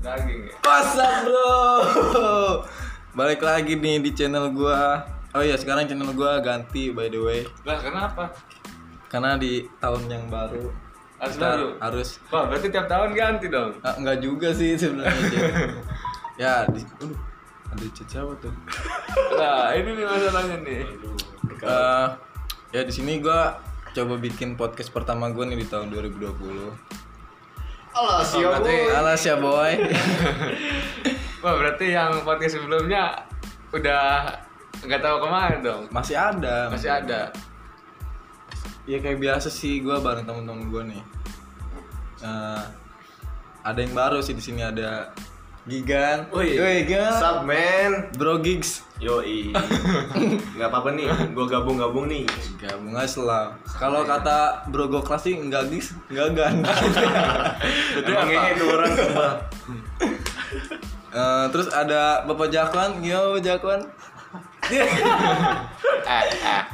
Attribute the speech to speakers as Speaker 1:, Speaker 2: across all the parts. Speaker 1: daging ya
Speaker 2: What's bro? Balik lagi nih di channel gua. Oh iya, sekarang channel gua ganti by the way.
Speaker 1: lah kenapa
Speaker 2: Karena di tahun yang baru
Speaker 1: harus
Speaker 2: kita
Speaker 1: baru
Speaker 2: harus
Speaker 1: wah berarti tiap tahun ganti dong
Speaker 2: Ah, enggak juga sih sebenarnya. Cek. ya, di aduh, ada chat siapa tuh?
Speaker 1: nah ini nih masalahnya nih
Speaker 2: Eh, ya di sini gua coba bikin podcast pertama gua nih di tahun 2020.
Speaker 3: Allah sih boy.
Speaker 2: Alas ya boy.
Speaker 1: wah berarti yang podcast sebelumnya udah nggak tahu kemana dong
Speaker 2: Masih ada.
Speaker 1: masih ada
Speaker 2: Ya kayak biasa sih gua bareng temen-temen gua nih. Eh, ada yang baru sih di sini ada Gigan.
Speaker 3: Woi.
Speaker 2: Woi, Gigan.
Speaker 3: Sup man.
Speaker 2: Bro Gigs.
Speaker 3: Yoi. Enggak apa-apa nih, gua gabung-gabung nih.
Speaker 2: Gabung aja selam. Kalau kata Bro Goklas sih enggak Gigs, enggak Gan.
Speaker 3: Emang ini dua orang sebel.
Speaker 2: Eh, terus ada Bapak Jakwan, gimana Bapak Jakwan?
Speaker 1: Eh,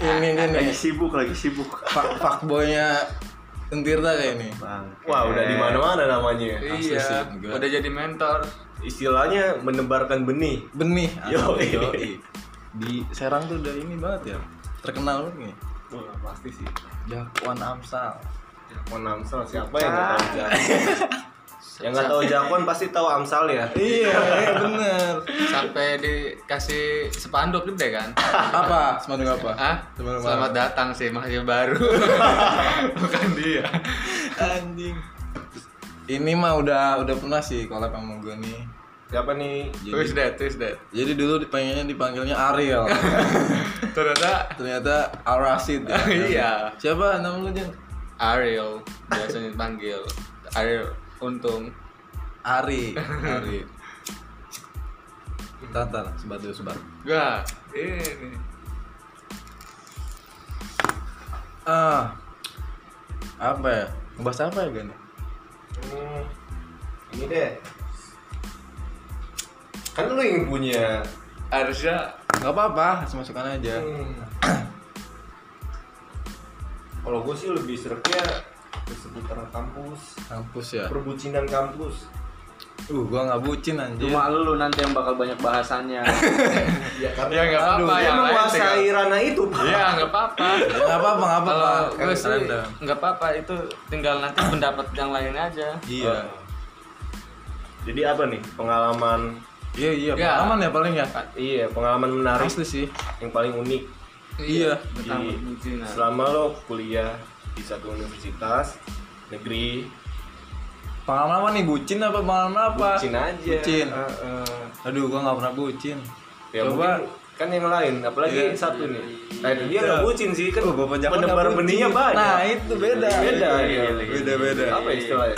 Speaker 2: ini ini nih,
Speaker 4: lagi sibuk lagi sibuk
Speaker 2: pak boynya Entirta kayak ini.
Speaker 4: bang
Speaker 3: Wah, udah di mana-mana namanya.
Speaker 2: Asli sih,
Speaker 1: iya
Speaker 2: enggak.
Speaker 1: udah jadi mentor
Speaker 3: Istilahnya menebarkan benih.
Speaker 2: Benih.
Speaker 3: Yoi.
Speaker 2: asli, yoi. Di Serang tuh udah ini banget ya. Terkenal banget nih.
Speaker 3: Wah, pasti sih.
Speaker 2: Jakwan Amsal.
Speaker 3: Jakon Amsal siapa yang nggak
Speaker 4: Ah.
Speaker 3: tahu Jakon? yang nggak tahu Jakon pasti tahu Amsal ya.
Speaker 2: Iya, iya, bener.
Speaker 1: sampai dikasih sepanduk gede kan
Speaker 2: Apa? Semangat apa?
Speaker 1: ah
Speaker 2: Selamat
Speaker 1: selamat datang sih masih baru bukan dia
Speaker 2: Anjing. Ini mah udah udah pernah sih collab sama gue nih.
Speaker 3: Siapa nih?
Speaker 1: who is that who is that
Speaker 2: Jadi dulu pengennya dipanggilnya Ariel.
Speaker 1: ternyata
Speaker 2: Ternyata Arasid ya.
Speaker 1: Iya.
Speaker 2: Siapa nama lu, Jen?
Speaker 1: Ariel biasanya dipanggil Ariel untung
Speaker 2: Ari. Ari. Entar, entar, sebat dulu, sebat.
Speaker 1: gua ini
Speaker 2: Ah. Apa ya? Ngebahas apa ya, Gan?
Speaker 3: Hmm, ini deh. Kan lu yang punya.
Speaker 1: harusnya
Speaker 2: Enggak apa-apa, masukkan aja.
Speaker 3: Hmm. Kalau gue sih lebih serunya ke seputaran kampus,
Speaker 2: Kampus ya.
Speaker 3: perbucinan kampus.
Speaker 2: Uh, gua nggak bucin anjir.
Speaker 4: cuma lu nanti yang bakal banyak bahasannya
Speaker 3: Ya
Speaker 1: ya nggak apa-apa
Speaker 3: dia
Speaker 1: yang lain
Speaker 3: menguasai
Speaker 1: tinggal-
Speaker 3: ranah itu, Pak.
Speaker 1: ya nggak apa-apa
Speaker 2: Ya, nggak apa-apa, nggak apa-apa.
Speaker 1: kalau gue
Speaker 2: Kan
Speaker 1: sih
Speaker 2: random.
Speaker 1: nggak apa-apa itu tinggal nanti pendapat yang lain aja
Speaker 3: Ah.
Speaker 2: Iya.
Speaker 3: Jadi apa nih pengalaman
Speaker 2: Iya, iya.
Speaker 1: Ya.
Speaker 2: Pengalaman ya paling ya.
Speaker 3: Iya, pengalaman menarik
Speaker 2: Asli sih.
Speaker 3: yang paling unik
Speaker 2: Iya.
Speaker 1: tentang
Speaker 3: Di-
Speaker 1: perizinan.
Speaker 3: selama lo kuliah di satu universitas negeri,
Speaker 2: Pengalaman apa nih bucin apa pengalaman apa?
Speaker 3: bucin aja.
Speaker 2: Bucin.
Speaker 3: Eh, eh.
Speaker 2: Aduh, gua nggak pernah bucin.
Speaker 3: Ya
Speaker 2: Coba
Speaker 3: mungkin kan yang lain, apalagi
Speaker 2: Iya.
Speaker 3: yang satu nih. Nah, itu
Speaker 1: Iya.
Speaker 3: dia nggak bucin sih kan.
Speaker 2: Oh, Bapak Jakon
Speaker 3: menebar
Speaker 2: nggak bucin.
Speaker 3: benihnya banyak.
Speaker 2: Nah, itu beda.
Speaker 3: Beda,
Speaker 2: Iya,
Speaker 3: iya.
Speaker 2: Beda-beda.
Speaker 3: Apa istilahnya?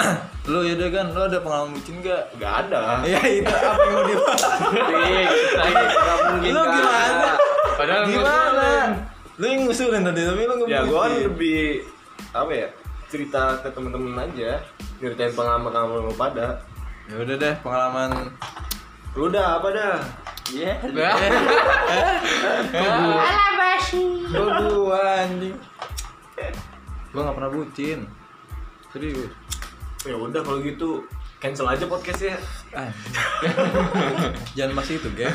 Speaker 2: Lu ya deh kan, lu ada pengalaman bucin gak?
Speaker 3: Gak ada.
Speaker 2: Iya itu apa yang mau dibahas?
Speaker 3: gitu
Speaker 4: nggak mungkin
Speaker 2: Lu
Speaker 4: kan.
Speaker 2: gimana?
Speaker 1: padahal
Speaker 2: Gimana? Lu yang ngusulin tadi tapi lu nggak
Speaker 3: Ya gue kan
Speaker 2: bucin.
Speaker 3: lebih apa ya? Cerita ke temen-temen aja, ceritain pengalaman pengalaman lo pada.
Speaker 2: Ya udah deh pengalaman.
Speaker 3: Lu udah apa dah?
Speaker 4: Iya.
Speaker 1: gua-
Speaker 2: Gua gua anjing. Gua nggak pernah bucin. Serius.
Speaker 3: Ya udah kalau gitu cancel aja podcastnya.
Speaker 2: Anjing. Jangan masih itu, geng.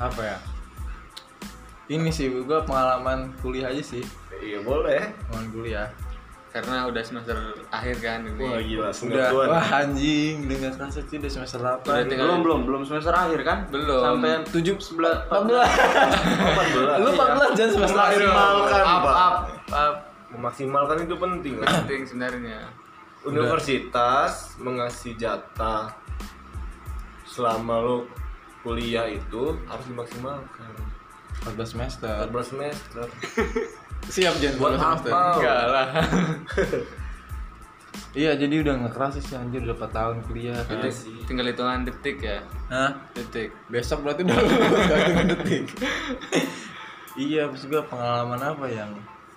Speaker 2: Apa ya? Ini sih gua pengalaman kuliah aja sih.
Speaker 3: Iya boleh.
Speaker 2: Pengalaman kuliah.
Speaker 1: karena udah semester akhir kan
Speaker 3: Wah
Speaker 1: ini
Speaker 2: Udah,
Speaker 3: gila, sungguhan.
Speaker 2: wah anjing, udah nggak kerasa sih udah semester 8
Speaker 1: Udah tinggal-
Speaker 4: belum belum belum semester akhir kan
Speaker 1: Belum.
Speaker 4: sampai
Speaker 2: tujuh
Speaker 4: sebelas
Speaker 2: 14 Lu
Speaker 3: Iya.
Speaker 2: 14 jangan semester akhir
Speaker 3: Maksimalkan,
Speaker 1: up
Speaker 3: Pak.
Speaker 1: up up
Speaker 3: Memaksimalkan itu penting.
Speaker 1: penting sebenarnya
Speaker 3: Universitas mengasih jatah selama lo kuliah itu harus dimaksimalkan.
Speaker 2: 14 semester
Speaker 3: 14 semester.
Speaker 2: Siap Jen, 14 semester
Speaker 3: apa?
Speaker 1: enggak lah
Speaker 2: Iya jadi udah nggak kerasa sih anjir udah 4 tahun kuliah
Speaker 3: Iya sih.
Speaker 1: tinggal hitungan detik ya
Speaker 2: Hah?
Speaker 1: detik
Speaker 2: Besok berarti udah satu detik Iya, terus gue pengalaman apa yang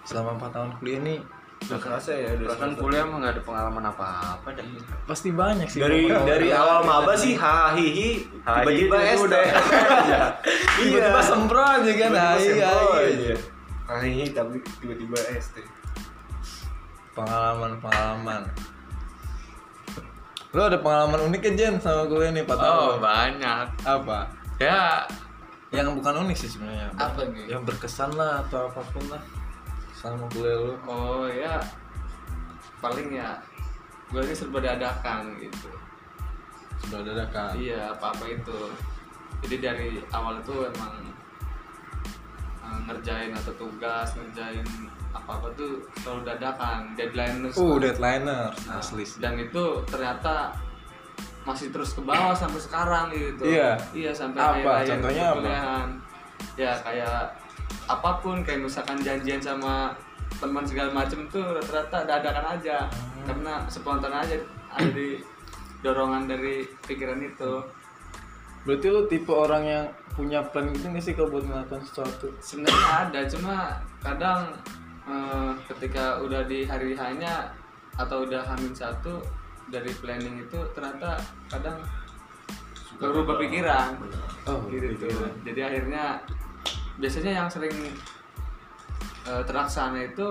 Speaker 2: selama 4 tahun kuliah ini
Speaker 3: Gak kerasa ya udah
Speaker 4: kan
Speaker 3: semester.
Speaker 4: kuliah mah nggak ada pengalaman apa-apa dah
Speaker 2: Pasti banyak sih Iya,
Speaker 3: Dari
Speaker 2: pengalaman.
Speaker 3: dari awal maba sih hahihi tiba-tiba
Speaker 4: Hahihi
Speaker 3: es
Speaker 4: udah.
Speaker 3: Iya.
Speaker 2: Tiba-tiba sempro aja kan
Speaker 3: Tiba-tiba
Speaker 2: ah, iya,
Speaker 3: sempro
Speaker 2: iya.
Speaker 3: aja. Hahihi tapi tiba-tiba es
Speaker 2: Pengalaman-pengalaman Lo ada pengalaman unik kan Jen sama kuliah nih 4 tahun?
Speaker 1: Oh banyak.
Speaker 2: Apa?
Speaker 1: Ya
Speaker 2: Yang bukan unik sih sebenarnya.
Speaker 1: apa nih?
Speaker 2: Yang berkesan lah atau apapun lah sama kuliah lo.
Speaker 1: Oh ya paling ya gue ini serba dadakan gitu.
Speaker 2: Sudah ada kan?
Speaker 1: Iya apa apa itu. Jadi dari awal itu emang eh, ngerjain atau tugas ngerjain apa apa tuh selalu dadakan deadline terus
Speaker 2: Uh, deadliner
Speaker 1: Nah,
Speaker 2: asli sih.
Speaker 1: dan itu ternyata masih terus ke bawah sampai sekarang gitu
Speaker 2: Iya.
Speaker 1: iya sampai
Speaker 2: Apa?
Speaker 1: kayak
Speaker 2: Contohnya apa?
Speaker 1: kuliahan. ya kayak apapun kayak misalkan janjian sama teman segala macem tuh rata-rata dadakan aja
Speaker 2: Hmm.
Speaker 1: karena spontan aja ada di dorongan dari pikiran itu
Speaker 2: Berarti lo tipe orang yang punya plan gitu nggak sih kalau buat melakukan sesuatu?
Speaker 1: sebenarnya ada cuma kadang eh, ketika udah di hari hanya atau udah hamin satu dari planning itu ternyata kadang berubah pikiran
Speaker 2: Oh,
Speaker 1: gitu jadi akhirnya biasanya yang sering eh, terlaksana itu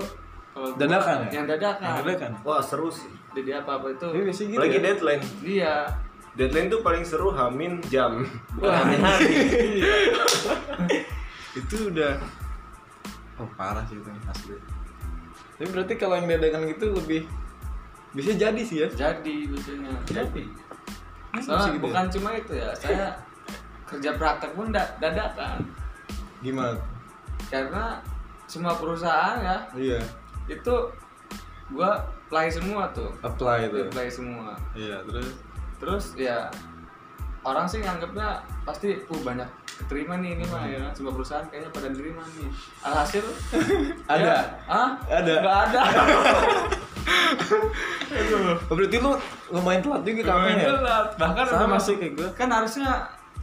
Speaker 1: kalau gua-
Speaker 2: Dadakan ya?
Speaker 1: yang dadakan
Speaker 2: Yang dadakan.
Speaker 3: Wah seru sih.
Speaker 1: jadi apa apa itu
Speaker 2: Tapi biasanya gitu.
Speaker 3: Lagi
Speaker 2: ya?
Speaker 3: deadline.
Speaker 1: dia
Speaker 3: Deadline tuh paling seru hamin jam. Bukan hamin hari.
Speaker 2: itu udah oh parah sih itu asli tapi berarti kalau yang dadakan gitu lebih bisa jadi sih ya
Speaker 1: jadi biasanya
Speaker 2: jadi
Speaker 1: soalnya
Speaker 2: gitu ya?
Speaker 1: bukan cuma itu ya saya kerja praktek pun da- dadakan
Speaker 2: gimana
Speaker 1: karena semua perusahaan ya
Speaker 2: iya
Speaker 1: itu gua apply semua tuh
Speaker 2: apply itu
Speaker 1: apply semua
Speaker 2: iya terus
Speaker 1: terus ya orang sih nganggapnya pasti uh banyak keterima nih ini mah ya kan? semua perusahaan kayaknya pada nerima nih alhasil
Speaker 2: Ada?
Speaker 1: ya, ah
Speaker 2: Ada?
Speaker 1: nggak ada
Speaker 2: oh, berarti lu lumayan telat juga
Speaker 1: Lumayan
Speaker 2: kampanye ya
Speaker 1: telat. bahkan
Speaker 2: Sama
Speaker 1: udah masuk
Speaker 2: sih kayak gua.
Speaker 1: kan harusnya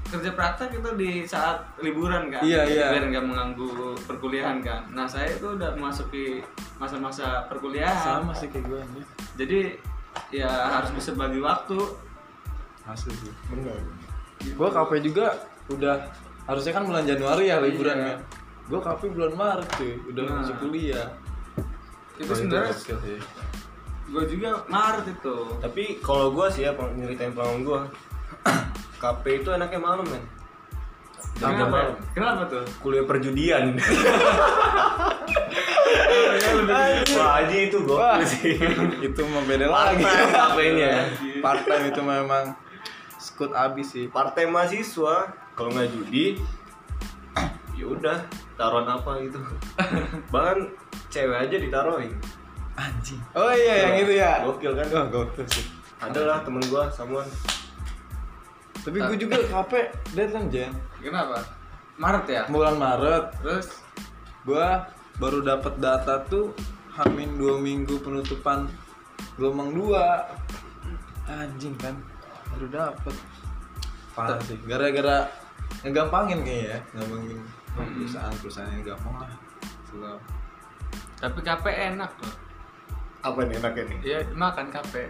Speaker 1: kerja praktek itu di saat liburan kan
Speaker 2: Iya, iya.
Speaker 1: biar nggak mengganggu perkuliahan kan nah saya itu udah memasuki masa-masa perkuliahan
Speaker 2: sama sih kayak gue ini
Speaker 1: jadi ya harus bisa bagi waktu
Speaker 2: asli sih
Speaker 3: Bener.
Speaker 2: gue kafe juga udah harusnya kan bulan Januari ya liburan
Speaker 1: Iya.
Speaker 2: kan gue kafe bulan Maret cuy udah
Speaker 1: Nah.
Speaker 2: masuk kuliah
Speaker 1: Oh, itu
Speaker 2: Wah,
Speaker 1: sebenarnya
Speaker 2: gokil sih.
Speaker 1: gue juga Maret itu
Speaker 3: Tapi kalau gua sih ya peng- nyeritain pengalaman gua. KP itu enaknya malam men.
Speaker 1: kenapa kenapa tuh
Speaker 3: Kuliah perjudian.
Speaker 1: ya,
Speaker 3: Wah, aja itu
Speaker 2: Wah,
Speaker 3: gokil sih.
Speaker 2: itu mah beda lagi
Speaker 3: KP-nya.
Speaker 2: part time itu memang skut abis sih
Speaker 3: Partai mahasiswa kalau nggak judi ya udah taruhan apa gitu. Bahkan cewek aja ditaruhin.
Speaker 2: anjing oh iya yang itu ya
Speaker 3: Gokil kan?
Speaker 2: oh gokil sih
Speaker 3: Adalah temen gua Samuan.
Speaker 2: tapi gue juga KP deadline Jen
Speaker 1: kenapa Maret ya
Speaker 2: bulan Maret
Speaker 1: terus
Speaker 2: gue baru dapat data tuh hamin dua minggu penutupan gelombang dua anjing kan baru dapat parah sih gara-gara ngegampangin kayaknya ya ngegampangin Oh, perusahaan perusahaan yang gampang lah Slow.
Speaker 1: tapi KP enak loh
Speaker 3: Apa nih enaknya nih?
Speaker 1: ya makan KP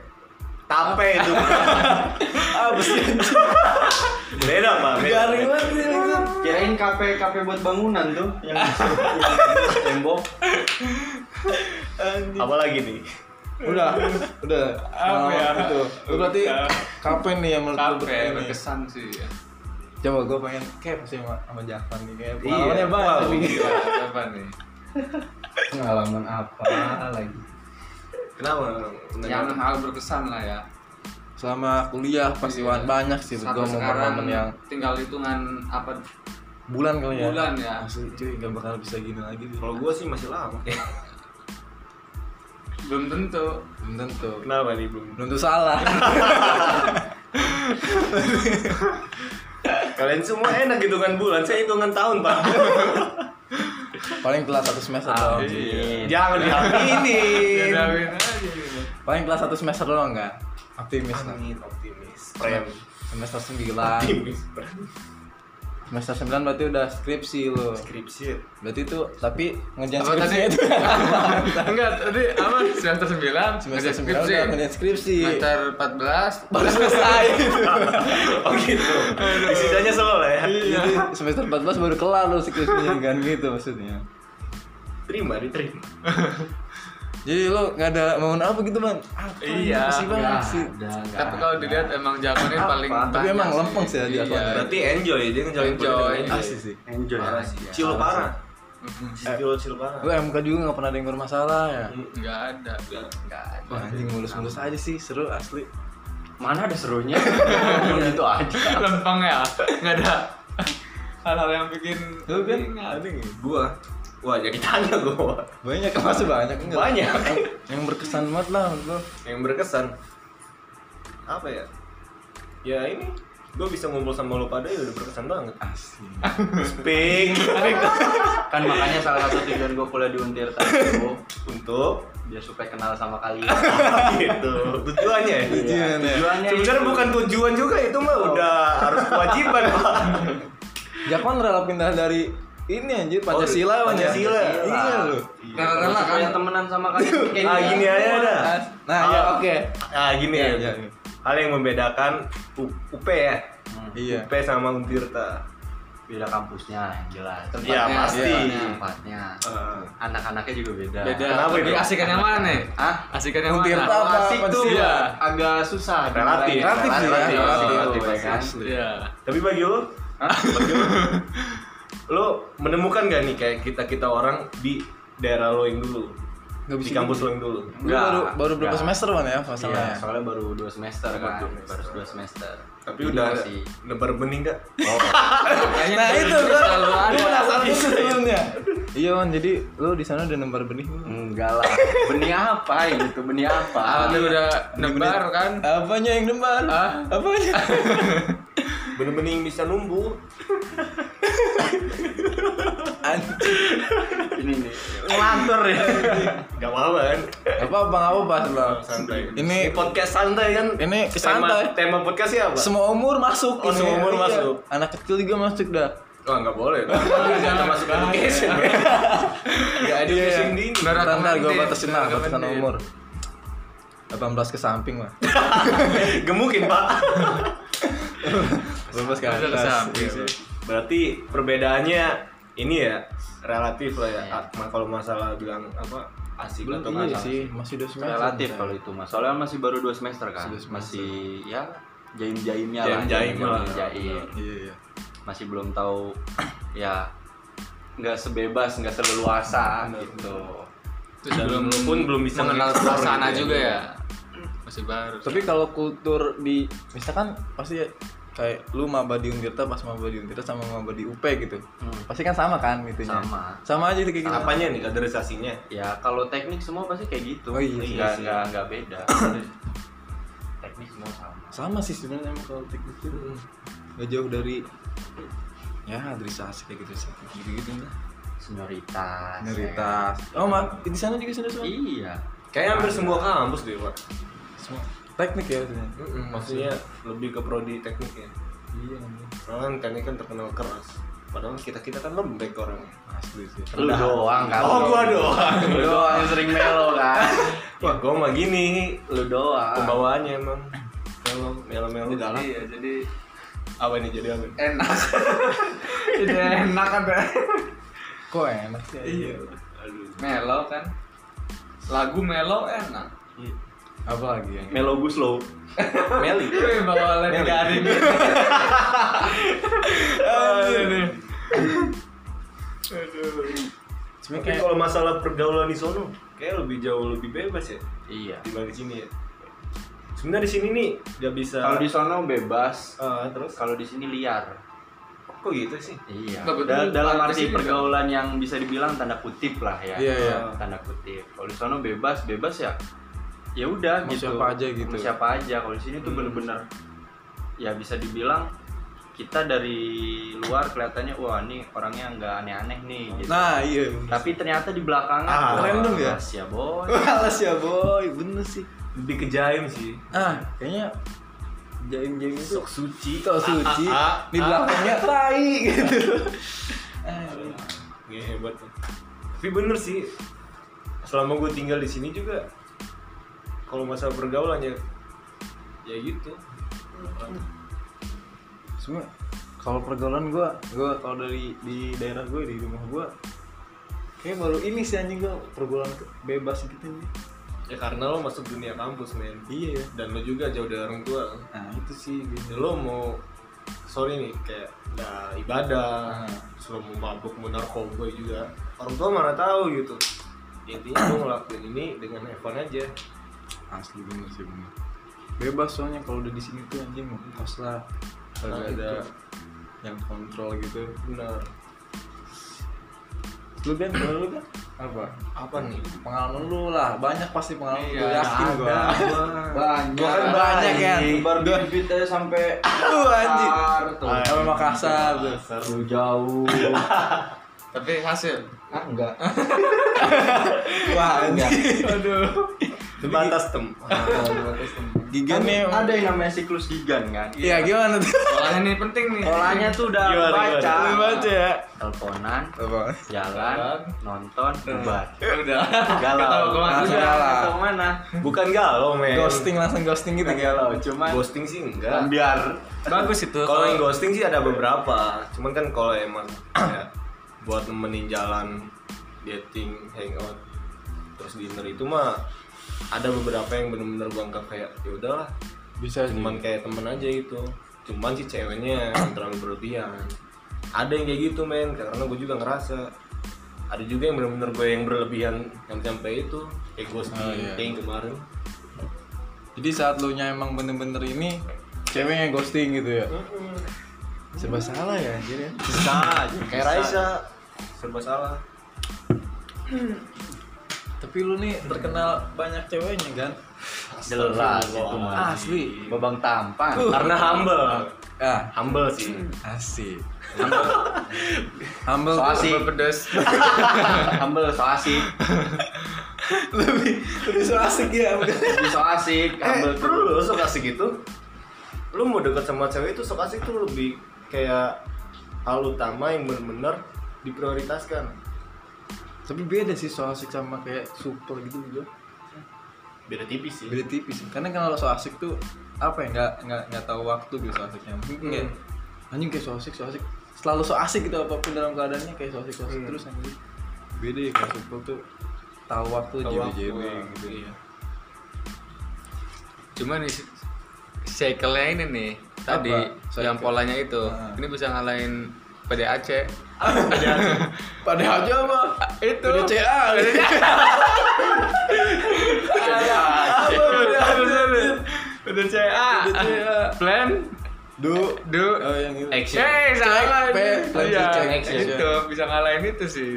Speaker 3: Tape itu.
Speaker 2: ah besi
Speaker 3: Beda, Pak. Beda.
Speaker 2: garing banget sih.
Speaker 4: Kirain kafe kafe buat bangunan tuh yang tembok.
Speaker 3: Apa lagi nih?
Speaker 2: udah udah
Speaker 1: Apa ya?
Speaker 2: pengalaman itu Lu berarti
Speaker 1: Udah.
Speaker 2: kapan nih yang menurut lu
Speaker 1: KP
Speaker 2: berkesan nih?
Speaker 1: berkesan sih ya
Speaker 2: coba gue pengen kayak sih sama, sama Jakvan nih kayak
Speaker 1: Iya.
Speaker 2: pengalamannya banyak
Speaker 1: Wow,
Speaker 2: tapi
Speaker 1: gila, apa Iya, nih
Speaker 4: Pengalaman apa lagi?
Speaker 3: Kenapa?
Speaker 1: yang hal berkesan lah ya
Speaker 2: selama kuliah pasti
Speaker 1: Iya.
Speaker 2: wan banyak sih
Speaker 1: Sampai
Speaker 2: gue
Speaker 1: sekarang
Speaker 2: momen-momen yang
Speaker 1: tinggal hitungan apa
Speaker 2: bulan kali ya
Speaker 1: Bulan ya.
Speaker 2: Asli, cuy gak bakal bisa gini lagi sih
Speaker 3: Kalau gua sih masih lama.
Speaker 1: belum tentu
Speaker 2: belum tentu
Speaker 3: Kenapa nih, Bung?
Speaker 2: belum tentu salah
Speaker 3: Kalian semua enak hitungan bulan, saya hitungan tahun, Pak.
Speaker 2: paling telat satu semester
Speaker 3: Oh,
Speaker 1: Ah,
Speaker 2: doang
Speaker 1: iya.
Speaker 3: Jangan
Speaker 2: Iya,
Speaker 3: diaminin.
Speaker 1: Bedain Iya, aja gitu.
Speaker 2: paling telat satu semester doang kan optimis lah
Speaker 3: Amin, optimis. Prem.
Speaker 2: semester sembilan
Speaker 3: Optimis, prem.
Speaker 2: semester sembilan berarti udah skripsi lo
Speaker 3: Skripsi.
Speaker 2: berarti itu tapi ngejar
Speaker 1: Apa
Speaker 2: skripsi
Speaker 1: tadi?
Speaker 2: itu
Speaker 1: Enggak, tadi apa? Semester 9,
Speaker 2: semester sembilan udah ngejar skripsi
Speaker 1: Semester 14
Speaker 2: baru selesai
Speaker 3: Oh gitu. Sisanya solo lah ya.
Speaker 2: Jadi
Speaker 5: Iya.
Speaker 2: semester 14 baru kelar lu skripsinya kan gitu maksudnya
Speaker 3: Terima, diterima.
Speaker 2: Jadi lo nggak ada momen apa gitu man? Apa ini?
Speaker 1: Iya,
Speaker 2: Pasti banget
Speaker 5: Nggak
Speaker 2: sih.
Speaker 5: ada, nggak
Speaker 1: Tapi
Speaker 5: ada.
Speaker 1: kalau dilihat emang jagoannya paling
Speaker 2: Tapi
Speaker 1: banyak
Speaker 2: emang lempeng sih ya di
Speaker 1: Iya.
Speaker 2: akun.
Speaker 3: Berarti enjoy Ah, dia ngejalin
Speaker 1: Enjoy.
Speaker 3: politik dengan
Speaker 2: Asli sih.
Speaker 4: enjoy
Speaker 5: Parah sih ya.
Speaker 3: Cilo parah. Eh.
Speaker 1: Mm-mm.
Speaker 3: Cilo cilo parah.
Speaker 2: Lo MK juga nggak pernah ada yang bermasalah ya.
Speaker 1: nggak ada
Speaker 5: Nggak ada.
Speaker 2: Wah anjing mulus-mulus aja sih seru asli.
Speaker 5: Mana ada serunya? Gitu aja.
Speaker 1: lempeng ya nggak ada hal-hal yang bikin
Speaker 2: Lo kan
Speaker 1: ingat.
Speaker 2: ada nggak?
Speaker 3: Gua Wah jadi tanya gua
Speaker 2: Banyak masih banyak enggak?
Speaker 3: Banyak.
Speaker 2: Yang, yang berkesan banget lah menurut gua.
Speaker 3: Yang berkesan Apa ya Ya ini Gua bisa ngumpul sama lo pada ya udah berkesan banget
Speaker 2: Asli.
Speaker 3: Ping
Speaker 5: Kan makanya salah satu tujuan gue kuliah di Undir tadi Bu,
Speaker 3: Untuk
Speaker 5: biar supaya kenal sama kalian.
Speaker 3: gitu Tujuannya ya
Speaker 2: Tujuan ya.
Speaker 5: Iya, Tujuannya
Speaker 3: Sebenarnya
Speaker 5: itu.
Speaker 3: bukan tujuan juga itu mah udah harus kewajiban pak
Speaker 2: Jakman rela pindah dari ini anjir
Speaker 5: Oh,
Speaker 2: Pancasila man ya.
Speaker 3: Pancasila.
Speaker 2: Iya lo.
Speaker 1: Rela-rela kan?
Speaker 5: Supaya temenan sama kalian. kayak ya?
Speaker 3: Ah gini aja dah
Speaker 2: Nah, ya
Speaker 3: Ah.
Speaker 2: oke.
Speaker 3: Ah gini
Speaker 2: Iya,
Speaker 3: ya,
Speaker 2: iya.
Speaker 3: Hal yang membedakan U- UP ya
Speaker 2: Iya.
Speaker 3: UP sama Untirta
Speaker 5: Beda kampusnya yang jelas. Tempatnya,
Speaker 3: Ya pasti
Speaker 1: iya.
Speaker 5: tempatnya.
Speaker 3: Ah.
Speaker 5: Anak-anaknya juga beda.
Speaker 1: beda
Speaker 3: Kenapa
Speaker 1: lebih
Speaker 3: itu?
Speaker 1: asikan yang mana nih
Speaker 5: Hah?
Speaker 1: asikan yang
Speaker 2: Untir
Speaker 1: mana
Speaker 2: tahu. Apa,
Speaker 5: Asik tuh Iya.
Speaker 1: Pancasila?
Speaker 5: agak susah.
Speaker 3: Relatif.
Speaker 5: dibilangin.
Speaker 2: Relatif sih ya.
Speaker 5: Relatif,
Speaker 2: Relatif,
Speaker 5: relatif, ya kan?
Speaker 2: asli.
Speaker 1: Iya.
Speaker 3: Tapi bagi lo, bagi lo, lo menemukan gak nih kayak kita kita orang di daerah lo yang dulu,
Speaker 2: Nggak
Speaker 3: di
Speaker 2: bisa
Speaker 3: kampus lo yang dulu.
Speaker 2: Lu baru baru berapa
Speaker 5: Enggak.
Speaker 2: semester man ya
Speaker 5: Iya,
Speaker 2: masalahnya?
Speaker 5: soalnya baru 2 semester kan.
Speaker 3: Baru dua
Speaker 5: Baru 2 semester.
Speaker 3: Tapi
Speaker 5: Jadi
Speaker 3: udah
Speaker 5: masih
Speaker 3: nebar bening gak?
Speaker 1: Kayaknya
Speaker 2: Nah
Speaker 1: dari
Speaker 2: itu
Speaker 1: dulu
Speaker 2: gua
Speaker 1: selalu
Speaker 2: gua
Speaker 1: ada.
Speaker 2: penasaran itu sebelumnya. Iya man, jadi lu di sana udah nembar benih lu.
Speaker 5: enggak lah. Benih apa gitu? Benih apa?
Speaker 1: Ah, lu udah nebar kan
Speaker 2: Apanya yang nembar?
Speaker 1: Hah?
Speaker 2: Apanya?
Speaker 3: Bening-bening bisa numbu.
Speaker 2: Anjing.
Speaker 5: Ini nih.
Speaker 3: Ngelantur ya. gak apa-apa kan?
Speaker 2: Apa bang apa pas lo?
Speaker 3: Santai.
Speaker 2: Ini-
Speaker 3: podcast santai kan?
Speaker 2: ini santai.
Speaker 3: Tema, tema podcastnya apa?
Speaker 2: Semua umur masuk.
Speaker 3: Oh,
Speaker 2: ini.
Speaker 3: semua umur
Speaker 2: Iya.
Speaker 3: masuk.
Speaker 2: Anak kecil juga masuk dah.
Speaker 3: Wah Oh, nggak boleh. Jangan masuk education. men. Nggak education
Speaker 2: Iya.
Speaker 3: dini.
Speaker 1: Ntar,
Speaker 2: Bentar, bentar, gue
Speaker 1: otomatis,
Speaker 2: batasin lah,
Speaker 1: ntar
Speaker 2: batasan
Speaker 1: otomatis.
Speaker 2: umur 18 ke samping lah
Speaker 3: Gemukin pak.
Speaker 2: 18 ke
Speaker 1: Udah ke
Speaker 2: atas
Speaker 1: samping sih.
Speaker 3: iya. Berarti perbedaannya ini ya relatif lah ya.
Speaker 5: Iya.
Speaker 3: Ma- Kalau masalah bilang apa asik
Speaker 2: Belum
Speaker 3: atau nggak
Speaker 2: iya
Speaker 3: asik.
Speaker 2: sih, masih 2 semester
Speaker 5: Relatif kalau itu mas. Soalnya masih baru 2 semester
Speaker 2: Masih
Speaker 5: kan.
Speaker 2: dua semester.
Speaker 5: Masih ya jaim-jaimnya lah.
Speaker 3: Jaim-jaim lah.
Speaker 5: Jaim.
Speaker 2: Iya, iya
Speaker 5: Masih belum tahu ya nggak sebebas, nggak seleluasa gitu.
Speaker 1: terus
Speaker 3: Dan
Speaker 1: belum
Speaker 3: lu pun belum bisa
Speaker 1: mengenal
Speaker 3: nge-explore
Speaker 1: suasana
Speaker 3: gitu ya.
Speaker 1: juga ya masih baru
Speaker 2: Tapi kalau kultur di, misalkan pasti ya kayak lu maba di Untirta pas maba di Untirta sama maba di UP gitu
Speaker 5: Hmm.
Speaker 2: pasti kan sama kan gitunya
Speaker 5: Sama.
Speaker 2: sama aja tuh kayak gitu
Speaker 3: Apanya nih kaderisasinya?
Speaker 5: Ya kalau teknik semua pasti kayak gitu.
Speaker 2: Oh, iya sih,
Speaker 5: nggak
Speaker 2: iya.
Speaker 5: nggak nggak beda. teknik semua sama.
Speaker 2: sama sih sebenarnya emang kalau teknik itu
Speaker 5: Hmm.
Speaker 2: nggak jauh dari ya adrisasi kayak gitu sih gitu gitu lah
Speaker 5: Senioritas.
Speaker 2: Minoritas. Oh, mak di sana juga sudah
Speaker 5: ya.
Speaker 2: semua.
Speaker 5: Iya.
Speaker 3: Kayaknya hampir semua kampus deh pak.
Speaker 2: Semua teknik ya maksudnya.
Speaker 3: Maksudnya lebih ke prodi tekniknya.
Speaker 2: Iya, anjing.
Speaker 3: Soalnya kan teknik kan terkenal keras. Padahal kita kita kan lembek orangnya.
Speaker 2: asli sih.
Speaker 5: Lu doang kan.
Speaker 3: Oh gua doang.
Speaker 5: Lu doang yang sering melo kan.
Speaker 3: Wah gua mah gini
Speaker 5: Lu doang.
Speaker 3: pembawaannya emang. Melo melo melo galak.
Speaker 1: iya jadi
Speaker 3: Apa ini jadi apa?
Speaker 1: enak tidak enak kan
Speaker 2: Kok enak sih? Iya.
Speaker 3: Aduh.
Speaker 1: melo kan lagu melo enak
Speaker 3: Iya.
Speaker 2: Apa lagi ya? yang
Speaker 5: Melo gue slow.
Speaker 3: Meli.
Speaker 1: Wih, bawa lagi hari ini
Speaker 2: Sebenarnya
Speaker 3: Tapi
Speaker 2: kayak
Speaker 3: kalau masalah pergaulan di sono, kayak lebih jauh lebih bebas ya.
Speaker 5: Iya.
Speaker 3: dibanding di sini ya sebenarnya di sini nih nggak bisa
Speaker 5: Kalau di sono bebas,
Speaker 3: Ah, terus
Speaker 5: kalau di sini liar.
Speaker 3: kok gitu sih
Speaker 5: Iya.
Speaker 1: Nggak betul.
Speaker 5: Da- dalam
Speaker 1: Kalau di
Speaker 5: arti
Speaker 1: sini-
Speaker 5: pergaulan yang bisa dibilang tanda kutip lah ya.
Speaker 2: Iya, iya.
Speaker 5: Tanda kutip. Kalau di sono bebas, bebas ya. Ya udah
Speaker 2: Mau
Speaker 5: gitu.
Speaker 2: siapa aja gitu. Hmm.
Speaker 5: Mau siapa aja. Kalau di sini tuh bener-bener ya bisa dibilang kita dari luar kelihatannya wah ini orangnya nggak aneh-aneh nih gitu.
Speaker 2: Nah, iya.
Speaker 5: Tapi ternyata di belakangan
Speaker 3: Ah,
Speaker 5: wah,
Speaker 2: random ya?
Speaker 5: rahasia, boy.
Speaker 2: Males ya, boy. Bener sih.
Speaker 3: lebih ke jaim sih
Speaker 2: Ah, kayaknya jaim-jaim itu Ah,
Speaker 3: sok suci
Speaker 2: Tok suci di belakangnya tai gitu.
Speaker 3: Nggak hebat ya. tapi bener sih selama gue tinggal di sini juga kalau masalah pergaulan ya ya gitu
Speaker 2: Semua kalau pergaulan gua, gua kalau dari di daerah gua di rumah gua Kayaknya baru oh, ini sih anjing gua pergaulan ke- bebas gitu nih.
Speaker 3: ya karena lo masuk dunia kampus men
Speaker 2: Iya ya.
Speaker 3: dan lo juga jauh dari orang tua
Speaker 2: Nah itu sih gitu.
Speaker 3: ya lo mau sorry nih kayak nggak ibadah
Speaker 2: Hmm.
Speaker 3: selalu mau mabuk mau narkoba juga orang tua mana tahu gitu intinya gue ngelakuin ini dengan heaven aja
Speaker 2: Asli bener sih bener. Bebas soalnya kalau udah di sini tuh anjing mau kos lah. gitu. Kagak
Speaker 3: Nah,
Speaker 2: ada
Speaker 3: itu.
Speaker 2: yang kontrol gitu.
Speaker 3: benar
Speaker 2: Lu Ben, gimana lu Ben? Apa?
Speaker 3: apa nih
Speaker 2: Pengalaman lu lah, banyak pasti pengalaman
Speaker 1: Iya,
Speaker 2: lu yakin
Speaker 3: ada,
Speaker 2: gua.
Speaker 4: Banyak.
Speaker 2: Kan banyak ya.
Speaker 4: Baru bibit aja sampai
Speaker 2: Aduh anjing.
Speaker 4: Makassar, tuh.
Speaker 2: Sampai Makassar Ah, tuh.
Speaker 4: Terlalu jauh.
Speaker 1: Tapi hasil.
Speaker 4: ah enggak.
Speaker 2: Wah,
Speaker 4: Enggak.
Speaker 1: Aduh.
Speaker 3: sebatas tem
Speaker 2: Gigan nih.
Speaker 4: Kan Ada yang namanya siklus gigan kan.
Speaker 2: Iya, gimana tuh?
Speaker 1: Polanya nih penting nih.
Speaker 4: Polanya tuh udah
Speaker 3: Gimana,
Speaker 4: baca.
Speaker 3: gimana?
Speaker 2: Lu baca ya.
Speaker 5: teleponan
Speaker 2: Apa?
Speaker 5: jalan nonton
Speaker 2: Hmm.
Speaker 5: bubar
Speaker 1: Udah.
Speaker 5: Galau.
Speaker 1: Ketawa kemana?
Speaker 2: Langsung
Speaker 5: Udah,
Speaker 2: galau.
Speaker 5: atau mana
Speaker 3: bukan galau men
Speaker 2: Ghosting langsung ghosting gitu.
Speaker 5: Bukan galau cuman
Speaker 3: ghosting sih enggak
Speaker 5: biar
Speaker 1: Bagus itu.
Speaker 3: kalau yang ghosting sih ada beberapa cuman kan kalau emang kayak buat nemenin jalan dating hangout terus dinner itu mah ada beberapa yang bener-bener gua anggap kayak ya udahlah
Speaker 2: Bisa
Speaker 3: cuman kayak temen aja gitu cuman si ceweknya yang terlalu berlebihan ada yang kayak gitu men karena gue juga ngerasa ada juga yang bener-bener gue yang berlebihan yang sampai itu kayak ghosting
Speaker 2: Oh, iya.
Speaker 3: kayak yang kemarin
Speaker 2: Jadi saat lu nya emang bener-bener ini ceweknya ghosting gitu ya. Serba salah ya anjir ya.
Speaker 3: bisa
Speaker 4: Kayak Raisa.
Speaker 3: serba salah
Speaker 2: Tapi lu nih terkenal banyak ceweknya kan?
Speaker 5: jelas itu mah
Speaker 2: Asli.
Speaker 5: babang tampan
Speaker 3: karena humble
Speaker 2: Ah,
Speaker 3: humble sih
Speaker 2: asik. Humble. Humble tuh
Speaker 5: soasi pedes humble soasi
Speaker 2: lebih lebih so asik ya.
Speaker 5: lebih soasi humble
Speaker 3: eh
Speaker 5: tuh
Speaker 3: perlu lo sok asik gitu lu mau deket sama cewek itu sok asik tuh lebih kayak hal utama yang bener-bener diprioritaskan
Speaker 2: Tapi beda sih so asik sama kayak super gitu juga.
Speaker 3: beda tipis sih
Speaker 2: Beda tipis. Karena kan kalau so asik tuh apa ya nggak nggak nggak tahu waktu gitu so asiknya. Mungkin kayak anjing kayak so asik so asik selalu so asik gitu apapun dalam keadaannya kayak so asik so asik
Speaker 3: Hmm.
Speaker 2: terus anjing. Beda ya kalau super tuh tahu waktu
Speaker 3: Tahu
Speaker 2: jadi
Speaker 3: waktu,
Speaker 2: jadi
Speaker 3: ah,
Speaker 2: gitu.
Speaker 3: iya.
Speaker 1: Cuman nih cycle-nya ini nih tadi
Speaker 2: Apa?
Speaker 1: yang
Speaker 2: Cycle.
Speaker 1: polanya itu.
Speaker 2: Ah.
Speaker 1: Ini bisa ngalahin PDAC.
Speaker 2: Pada aja apa?
Speaker 1: Itu.
Speaker 2: Udah CA.
Speaker 1: Ah, iya. Udah CA. Plan
Speaker 2: Du.
Speaker 1: do
Speaker 2: Oh yang itu.
Speaker 5: action
Speaker 1: Eh, salah
Speaker 2: P,
Speaker 1: nih.
Speaker 2: plan
Speaker 1: Iya,
Speaker 2: C, cek,
Speaker 1: action.
Speaker 2: action.
Speaker 1: Itu bisa ngalahin itu sih.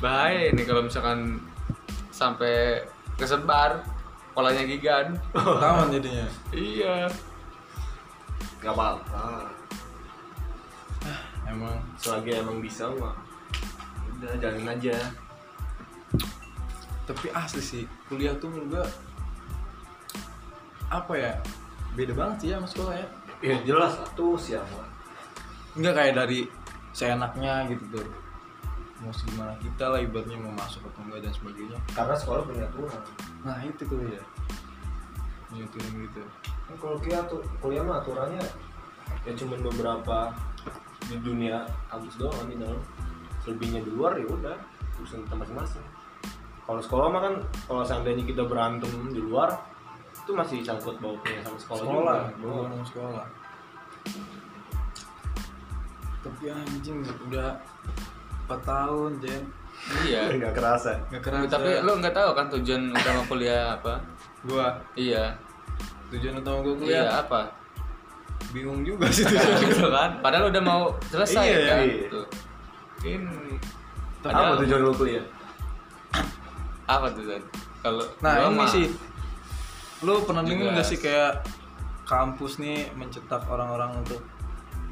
Speaker 1: Bahaya ini kalau misalkan sampai kesebar polanya gigan.
Speaker 2: Taman jadinya.
Speaker 1: Iya.
Speaker 3: nggak apa-apa
Speaker 2: Emang
Speaker 3: selagi emang bisa mah udah jalanin aja
Speaker 2: tapi asli sih kuliah tuh menurut gua apa ya beda banget sih ya sama sekolah ya
Speaker 3: ya jelas satu siapa
Speaker 2: nggak kayak dari seenaknya gitu tuh mau gimana kita lah ibaratnya mau masuk atau enggak dan sebagainya
Speaker 3: karena sekolah punya Tuhan
Speaker 2: nah itu tuh ya nyuturin gitu
Speaker 3: kan kalau kuliah tuh kuliah mah aturannya ya cuman beberapa di dunia kampus doang di dalam selebihnya di luar ya udah urusan kita masing-masing kalau sekolah mah kan kalau seandainya kita berantem di luar itu masih sangkut bautnya sama sekolah,
Speaker 2: sekolah
Speaker 3: juga
Speaker 2: baru sama sekolah tapi anjing udah 4 tahun Jen
Speaker 1: Iya.
Speaker 3: nggak kerasa
Speaker 2: nggak kerasa
Speaker 1: Tapi lo nggak tahu kan tujuan utama kuliah apa?
Speaker 2: gua
Speaker 1: Iya.
Speaker 2: tujuan utama gua
Speaker 1: Iya,
Speaker 2: kuliah
Speaker 1: apa?
Speaker 2: bingung juga sih
Speaker 1: Nah,
Speaker 2: tujuan
Speaker 1: gitu kan. Padahal udah mau selesai
Speaker 2: Iya,
Speaker 1: kan.
Speaker 3: iya.
Speaker 1: Tuh. Ini
Speaker 3: apa tujuan lu kuliah
Speaker 1: apa tuh Zan? Kalau
Speaker 2: Nah
Speaker 1: gua
Speaker 2: ini
Speaker 1: mah-
Speaker 2: sih, lu pernah dengar
Speaker 1: Juga.
Speaker 2: nggak sih kayak kampus nih mencetak orang-orang untuk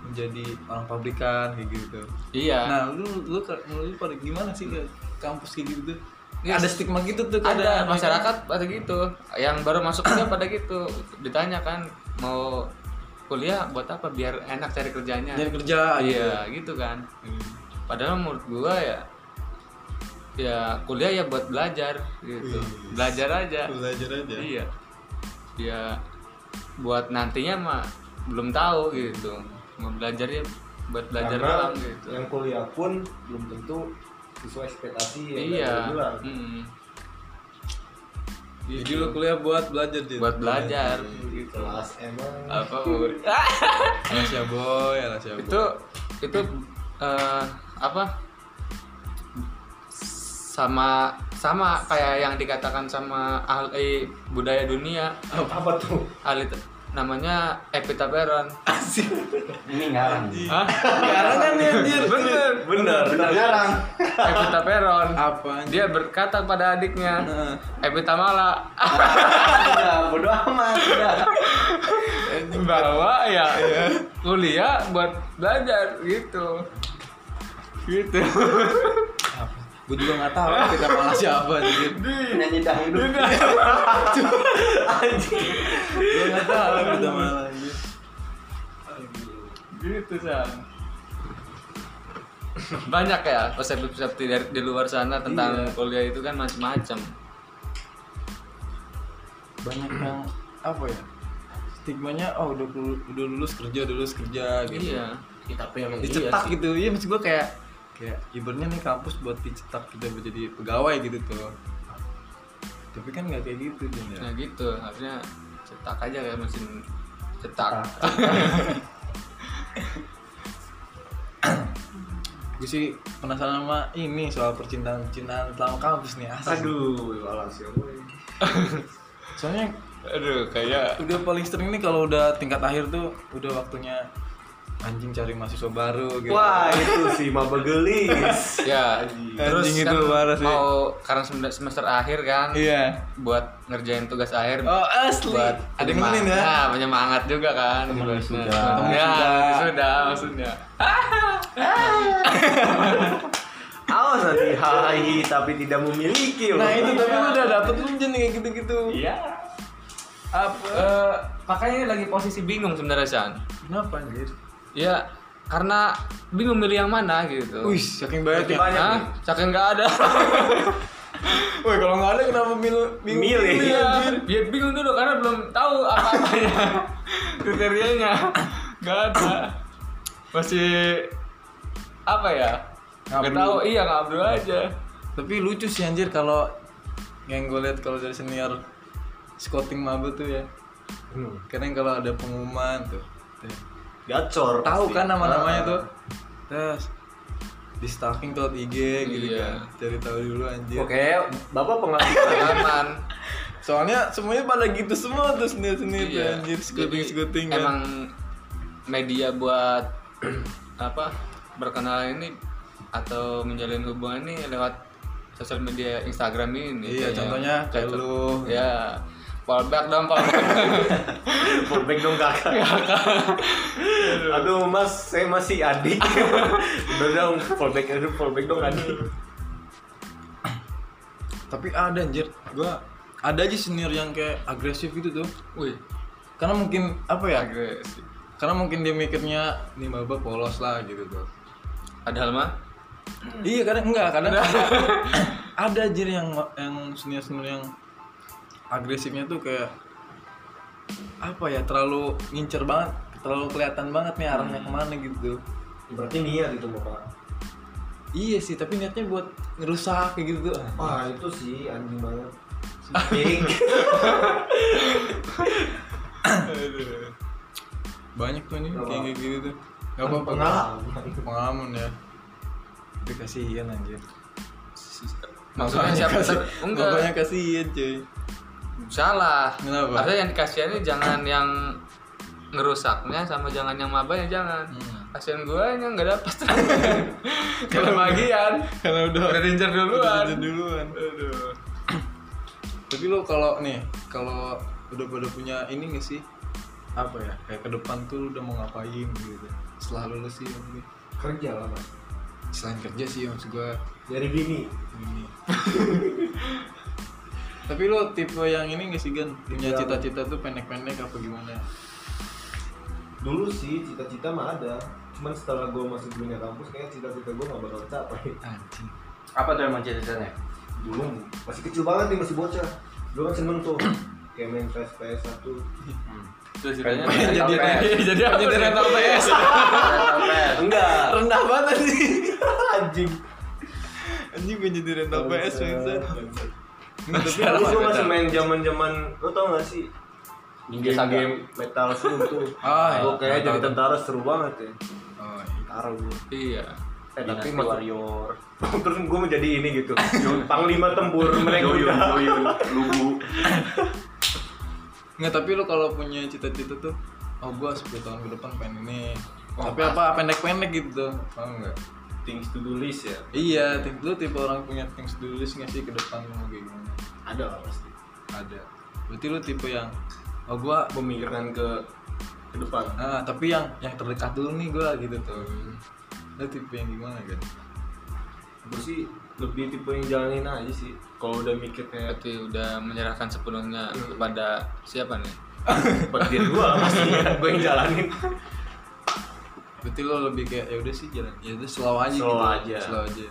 Speaker 2: menjadi orang pabrikan kayak gitu.
Speaker 1: Iya.
Speaker 2: Nah lu lu ke- menurut lu pada gimana sih ke kampus kayak gitu? tuh?
Speaker 1: Iya,
Speaker 2: ada
Speaker 1: s-
Speaker 2: stigma gitu tuh
Speaker 1: ada
Speaker 2: keadaan, ya kan?
Speaker 1: masyarakat pada gitu. Yang baru masuk kuliah pada gitu. Ditanya kan mau kuliah buat apa biar enak cari kerjanya.
Speaker 2: nyari kerja. gitu.
Speaker 1: iya, gitu kan.
Speaker 2: Hmm.
Speaker 1: Padahal menurut gua ya ya kuliah ya buat belajar gitu. Belajar aja.
Speaker 2: Iya. Belajar aja.
Speaker 1: Iya. Ya buat nantinya mah belum tahu
Speaker 2: Iya.
Speaker 1: gitu. Mau belajar ya buat belajar
Speaker 3: Karena
Speaker 1: doang gitu.
Speaker 3: yang kuliah pun belum tentu sesuai ekspektasi yang
Speaker 1: iya
Speaker 3: tadi lu bilang.
Speaker 1: Mm-mm.
Speaker 2: Jadi lu kuliah buat belajar Jin?
Speaker 1: Gitu. buat belajar gitu
Speaker 3: kelas emang
Speaker 1: apa mau-
Speaker 2: Alasya boy, alasya boy
Speaker 1: itu itu eh, apa sama sama kayak yang dikatakan sama ahli budaya dunia
Speaker 3: apa tuh
Speaker 1: ahli te- namanya Epita Peron
Speaker 5: Ini ngarang.
Speaker 1: Hah?
Speaker 2: Sekarang nih anjir Bener
Speaker 4: Bener, bener jarang.
Speaker 1: Epita Peron
Speaker 2: Apa anjir?
Speaker 1: dia berkata pada adiknya
Speaker 2: Nah,
Speaker 1: Epita Mala
Speaker 4: Udah, bodo amat. Udah.
Speaker 1: bahwa ya kuliah buat belajar gitu gitu
Speaker 2: apa? Gue juga nggak tahu kita malah siapa anjir
Speaker 4: Nyanyi dangdut.
Speaker 2: Gue nggak tahu kita malah anjir
Speaker 1: gitu san banyak ya persepsi-persepsi dari di luar sana tentang kuliah itu kan macam-macam
Speaker 2: Banyak yang apa ya? Stigmanya oh udah lulus, udah lulus kerja, udah lulus kerja gitu.
Speaker 1: iya
Speaker 3: tapi emang
Speaker 2: Dicetak gitu. Iya maksud gue kayak kayak ibaratnya nih kampus buat dicetak kita buat jadi pegawai gitu tuh. Tapi kan nggak kayak gitu Jin ya.
Speaker 1: nah gitu harusnya cetak aja kayak mesin cetak
Speaker 2: Gue sih penasaran sama ini soal percintaan percintaan selama kampus nih asli.
Speaker 3: aduh ya, alasnya boy
Speaker 2: Soalnya
Speaker 1: aduh kayak
Speaker 2: udah paling sering nih kalau udah tingkat akhir tuh udah waktunya anjing cari mahasiswa baru gitu.
Speaker 3: wah itu sih maba gelis
Speaker 1: ya terus
Speaker 2: Anjing
Speaker 1: kan
Speaker 2: itu parah sih.
Speaker 1: mau karena sem- semester akhir kan
Speaker 2: Iya.
Speaker 1: buat ngerjain tugas akhir
Speaker 2: Oh asli.
Speaker 1: buat
Speaker 2: Ada yang nemenin ya.
Speaker 1: Nah, penyemangat juga kan ibaratnya.
Speaker 5: wisuda.
Speaker 1: Temen
Speaker 2: Temen
Speaker 1: ya
Speaker 2: wisuda.
Speaker 1: sudah maksudnya
Speaker 3: awas nanti hai tapi tidak memiliki
Speaker 2: Nah
Speaker 3: loh.
Speaker 2: itu tapi lu udah dapet lu jen kayak gitu-gitu.
Speaker 1: iya apa eh, makanya ini lagi posisi bingung sebenarnya San
Speaker 2: Kenapa anjir?
Speaker 1: ya karena bingung milih yang mana gitu
Speaker 2: Wih, saking banyak ya.
Speaker 1: Hah? saking nggak ada
Speaker 2: Wih, kalau nggak ada kenapa milih?
Speaker 3: Milih.
Speaker 1: Iya, dia bingung dulu karena belum tahu apa-apanya kriterianya nggak ada masih apa ya nggak
Speaker 2: Ngablu.
Speaker 1: tahu iya ngablu aja
Speaker 2: Tapi lucu sih anjir kalau yang gue lihat kalau dari senior scouting maba tuh ya.
Speaker 3: Hmm,
Speaker 2: Kadang kalau ada pengumuman tuh. tuh.
Speaker 3: gacor
Speaker 2: Tahu
Speaker 3: pasti. Ah.
Speaker 2: kan nama-namanya tuh.
Speaker 1: Ah.
Speaker 2: Terus di stalking tot IG gitu
Speaker 1: Iya.
Speaker 2: kan. Cari tahu dulu anjir.
Speaker 3: oke bapak pengalaman
Speaker 1: aman
Speaker 2: Soalnya semuanya pada gitu semua tuh senior-senior tuh
Speaker 1: Iya.
Speaker 2: anjir scouting
Speaker 1: Jadi,
Speaker 2: scouting kan.
Speaker 1: emang media buat apa berkenalan ini atau menjalin hubungan ini lewat sosial media Instagram ini kayaknya.
Speaker 2: Iya, contohnya kayak
Speaker 1: Cocok.
Speaker 2: lu.
Speaker 1: ya fallback dong fallback
Speaker 3: fullback dong kakak aduh mas saya masih adik udah dong fullback aduh fullback dong adik
Speaker 2: tapi ada anjir gua ada aja senior yang kayak agresif gitu tuh
Speaker 1: wih
Speaker 2: karena mungkin apa ya
Speaker 1: agresif
Speaker 2: karena mungkin dia mikirnya nih maba polos lah gitu tuh
Speaker 1: padahal mah
Speaker 2: iya kadang enggak kadang ada, ada anjir yang yang senior senior yang agresifnya tuh kayak apa ya terlalu ngincer banget terlalu kelihatan banget nih arahnya kemana gitu
Speaker 3: berarti niat itu bapak
Speaker 2: iya sih tapi niatnya buat ngerusak kayak gitu tuh
Speaker 3: wah itu sih anjing banget Anjing.
Speaker 2: banyak tuh nih
Speaker 3: Gak
Speaker 2: kayak
Speaker 3: apa-apa.
Speaker 2: gitu tuh gak apa-apa
Speaker 3: pengalaman
Speaker 2: pengalaman ya tapi kasihan anjir
Speaker 1: maksudnya siapa
Speaker 2: kasih-
Speaker 1: enggak
Speaker 2: makanya kasihan cuy
Speaker 1: salah
Speaker 2: Kenapa?
Speaker 1: Artinya yang dikasihannya jangan yang ngerusaknya sama jangan yang mabanya jangan
Speaker 2: Hmm.
Speaker 1: kasihan gue yang nggak dapet kalau bagian
Speaker 2: karena udah
Speaker 1: udah diincer duluan
Speaker 2: udah duluan
Speaker 1: Aduh.
Speaker 2: tapi lo kalau nih kalau udah pada punya ini gak sih apa ya kayak ke depan tuh lu udah mau ngapain gitu setelah lulus sih maksud gue.
Speaker 3: kerja lah mas
Speaker 2: selain kerja sih maksud gue
Speaker 3: dari bini
Speaker 2: ini tapi lo tipe yang ini gak sih Gan? punya
Speaker 3: Iya.
Speaker 2: cita-cita tuh pendek-pendek apa gimana
Speaker 3: dulu sih cita-cita mah ada cuman setelah gue masuk dunia kampus kayak cita-cita gue gak bakal tercapai
Speaker 2: anjing
Speaker 5: Apa tuh emang cita-citanya?
Speaker 3: dulu masih kecil banget nih masih bocah dulu kan seneng tuh kayak main PS PS satu
Speaker 1: terus ceritanya
Speaker 5: Pengen
Speaker 1: jadi
Speaker 5: jadi-
Speaker 1: jadi apa jadi rental PS
Speaker 5: Rental PS.
Speaker 3: enggak
Speaker 2: rendah banget sih
Speaker 3: anjing
Speaker 2: anjing gue jadi rental PS bangsa Nggak, tapi
Speaker 3: Lu
Speaker 2: apa,
Speaker 3: gua masih
Speaker 2: Bang?
Speaker 3: main zaman-zaman lu tau gak sih
Speaker 6: Ninja
Speaker 3: Ninja
Speaker 6: Saga.
Speaker 3: game Metal Slug tuh.
Speaker 2: Ah, iya.
Speaker 3: Gua kayak jadi
Speaker 2: Tahu,
Speaker 3: tentara seru banget ya.
Speaker 2: Oh,
Speaker 3: Tentara gua.
Speaker 2: iya
Speaker 3: Eh, tapi
Speaker 6: Dynasty
Speaker 3: maksud-
Speaker 6: Warrior
Speaker 3: terus gue menjadi ini gitu. Panglima tempur mereka
Speaker 6: Yoyun,
Speaker 3: udah.
Speaker 6: Yoyun, Lugu
Speaker 2: Nggak, tapi lu kalau punya cita-cita tuh Oh gua 10 tahun ke depan pengen ini
Speaker 3: Oh,
Speaker 2: Tapi
Speaker 3: ah.
Speaker 2: apa pendek-pendek gitu Oh enggak
Speaker 3: Things to do list ya.
Speaker 2: Iya, tim lu tipe orang punya things to do list nggak sih ke depan lu mau kayak gimana?
Speaker 3: Ada lah pasti.
Speaker 2: Ada Berarti lu tipe yang Oh gua
Speaker 3: Memikirkan ke ke depan.
Speaker 2: ah, tapi yang yang terdekat dulu nih gua gitu tuh
Speaker 3: Hmm.
Speaker 2: Lu tipe yang gimana kan?
Speaker 3: Gue sih lebih tipe yang jalanin aja sih. Kalau udah mikir kayak
Speaker 1: berarti udah menyerahkan sepenuhnya
Speaker 2: Iya.
Speaker 1: kepada siapa nih
Speaker 3: buat diri gue pastinya gue yang jalanin.
Speaker 2: Berarti lo lebih kayak ya udah sih jalan. Ya udah slow aja
Speaker 3: Slow
Speaker 2: gitu.
Speaker 3: aja.
Speaker 2: Slow aja.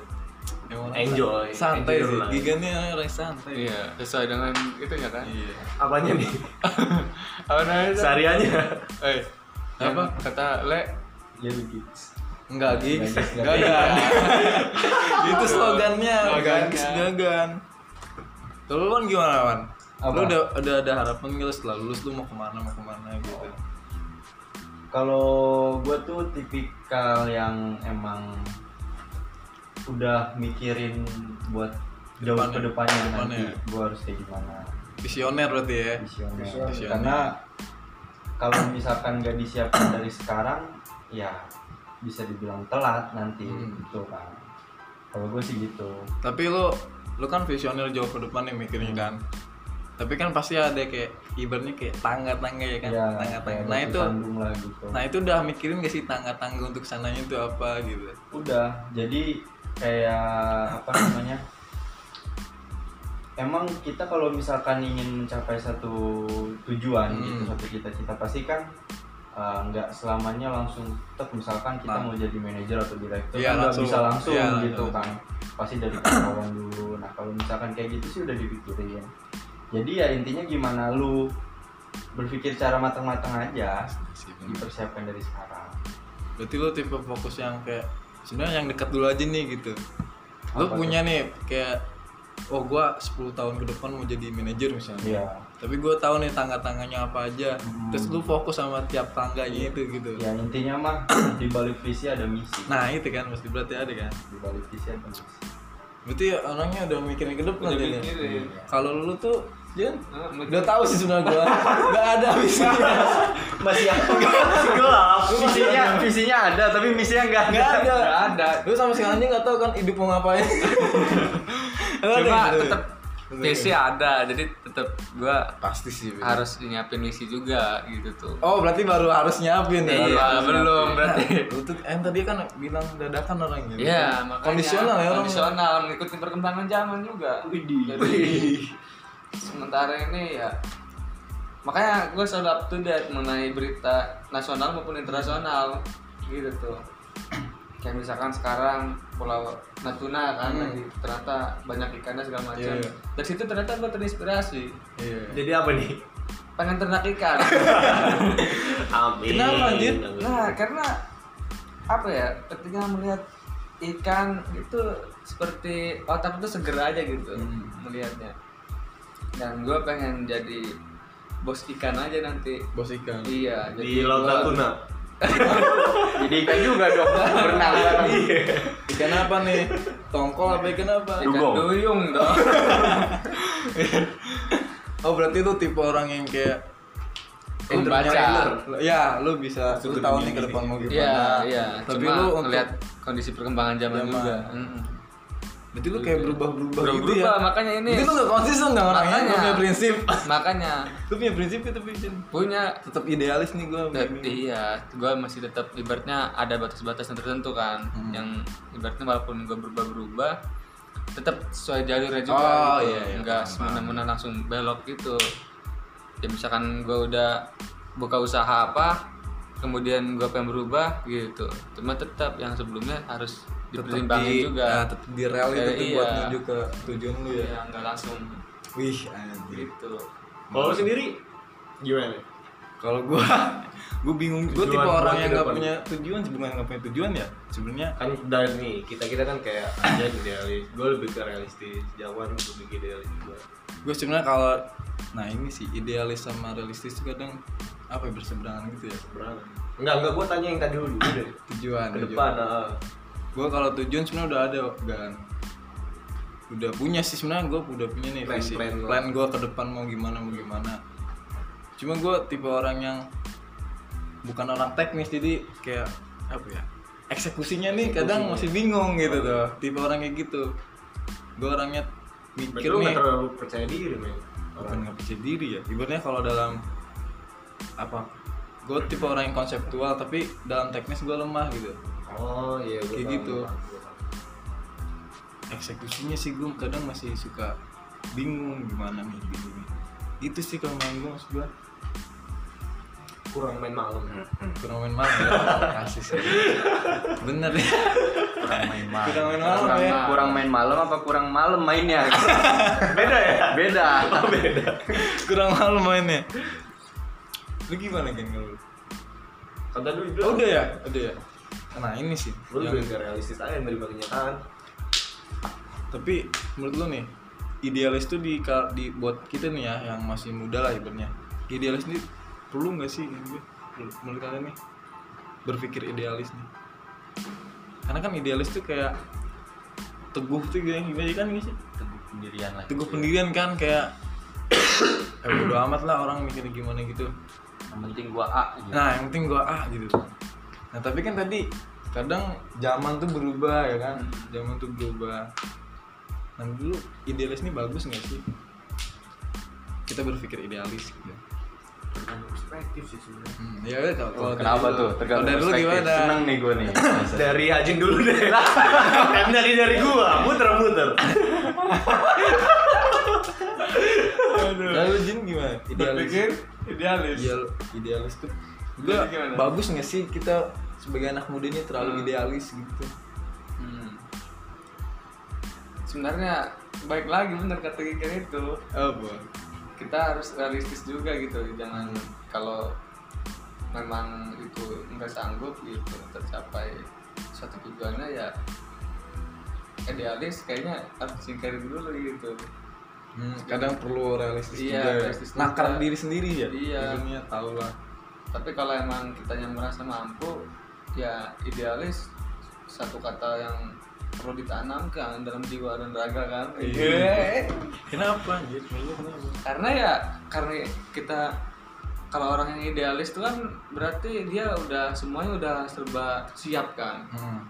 Speaker 2: Emang orang
Speaker 3: Enjoy,
Speaker 2: san- Santai
Speaker 3: enjoy
Speaker 2: sih.
Speaker 3: life.
Speaker 2: Gigannya orang santai.
Speaker 1: iya sesuai dengan itu ya kan
Speaker 2: Iya.
Speaker 3: Apanya nih?
Speaker 1: apa namanya Sa-
Speaker 3: Sehariannya.
Speaker 1: eh
Speaker 2: Apa?
Speaker 1: apa kata le
Speaker 3: Ya begitu.
Speaker 2: Enggak gigs,
Speaker 5: Enggak,
Speaker 2: gagan. Itu slogannya,
Speaker 1: Slogannya.
Speaker 2: gigs gagan. Terus lu kan gimana, Wan?
Speaker 5: Apa?
Speaker 2: Lu udah udah ada harapan gitu setelah lulus lu mau kemana mau kemana gitu.
Speaker 5: Kalau gue tuh tipikal yang emang udah mikirin buat jauh
Speaker 2: Depannya.
Speaker 5: ke depannya
Speaker 2: Depannya. ya?
Speaker 5: nanti gue harus kayak gimana
Speaker 2: Visioner berarti ya.
Speaker 5: visioner.
Speaker 2: Visioner.
Speaker 5: Karena kalau misalkan gak disiapkan dari sekarang, ya bisa dibilang telat nanti
Speaker 2: Hmm.
Speaker 5: gitu kan. Kalau gue sih gitu.
Speaker 2: Tapi lu lu kan visioner jauh ke depan nih mikirnya kan. Tapi kan pasti ada kayak ibaratnya kayak tangga-tangga ya kan,
Speaker 5: ya,
Speaker 2: tangga-tangga.
Speaker 5: kayak
Speaker 2: Nah itu
Speaker 5: tersandung lah gitu.
Speaker 2: Nah itu udah mikirin gak sih tangga-tangga untuk sananya itu apa gitu
Speaker 5: udah jadi kayak apa namanya emang kita kalau misalkan ingin mencapai satu tujuan
Speaker 2: Hmm.
Speaker 5: gitu satu cita-cita pasti kan eh, nggak selamanya langsung tek misalkan
Speaker 2: Nah.
Speaker 5: kita mau jadi manajer atau direktur
Speaker 2: Iya,
Speaker 5: kan nggak
Speaker 2: langsung.
Speaker 5: bisa langsung
Speaker 2: Iya,
Speaker 5: gitu
Speaker 2: iya.
Speaker 5: kan pasti dari kawan dulu nah kalau misalkan kayak gitu sih udah dipikirin jadi ya intinya gimana lu berpikir secara matang-matang aja dipersiapkan dari sekarang
Speaker 2: Berarti lo tipe fokus yang kayak sebenarnya yang dekat dulu aja nih gitu Lo
Speaker 5: Apa
Speaker 2: punya nih kayak Oh gua 10 tahun ke depan mau jadi manajer misalnya
Speaker 5: Iya.
Speaker 2: Tapi gua tahu nih tangga-tangganya apa aja
Speaker 5: Hmm.
Speaker 2: Terus lu fokus sama tiap tangga gitu gitu
Speaker 5: ya intinya mah di balik visi ada misi
Speaker 2: Nah itu kan mesti berarti ada kan
Speaker 5: di balik visi ada misi
Speaker 2: Berarti orangnya udah mikirin ke depan
Speaker 1: udah
Speaker 2: jadi.
Speaker 1: mikirin
Speaker 2: Kalau lu tuh Jen
Speaker 1: Ah,
Speaker 2: udah tahu sih sebenarnya gua Gak ada visinya
Speaker 5: masih apa
Speaker 6: Gelap Visinya, visinya ada tapi misinya nggak
Speaker 2: Gak ada.
Speaker 1: Nggak ada.
Speaker 2: Lu sama sekali nggak tahu kan hidup mau ngapain. Lu ada
Speaker 1: cuma
Speaker 2: gitu?
Speaker 1: tetap visi ada jadi tetap gua
Speaker 2: pasti sih. Bin.
Speaker 1: harus nyiapin misi juga gitu tuh
Speaker 2: Oh berarti baru harus nyiapin
Speaker 1: Iya,
Speaker 2: ya? Baru harus
Speaker 1: belum,
Speaker 2: nyiapin.
Speaker 1: berarti.
Speaker 2: Nah, lu tuh em tadi kan bilang dadakan orangnya.
Speaker 1: Iya, makanya
Speaker 2: Kondisional ya orang.
Speaker 1: kondisional mengikuti perkembangan zaman juga. Jadi sementara ini ya makanya gue selalu up to date mengenai berita nasional maupun internasional gitu tuh. Kayak misalkan sekarang Pulau Natuna kan
Speaker 2: Hmm.
Speaker 1: lagi ternyata banyak ikannya segala macam.
Speaker 2: Iya, iya.
Speaker 1: Dari situ ternyata gue terinspirasi
Speaker 2: Iya.
Speaker 3: Jadi apa nih?
Speaker 1: pengen ternak ikan.
Speaker 3: Amin.
Speaker 2: Kenapa, Jin?
Speaker 1: nah, karena apa ya? Ketika melihat ikan itu seperti otak itu segera aja gitu
Speaker 2: Hmm.
Speaker 1: melihatnya. Dan gue pengen jadi bos ikan aja nanti.
Speaker 2: Bos ikan.
Speaker 1: Iya,
Speaker 3: Di Laut
Speaker 1: gua-
Speaker 3: Natuna.
Speaker 6: Jadi ikan juga dong berenang bareng.
Speaker 2: Ikan apa nih? Tongkol apa ya? ikan apa?
Speaker 1: Ikan
Speaker 6: Dugong.
Speaker 1: duyung dong.
Speaker 2: Oh berarti lu tipe orang yang kayak
Speaker 1: Yang
Speaker 2: Lu punya
Speaker 1: baca.
Speaker 2: lu- Ya, lu bisa lu tahu nih ke depan mau gimana.
Speaker 1: Iya, iya.
Speaker 2: Tapi
Speaker 1: Cuma
Speaker 2: lu untuk-
Speaker 1: ngelihat kondisi perkembangan zaman
Speaker 2: Zaman.
Speaker 1: juga. Mm-mm.
Speaker 2: Berarti lu kayak berubah-berubah
Speaker 1: Berubah,
Speaker 2: gitu ya?
Speaker 1: makanya ini.
Speaker 2: Berarti lu gak konsisten dong orangnya,
Speaker 1: Makanya.
Speaker 2: lu punya prinsip
Speaker 1: Makanya
Speaker 2: Lu punya prinsip ya tapi Jin.
Speaker 1: punya
Speaker 2: Tetep idealis nih gue
Speaker 1: Tet- iya, gue masih tetap ibaratnya ada batas-batas yang tertentu kan,
Speaker 2: Hmm.
Speaker 1: yang ibaratnya walaupun gue berubah-berubah, tetap sesuai jalurnya juga,
Speaker 2: Oh,
Speaker 1: gitu.
Speaker 2: iya, iya,
Speaker 1: nggak semena-mena langsung belok gitu. Ya misalkan gue udah buka usaha apa, kemudian gue pengen berubah gitu, cuma tetap yang sebelumnya harus dipertimbangin juga,
Speaker 2: Nah, tetep di rel
Speaker 1: Ya,
Speaker 2: itu tuh buat
Speaker 1: iya.
Speaker 2: menuju ke tujuan lu ya
Speaker 1: ya nggak langsung
Speaker 2: Wih anjir
Speaker 1: gitu.
Speaker 3: Kalau lu sendiri gimana?
Speaker 2: Kalau gua gua bingung, gua
Speaker 3: Tujuan
Speaker 2: tipe
Speaker 3: gua
Speaker 2: orang
Speaker 3: ke
Speaker 2: yang nggak
Speaker 3: depan.
Speaker 2: punya tujuan sih bukan nggak punya tujuan ya. Sebenarnya
Speaker 3: kan dari nih kita kita kan kayak aja idealis gue lebih ke realistis jawaban lebih ke idealis juga
Speaker 2: gue sebenarnya kalau nah ini sih idealis sama realistis itu kadang apa ya, berseberangan gitu ya
Speaker 3: berapa enggak enggak gue tanya yang tadi dulu
Speaker 2: Ah,
Speaker 3: deh
Speaker 2: tujuan
Speaker 3: ke depan ah.
Speaker 2: gue kalau tujuan sebenarnya udah ada dan udah punya sih sebenarnya gue udah punya nih
Speaker 3: Plan-
Speaker 2: visi
Speaker 3: plan lo.
Speaker 2: plan gue ke depan mau gimana mau gimana cuma gue tipe orang yang bukan orang teknis jadi kayak apa ya eksekusinya nih kadang masih
Speaker 3: iya.
Speaker 2: bingung gitu tuh tipe orang kayak gitu gue orangnya
Speaker 3: berarti
Speaker 2: mikir
Speaker 3: lu
Speaker 2: nih
Speaker 3: nggak terlalu percaya diri men
Speaker 2: bukan nggak percaya diri ya ibaratnya kalau dalam apa gue tipe orang yang konseptual tapi dalam teknis gue lemah gitu
Speaker 3: oh iya gue
Speaker 2: Kayak gitu. eksekusinya sih gue kadang masih suka bingung gimana nih bingung nih. itu sih kalau main gue maksud gue
Speaker 3: kurang main malam
Speaker 2: Hmm.
Speaker 5: Hmm.
Speaker 2: kurang main malam ya kasih sih bener ya
Speaker 5: kurang main malam
Speaker 2: kurang main malam
Speaker 5: kurang,
Speaker 2: ya
Speaker 5: kurang main malam apa kurang malam mainnya beda ya beda
Speaker 2: kurang malam mainnya lu gimana kan kalau lu?
Speaker 3: kata dulu
Speaker 2: oh,
Speaker 3: dulu
Speaker 2: udah ya udah ya nah ini sih
Speaker 3: lu
Speaker 2: yang-
Speaker 3: lebih ke realistis aja menerima kenyataan
Speaker 2: Tapi menurut lu nih, idealis tuh di, ka- di buat kita nih ya yang masih muda lah ibaratnya. Idealis ini perlu nggak sih menurut gue? Menurut- menurut kalian nih berpikir idealis nih? Karena kan idealis tuh kayak teguh tuh kayak gimana kan gitu sih?
Speaker 5: teguh pendirian lagi
Speaker 2: Teguh pendirian kan kayak eh bodo amat lah orang mikir gimana gitu.
Speaker 5: yang penting gua A gitu.
Speaker 2: Nah, yang penting gua ah gitu. Nah, tapi kan tadi kadang zaman tuh berubah ya kan. Zaman tuh berubah. Nah, dulu idealis ini bagus nggak sih? Kita berpikir idealis gitu.
Speaker 3: Tergantung perspektif sih sebenarnya
Speaker 2: Hmm, ya udah kalau- kalau
Speaker 5: kenapa
Speaker 2: dari lu-
Speaker 5: tuh
Speaker 2: kalau
Speaker 5: tergantung
Speaker 2: dari lu
Speaker 5: perspektif.
Speaker 2: gimana?
Speaker 5: seneng nih gua nih
Speaker 3: dari Hajin dulu deh lah kan dari dari gua muter-muter
Speaker 2: Lalu Jin gimana? Idealis. Iya,
Speaker 1: Berpikir idealis.
Speaker 2: Ideal- idealis tuh juga
Speaker 1: Jadi gimana?
Speaker 2: bagus nggak sih kita sebagai anak muda ini terlalu idealis gitu.
Speaker 1: Hmm. Sebenarnya baik lagi bener kata Kiker itu
Speaker 2: Oh, boh.
Speaker 1: kita harus realistis juga gitu jangan kalau memang itu nggak sanggup gitu tercapai suatu tujuannya ya idealis kayaknya harus singkirin dulu gitu
Speaker 2: Hmm, kadang perlu realistis
Speaker 1: Iya,
Speaker 2: juga. ya.
Speaker 1: realistis juga.
Speaker 2: Nakar diri sendiri ya.
Speaker 1: Iya.
Speaker 2: Ujungnya tahu lah.
Speaker 1: tapi kalau emang kita yang merasa mampu ya idealis satu kata yang perlu ditanamkan dalam jiwa dan raga kan
Speaker 2: Iya. Kenapa? Jit? Menurut lu kenapa?
Speaker 1: karena ya karena kita kalau orang yang idealis itu kan berarti dia udah semuanya udah serba siap kan
Speaker 2: Hmm.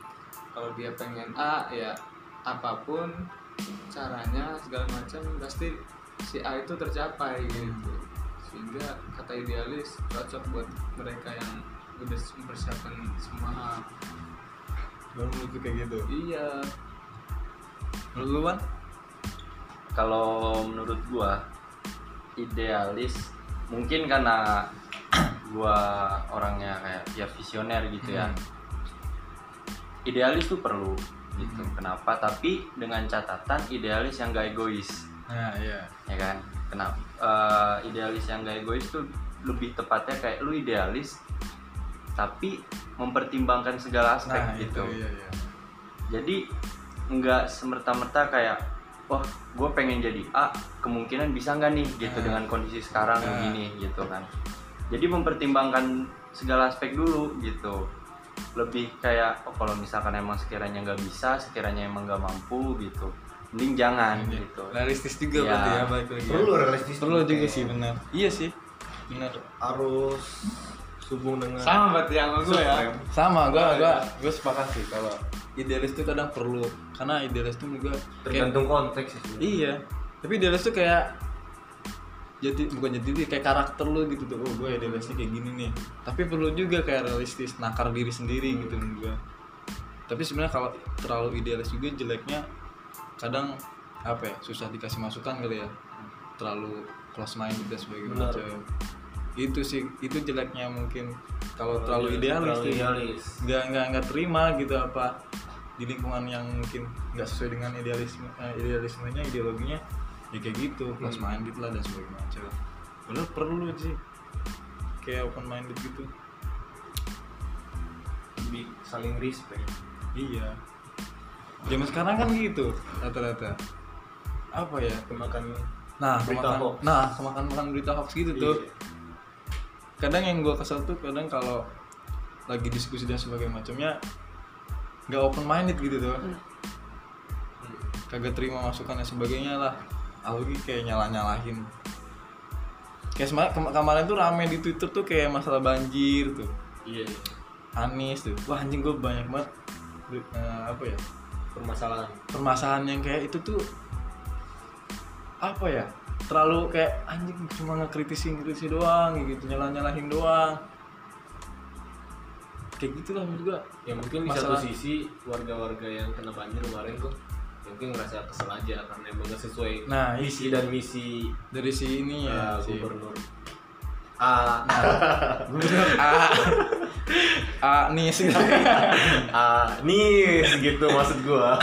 Speaker 1: kalau dia pengen A ya apapun caranya segala macam pasti si A itu tercapai gitu sehingga kata idealis cocok buat mereka yang udah mempersiapkan semua hal.
Speaker 2: Baru menurut lu kayak gitu.
Speaker 1: iya
Speaker 2: Menurut lu kan?
Speaker 5: kalau menurut gua idealis mungkin karena gua orangnya kayak ya visioner gitu
Speaker 2: Hmm.
Speaker 5: ya idealis tuh perlu gitu
Speaker 2: Hmm.
Speaker 5: kenapa tapi dengan catatan idealis yang gak egois
Speaker 2: Nah, iya.
Speaker 5: ya kan kenapa Eh, idealis yang gak egois tuh lebih tepatnya kayak lu idealis tapi mempertimbangkan segala aspek
Speaker 2: Nah,
Speaker 5: gitu
Speaker 2: itu iya iya.
Speaker 5: jadi nggak semerta-merta kayak wah gue pengen jadi A kemungkinan bisa nggak nih gitu
Speaker 2: Nah.
Speaker 5: dengan kondisi sekarang
Speaker 2: Nah.
Speaker 5: begini gitu kan jadi mempertimbangkan segala aspek dulu gitu lebih kayak oh, kalau misalkan emang sekiranya nggak bisa sekiranya emang nggak mampu gitu mending jangan gitu
Speaker 2: Realistis juga
Speaker 5: Iya.
Speaker 2: berarti ya balik lagi. ya.
Speaker 3: perlu realistis
Speaker 2: Nah, Perlu juga sih benar. Iya sih. Benar.
Speaker 3: harus subung dengan
Speaker 1: sama berarti yang sama gue ya
Speaker 2: Sama gua gua gua sepakat sih kalau idealis tuh kadang perlu karena idealis tuh juga kayak
Speaker 3: tergantung konteks sih sebenarnya.
Speaker 2: Iya. Tapi idealis tuh kayak jadi bukan jadi diri, kayak karakter lu gitu tuh. Oh, gue idealisnya kayak gini nih. Tapi perlu juga kayak realistis, nakar diri sendiri gitu menurut gue. Tapi sebenarnya kalau terlalu idealis juga jeleknya kadang apa ya, susah dikasih masukan kali ya. Terlalu close minded dan sebagainya.
Speaker 3: Benar.
Speaker 2: macam. Itu sih itu jeleknya mungkin kalau iya, terlalu idealis
Speaker 3: terlalu
Speaker 2: sih.
Speaker 3: idealis
Speaker 2: nggak nggak nggak terima gitu apa di lingkungan yang mungkin nggak sesuai dengan idealisme eh, idealismenya ideologinya ya kayak gitu kelas minded lah dan sebagainya macam padahal perlu sih kayak open minded gitu
Speaker 3: lebih saling respect
Speaker 2: iya zaman sekarang kan gitu rata-rata apa ya
Speaker 3: kemakan
Speaker 2: nah
Speaker 3: Berita
Speaker 2: kemakan
Speaker 3: hoax. Iya.
Speaker 2: nah kemakan makan berita hoax gitu tuh kadang yang gue kesel tuh kadang kalau lagi diskusi dan sebagainya macamnya nggak open minded gitu tuh kagak terima masukan dan sebagainya lah apalagi kayak nyalah nyalahin kayak sema- kema- kemarin tuh rame di twitter tuh kayak masalah banjir tuh
Speaker 3: iya
Speaker 2: Anis tuh wah anjing gue banyak banget eh, apa ya
Speaker 3: permasalahan
Speaker 2: permasalahan yang kayak itu tuh apa ya terlalu kayak anjing cuma ngekritisin kritisi doang gitu nyalah nyalahin doang kayak gitulah menurut gua
Speaker 3: ya mungkin di
Speaker 2: Masalah.
Speaker 3: satu sisi warga-warga yang kena banjir kemarin tuh mungkin ngerasa kesel aja karena emang gak sesuai
Speaker 2: nah
Speaker 3: visi
Speaker 2: isi
Speaker 3: dan misi
Speaker 2: dari si ini
Speaker 3: uh,
Speaker 1: Ah,
Speaker 2: ya si
Speaker 3: gubernur A
Speaker 2: A A Ah. nih sih
Speaker 3: A nih gitu maksud gua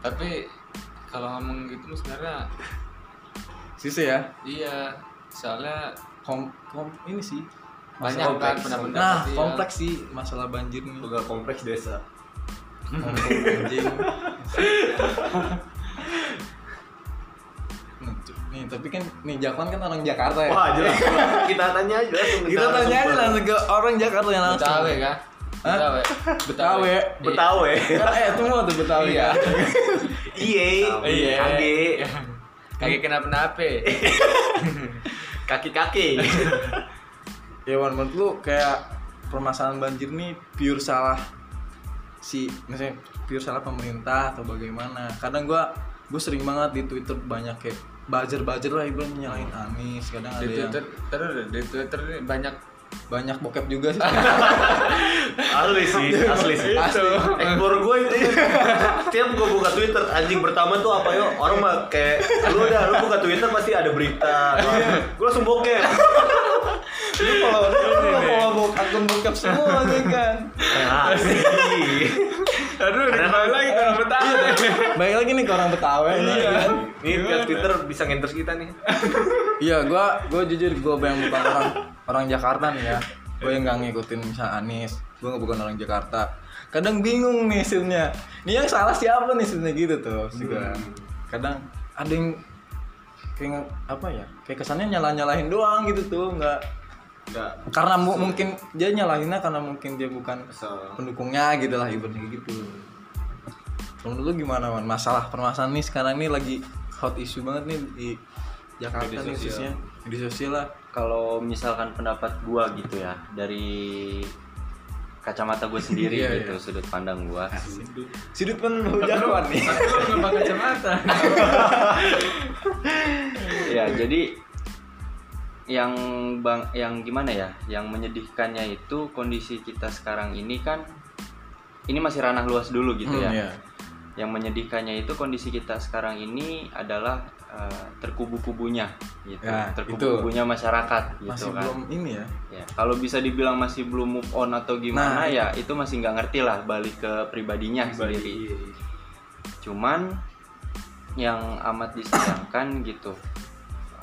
Speaker 1: tapi kalau ngomong gitu sebenarnya
Speaker 2: sisa ya
Speaker 1: iya soalnya
Speaker 2: kom, kom ini sih
Speaker 1: banyak
Speaker 3: kompleks.
Speaker 1: kan pendapat
Speaker 2: nah kompleks sih masalah banjir nih
Speaker 3: juga kompleks desa
Speaker 2: Hmm. anjing Nah, cu- nih tapi kan nih Jaklan kan orang Jakarta ya
Speaker 3: wah jelas kita tanya aja langsung ke
Speaker 2: kita
Speaker 3: sana,
Speaker 2: tanya aja
Speaker 3: sumpah.
Speaker 2: langsung ke orang Jakarta yang langsung
Speaker 1: betawe kan
Speaker 2: Hah?
Speaker 1: betawe
Speaker 2: Betawi
Speaker 3: Betawe
Speaker 2: kan eh tunggu tuh Betawi ya
Speaker 3: iye
Speaker 1: Iya.
Speaker 3: age
Speaker 1: kaki kenapa napa
Speaker 3: kaki kaki
Speaker 2: ya Wan menurut lu kayak permasalahan banjir nih pure salah si misalnya pure salah pemerintah atau bagaimana kadang gua gue sering banget di Twitter banyak kayak buzzer-buzzer lah ibarat nyalain Anies kadang ada
Speaker 1: di
Speaker 2: yang
Speaker 1: twitter terus di twitter ini banyak
Speaker 2: banyak bokep juga sih
Speaker 3: asli sih asli sih
Speaker 2: Asli.
Speaker 3: ekor gue itu tiap gue buka twitter anjing pertama tuh apa yo orang mah kayak lu udah lu buka twitter pasti ada berita gue langsung bokeh
Speaker 2: lu follow lu follow bok akun bokep semua nih kan
Speaker 3: Nah, asli
Speaker 1: aduh kembali lagi ke orang betawe
Speaker 2: baik lagi nih ke orang Betawi nih
Speaker 3: Iya.
Speaker 2: kan
Speaker 3: ini pihak twitter bisa ngendorse kita nih
Speaker 2: Iya, gua gua jujur gua yang bukan orang orang Jakarta nih ya. Gua yang nggak ngikutin misal Anies. Gua nggak bukan orang Jakarta. Kadang bingung nih sebenarnya. Nih yang salah siapa nih sebenarnya gitu tuh. Juga. Kadang ada yang kayak nge- apa ya? Kayak kesannya nyalah-nyalahin doang gitu tuh, nggak
Speaker 3: nggak
Speaker 2: karena mu- mungkin dia nyalahinnya karena mungkin dia bukan
Speaker 3: kesel
Speaker 2: pendukungnya gitu lah ibaratnya kayak gitu. Kalau Menurut lu gimana man? Masalah permasalahan nih sekarang nih lagi hot issue banget nih di Jakarta
Speaker 3: Media
Speaker 2: nih
Speaker 3: sosial.
Speaker 2: khususnya di sosial lah.
Speaker 5: kalau misalkan pendapat gua gitu ya dari kacamata gue sendiri
Speaker 2: Iya,
Speaker 5: gitu
Speaker 2: iya.
Speaker 5: sudut pandang gua
Speaker 2: Sudut penuh jagoan nih. Hmm,
Speaker 1: Aku nggak pakai kacamata.
Speaker 5: ya jadi yang bang yang gimana ya yang menyedihkannya itu kondisi kita sekarang ini kan ini masih ranah luas dulu
Speaker 2: Hmm,
Speaker 5: gitu
Speaker 2: iya.
Speaker 5: ya yang menyedihkannya itu kondisi kita sekarang ini adalah eh, terkubu-kubunya gitu
Speaker 2: Ya,
Speaker 5: terkubu-kubunya masyarakat gitu
Speaker 2: Masih
Speaker 5: kan
Speaker 2: belum ini ya.
Speaker 5: Ya, kalau bisa dibilang masih belum move on atau gimana
Speaker 2: Nah,
Speaker 5: ya itu masih nggak ngerti lah balik ke pribadinya sendiri. Cuman yang amat disayangkan gitu.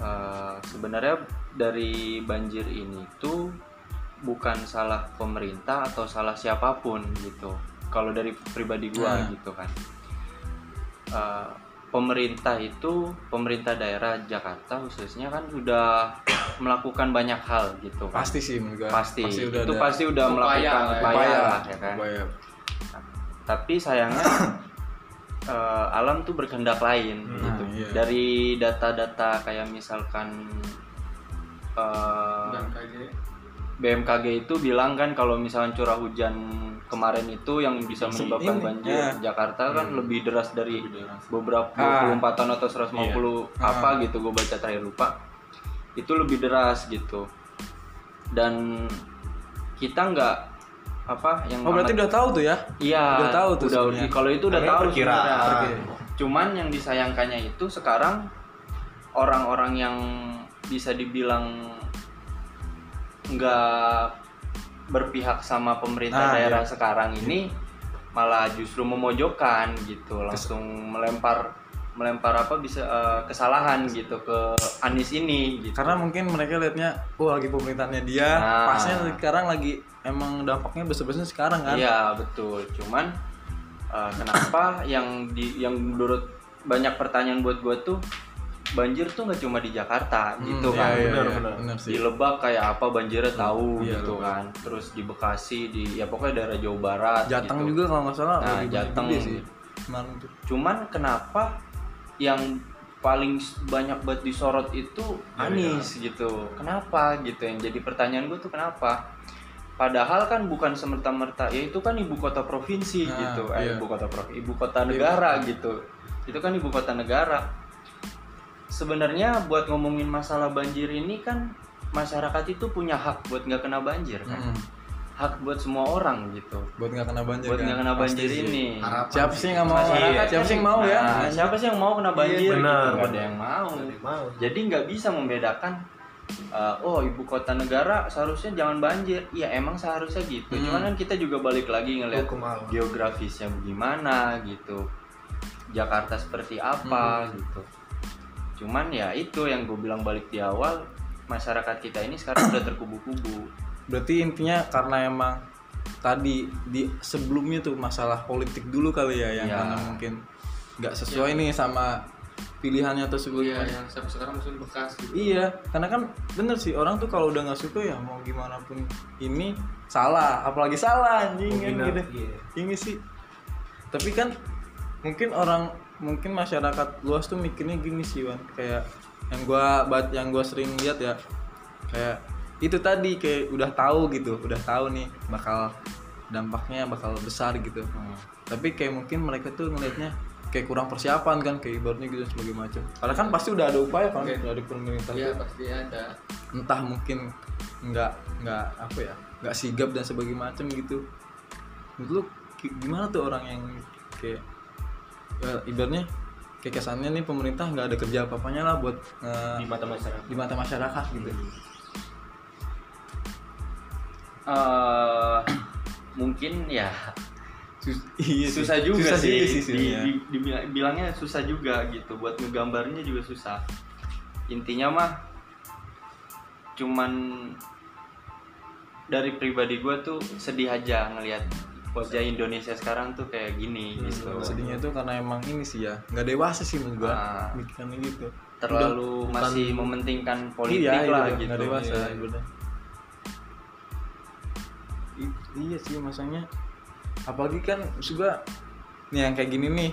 Speaker 5: eh, sebenarnya dari banjir ini tuh bukan salah pemerintah atau salah siapapun gitu. Kalau dari pribadi gua
Speaker 2: Nah.
Speaker 5: gitu kan. Eh, pemerintah itu pemerintah daerah Jakarta khususnya kan sudah melakukan banyak hal gitu kan
Speaker 2: Pasti sih menurut gua.
Speaker 5: pasti,
Speaker 2: udah
Speaker 5: itu
Speaker 2: ada
Speaker 5: pasti udah
Speaker 1: Upaya lah
Speaker 5: melakukan
Speaker 1: ya.
Speaker 5: upaya,
Speaker 2: upaya,
Speaker 5: lah, ya kan
Speaker 2: upaya.
Speaker 5: tapi sayangnya eh, alam tuh berkehendak lain
Speaker 2: Nah,
Speaker 5: gitu
Speaker 2: iya.
Speaker 5: dari data-data kayak misalkan eh, BMKG itu bilang kan kalau misalkan curah hujan kemarin itu yang bisa
Speaker 2: Langsung
Speaker 5: menyebabkan
Speaker 2: ini,
Speaker 5: banjir Jakarta kan lebih deras dari beberapa
Speaker 2: Hmm. Ah. Iya.
Speaker 5: 24 tahun atau 150 apa gitu gue baca terakhir lupa itu lebih deras gitu dan kita nggak apa yang
Speaker 2: Oh berarti
Speaker 5: amat-
Speaker 2: udah tahu tuh ya?
Speaker 5: iya
Speaker 2: udah tahu tuh
Speaker 5: udah
Speaker 2: sebenarnya.
Speaker 5: kalau itu udah
Speaker 3: Namanya
Speaker 5: tahu
Speaker 3: perkiraan.
Speaker 5: sebenarnya.
Speaker 2: Oke.
Speaker 5: cuman yang disayangkannya itu sekarang orang-orang yang bisa dibilang nggak berpihak sama
Speaker 2: Ah,
Speaker 5: pemerintah daerah sekarang ini malah justru memojokkan gitu langsung melempar melempar apa bisa eh, kesalahan gitu ke Anies ini gitu.
Speaker 2: karena mungkin mereka liatnya wah lagi pemerintahannya dia
Speaker 5: Nah.
Speaker 2: pasnya sekarang lagi emang dampaknya besar-besar sekarang kan
Speaker 5: Iya betul. Cuman eh, kenapa yang di yang menurut banyak pertanyaan buat gue tuh banjir tuh nggak cuma di Jakarta
Speaker 2: Hmm,
Speaker 5: gitu
Speaker 2: iya,
Speaker 5: kan.
Speaker 2: iya,
Speaker 3: benar,
Speaker 2: iya,
Speaker 3: benar.
Speaker 2: benar
Speaker 5: Di
Speaker 2: sih
Speaker 5: Lebak kayak apa banjirnya tahu
Speaker 2: Iya,
Speaker 5: gitu
Speaker 2: Lebak.
Speaker 5: kan. Terus di Bekasi di ya pokoknya daerah Jawa Barat.
Speaker 2: Jateng
Speaker 5: gitu.
Speaker 2: juga kalau nggak salah
Speaker 5: Nah,
Speaker 2: lebih banyak
Speaker 5: Jateng.
Speaker 2: gede sih kemarin tuh
Speaker 5: Cuman kenapa yang paling s- banyak banget disorot itu
Speaker 2: Ya,
Speaker 5: Anies gitu. Kenapa gitu yang jadi pertanyaan gue tuh kenapa? Padahal kan bukan semerta-merta ya itu kan ibu kota provinsi
Speaker 2: Nah,
Speaker 5: gitu. Eh,
Speaker 2: iya.
Speaker 5: ibu kota provinsi, ibu kota negara gitu. Itu kan ibu kota negara. Sebenarnya buat ngomongin masalah banjir ini kan masyarakat itu punya hak buat nggak kena banjir kan.
Speaker 2: Mm-mm.
Speaker 5: Hak buat semua orang gitu.
Speaker 2: Hmm. buat nggak kena banjir
Speaker 5: Buat
Speaker 2: kan?
Speaker 5: nggak kena
Speaker 2: Pasti
Speaker 5: banjir
Speaker 2: sih.
Speaker 5: ini.
Speaker 2: siapa sih yang nggak mau
Speaker 5: Masyarakat
Speaker 2: siapa
Speaker 5: kan-
Speaker 2: sih yang mau ya
Speaker 5: Nah, siapa sih yang mau kena banjir?
Speaker 3: Iya, benar,
Speaker 5: Nggak ada
Speaker 3: benar.
Speaker 5: yang mau.
Speaker 3: mau
Speaker 5: Jadi nggak bisa membedakan. eh, oh ibu kota negara seharusnya jangan banjir. Iya emang seharusnya gitu.
Speaker 2: Hmm.
Speaker 5: Cuman kan kita juga balik lagi ngelihat
Speaker 3: kemal
Speaker 5: geografisnya gimana gitu. Jakarta seperti apa
Speaker 3: Hmm.
Speaker 5: gitu. Cuman ya itu yang gue bilang balik di awal masyarakat kita ini sekarang udah terkubu-kubu.
Speaker 2: berarti intinya karena emang tadi di sebelumnya tuh masalah politik dulu kali ya yang
Speaker 5: Iya.
Speaker 2: karena mungkin nggak sesuai nih sama pilihannya atau
Speaker 1: Iya,
Speaker 2: sebelumnya
Speaker 1: yang sampai sekarang musim bekas gitu.
Speaker 2: Iya, karena kan bener sih orang tuh kalau udah nggak suka ya mau gimana pun ini salah, apalagi salah anjing kan
Speaker 3: Mungkin,
Speaker 2: gitu.
Speaker 3: iya.
Speaker 2: Ini sih. Tapi kan mungkin orang mungkin masyarakat luas tuh mikirnya gini sih Wan, kayak yang gua bat yang gua sering lihat ya kayak itu tadi kayak udah tahu gitu, udah tahu nih bakal dampaknya bakal besar gitu.
Speaker 1: Hmm.
Speaker 2: Tapi kayak mungkin mereka tuh ngelihatnya kayak kurang persiapan kan kayak ibaratnya gitu sebagai macam. Karena kan pasti udah ada upaya kan
Speaker 1: Oke.
Speaker 2: dari pemerintah
Speaker 1: Iya, pasti ada.
Speaker 2: entah mungkin nggak nggak apa ya nggak sigap dan sebagainya macam gitu menurut lu ki- gimana tuh orang yang kayak ya, ibaratnya kayak kesannya nih pemerintah nggak ada kerja apa-apanya lah buat eh,
Speaker 3: di mata masyarakat
Speaker 2: di mata masyarakat gitu
Speaker 5: eh mungkin ya
Speaker 2: Sus- iya sih.
Speaker 5: susah juga
Speaker 2: Susah sih iya.
Speaker 5: sih, Di-
Speaker 2: sebenarnya.
Speaker 5: di- dibila- bilangnya susah juga gitu buat ngegambarnya juga susah intinya mah cuman dari pribadi gue tuh sedih aja ngelihat wajah Indonesia sekarang tuh kayak gini
Speaker 2: Hmm,
Speaker 5: gitu
Speaker 2: sedihnya tuh karena emang ini sih ya nggak dewasa sih menurut gua
Speaker 5: Ah.
Speaker 2: mikirnya gitu
Speaker 5: terlalu
Speaker 2: Udah,
Speaker 5: masih
Speaker 2: bukan-
Speaker 5: mementingkan politik
Speaker 2: iya,
Speaker 5: lah
Speaker 2: iya,
Speaker 5: gitu
Speaker 2: nggak dewasa
Speaker 5: Iya.
Speaker 2: ibaratnya. I- iya sih masanya apalagi kan juga nih yang kayak gini nih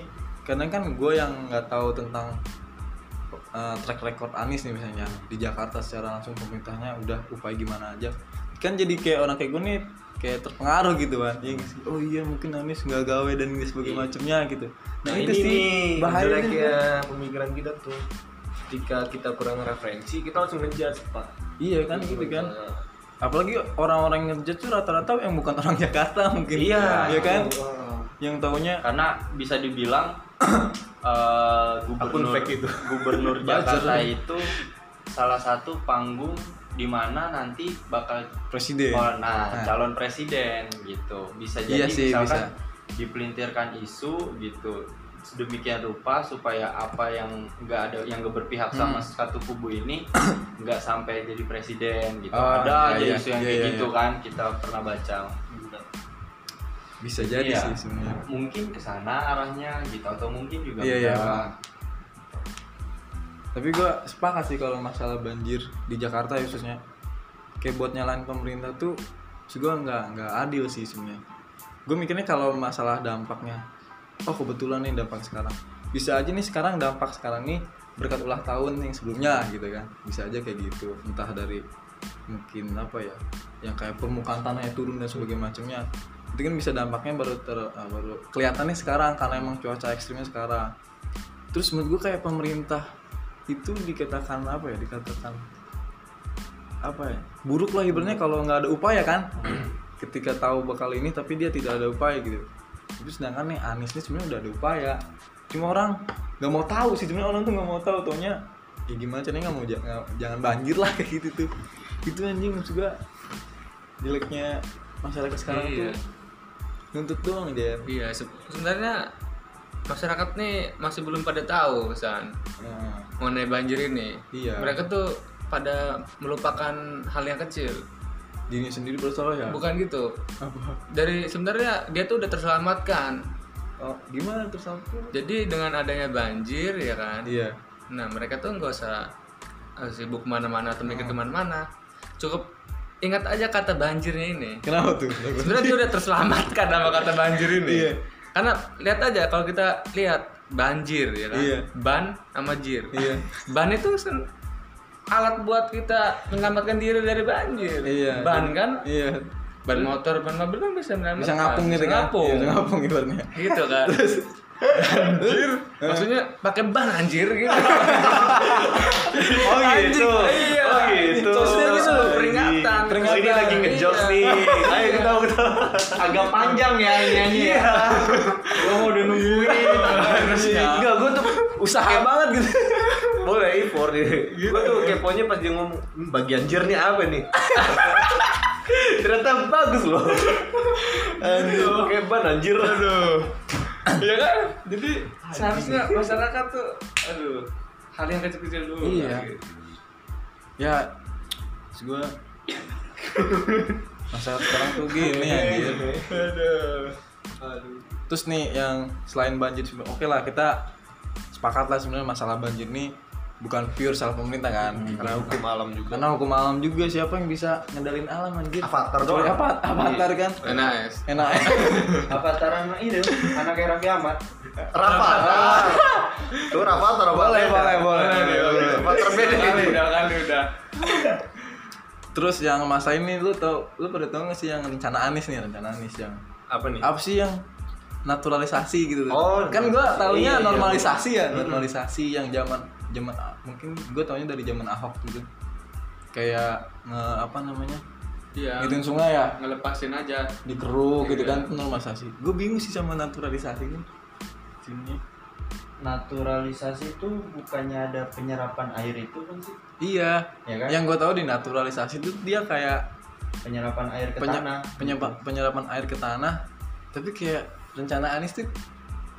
Speaker 2: kadang kan gue yang nggak tahu tentang eh, track record Anies nih misalnya di Jakarta secara langsung pemerintahnya udah upaya gimana aja kan jadi kayak orang kayak gue nih kayak terpengaruh gitu kan Iya nggak sih? oh iya mungkin Anies nggak gawe dan
Speaker 5: Iya.
Speaker 2: sebagainya macamnya gitu nah, itu sih bahayanya
Speaker 5: ya.
Speaker 3: jeleknya ya pemikiran kita tuh ketika kita kurang referensi kita langsung ngejar pak Nah,
Speaker 2: iya kan gitu kan apalagi orang-orang yang kerja tuh rata-rata yang bukan orang Jakarta mungkin ya
Speaker 5: Iya.
Speaker 2: kan
Speaker 3: gitu.
Speaker 2: yang taunya "Ah,
Speaker 5: karena bisa dibilang eh, gubernur
Speaker 2: fake itu.
Speaker 5: gubernur Jakarta itu salah satu panggung di mana nanti bakal
Speaker 2: presiden
Speaker 5: oh, nah,
Speaker 2: Nah.
Speaker 5: calon presiden gitu bisa jadi
Speaker 2: Iya sih,
Speaker 5: misalkan
Speaker 2: bisa.
Speaker 5: dipelintirkan isu gitu sedemikian rupa supaya apa yang nggak ada yang nggak berpihak sama
Speaker 2: Hmm.
Speaker 5: satu kubu ini nggak sampai jadi presiden gitu
Speaker 2: Ah,
Speaker 5: ada aja
Speaker 2: iya,
Speaker 5: isu yang
Speaker 2: iya,
Speaker 5: kayak
Speaker 2: iya,
Speaker 5: gitu
Speaker 2: iya.
Speaker 5: kan kita pernah baca
Speaker 2: bisa jadi
Speaker 5: Iya.
Speaker 2: sih sebenarnya
Speaker 5: mungkin ke sana arahnya gitu atau mungkin juga
Speaker 2: Iya, iya,
Speaker 5: enggak.
Speaker 2: tapi gue sepakat sih kalau masalah banjir di Jakarta ya khususnya kayak buat nyalain pemerintah tuh juga nggak nggak adil sih sebenarnya gue mikirnya kalau masalah dampaknya oh kebetulan nih dampak sekarang bisa aja nih sekarang dampak sekarang nih berkat ulang tahun yang sebelumnya gitu kan bisa aja kayak gitu entah dari mungkin apa ya yang kayak permukaan tanahnya turun dan sebagainya macamnya itu kan bisa dampaknya baru ter ah, baru kelihatannya sekarang karena emang cuaca ekstrimnya sekarang terus menurut gue kayak pemerintah itu dikatakan apa ya dikatakan apa ya buruk lah ibaratnya kalau nggak ada upaya kan ketika tahu bakal ini tapi dia tidak ada upaya gitu tapi sedangkan nih Anies ini sebenarnya udah ada upaya cuma orang nggak mau tahu sih sebenarnya orang tuh nggak mau tahu taunya ya gimana caranya nggak mau ja- nggak- jangan banjir lah kayak gitu tuh itu anjing juga jeleknya masyarakat sekarang
Speaker 1: Iya.
Speaker 2: tuh nuntut doang dia
Speaker 1: Iya, se- sebenarnya masyarakat nih masih belum pada tahu san
Speaker 2: Nah,
Speaker 1: mengenai banjir ini.
Speaker 2: Iya.
Speaker 1: Mereka tuh pada melupakan hal yang kecil.
Speaker 2: dirinya sendiri bersalah ya?
Speaker 1: Bukan gitu.
Speaker 2: Apa?
Speaker 1: Dari sebenarnya dia tuh udah terselamatkan.
Speaker 2: Oh, gimana terus aku?
Speaker 1: Jadi dengan adanya banjir ya kan.
Speaker 2: Iya.
Speaker 1: Nah mereka tuh nggak usah eh, sibuk kemana-mana atau
Speaker 2: Oh.
Speaker 1: mikir kemana-mana. Cukup ingat aja kata banjirnya ini.
Speaker 2: Kenapa tuh?
Speaker 1: Sebenarnya dia udah terselamatkan sama kata banjir ini.
Speaker 2: Iya.
Speaker 1: Karena lihat aja kalau kita lihat banjir ya kan.
Speaker 2: Iya.
Speaker 1: Ban sama jir.
Speaker 2: Iya.
Speaker 1: Ban itu sen- alat buat kita menyelamatkan diri dari banjir.
Speaker 2: Iya.
Speaker 1: Ban kan
Speaker 2: Iya.
Speaker 1: ban motor, ban mobil kan bisa menyelamatkan.
Speaker 2: Bisa ngapung gitu
Speaker 1: Bisa
Speaker 2: kan?
Speaker 1: ngapung.
Speaker 2: Iya, bisa ngapung ibaratnya.
Speaker 1: Gitu kan. Banjir. Maksudnya pakai ban anjir gitu.
Speaker 5: Oh gitu.
Speaker 1: Iya.
Speaker 5: Oh gitu.
Speaker 1: Maksudnya gitu loh, peringatan.
Speaker 5: Terus ini lagi ngejokes
Speaker 1: Iya.
Speaker 5: nih. Ayo kita kita.
Speaker 4: Agak panjang ya nyanyi ya. Gua mau udah nungguin.
Speaker 1: Iya. Harusnya.
Speaker 3: Enggak, gue tuh
Speaker 2: Usaha banget gitu.
Speaker 3: boleh impor deh. Gue tuh keponya pas dia ngomong "Hmm, bagian jernih apa nih? Ternyata bagus loh. Aduh, keban anjir. Aduh.
Speaker 1: Iya kan? Jadi seharusnya masyarakat tuh aduh hal yang kecil-kecil dulu. gitu.
Speaker 2: Iya. Ya, terus gue masalah sekarang tuh gini anjir. Terus nih yang selain banjir, sebe- oke lah kita sepakat lah sebenarnya masalah banjir nih bukan pure salah pemerintah kan karena hukum
Speaker 3: malam juga.
Speaker 2: karena hukum alam juga siapa yang bisa ngendalin alam anjir
Speaker 3: Avatar
Speaker 2: Kecuali
Speaker 3: doang.
Speaker 2: apa avatar kan
Speaker 1: Nah, Nice.
Speaker 2: enak
Speaker 4: Apa taran ini? Anaknya Raffi Ahmad.
Speaker 3: Rafa. Tuh Rafa atau Rafa?
Speaker 2: Nah. boleh boleh boleh
Speaker 3: Rafa terbeda ini.
Speaker 1: Iya, udah kali udah.
Speaker 2: terus yang masa ini lu tau lu pada tau gak sih yang rencana Anies nih rencana Anies yang
Speaker 3: Apa nih?
Speaker 2: apa sih yang naturalisasi gitu tuh.
Speaker 3: Oh,
Speaker 2: kan gua
Speaker 3: iya,
Speaker 2: taunya
Speaker 3: iya.
Speaker 2: normalisasi ya normalisasi yang zaman zaman ah, mungkin gua taunya dari zaman Ahok gitu kayak nge- apa namanya
Speaker 1: Iya.
Speaker 2: ngituin sungai ya
Speaker 1: Ngelepasin aja.
Speaker 2: dikeruk
Speaker 1: Iya.
Speaker 2: gitu kan itu normalisasi gue bingung sih sama naturalisasi ini sininya
Speaker 4: Naturalisasi itu bukannya ada penyerapan air itu kan sih?
Speaker 2: iya
Speaker 4: Ya kan?
Speaker 2: yang gue tahu di naturalisasi itu dia kayak
Speaker 4: Penyerapan air ke
Speaker 2: penye-
Speaker 4: tanah.
Speaker 2: penyebab- penyerapan air ke tanah tapi kayak rencana Anies tuh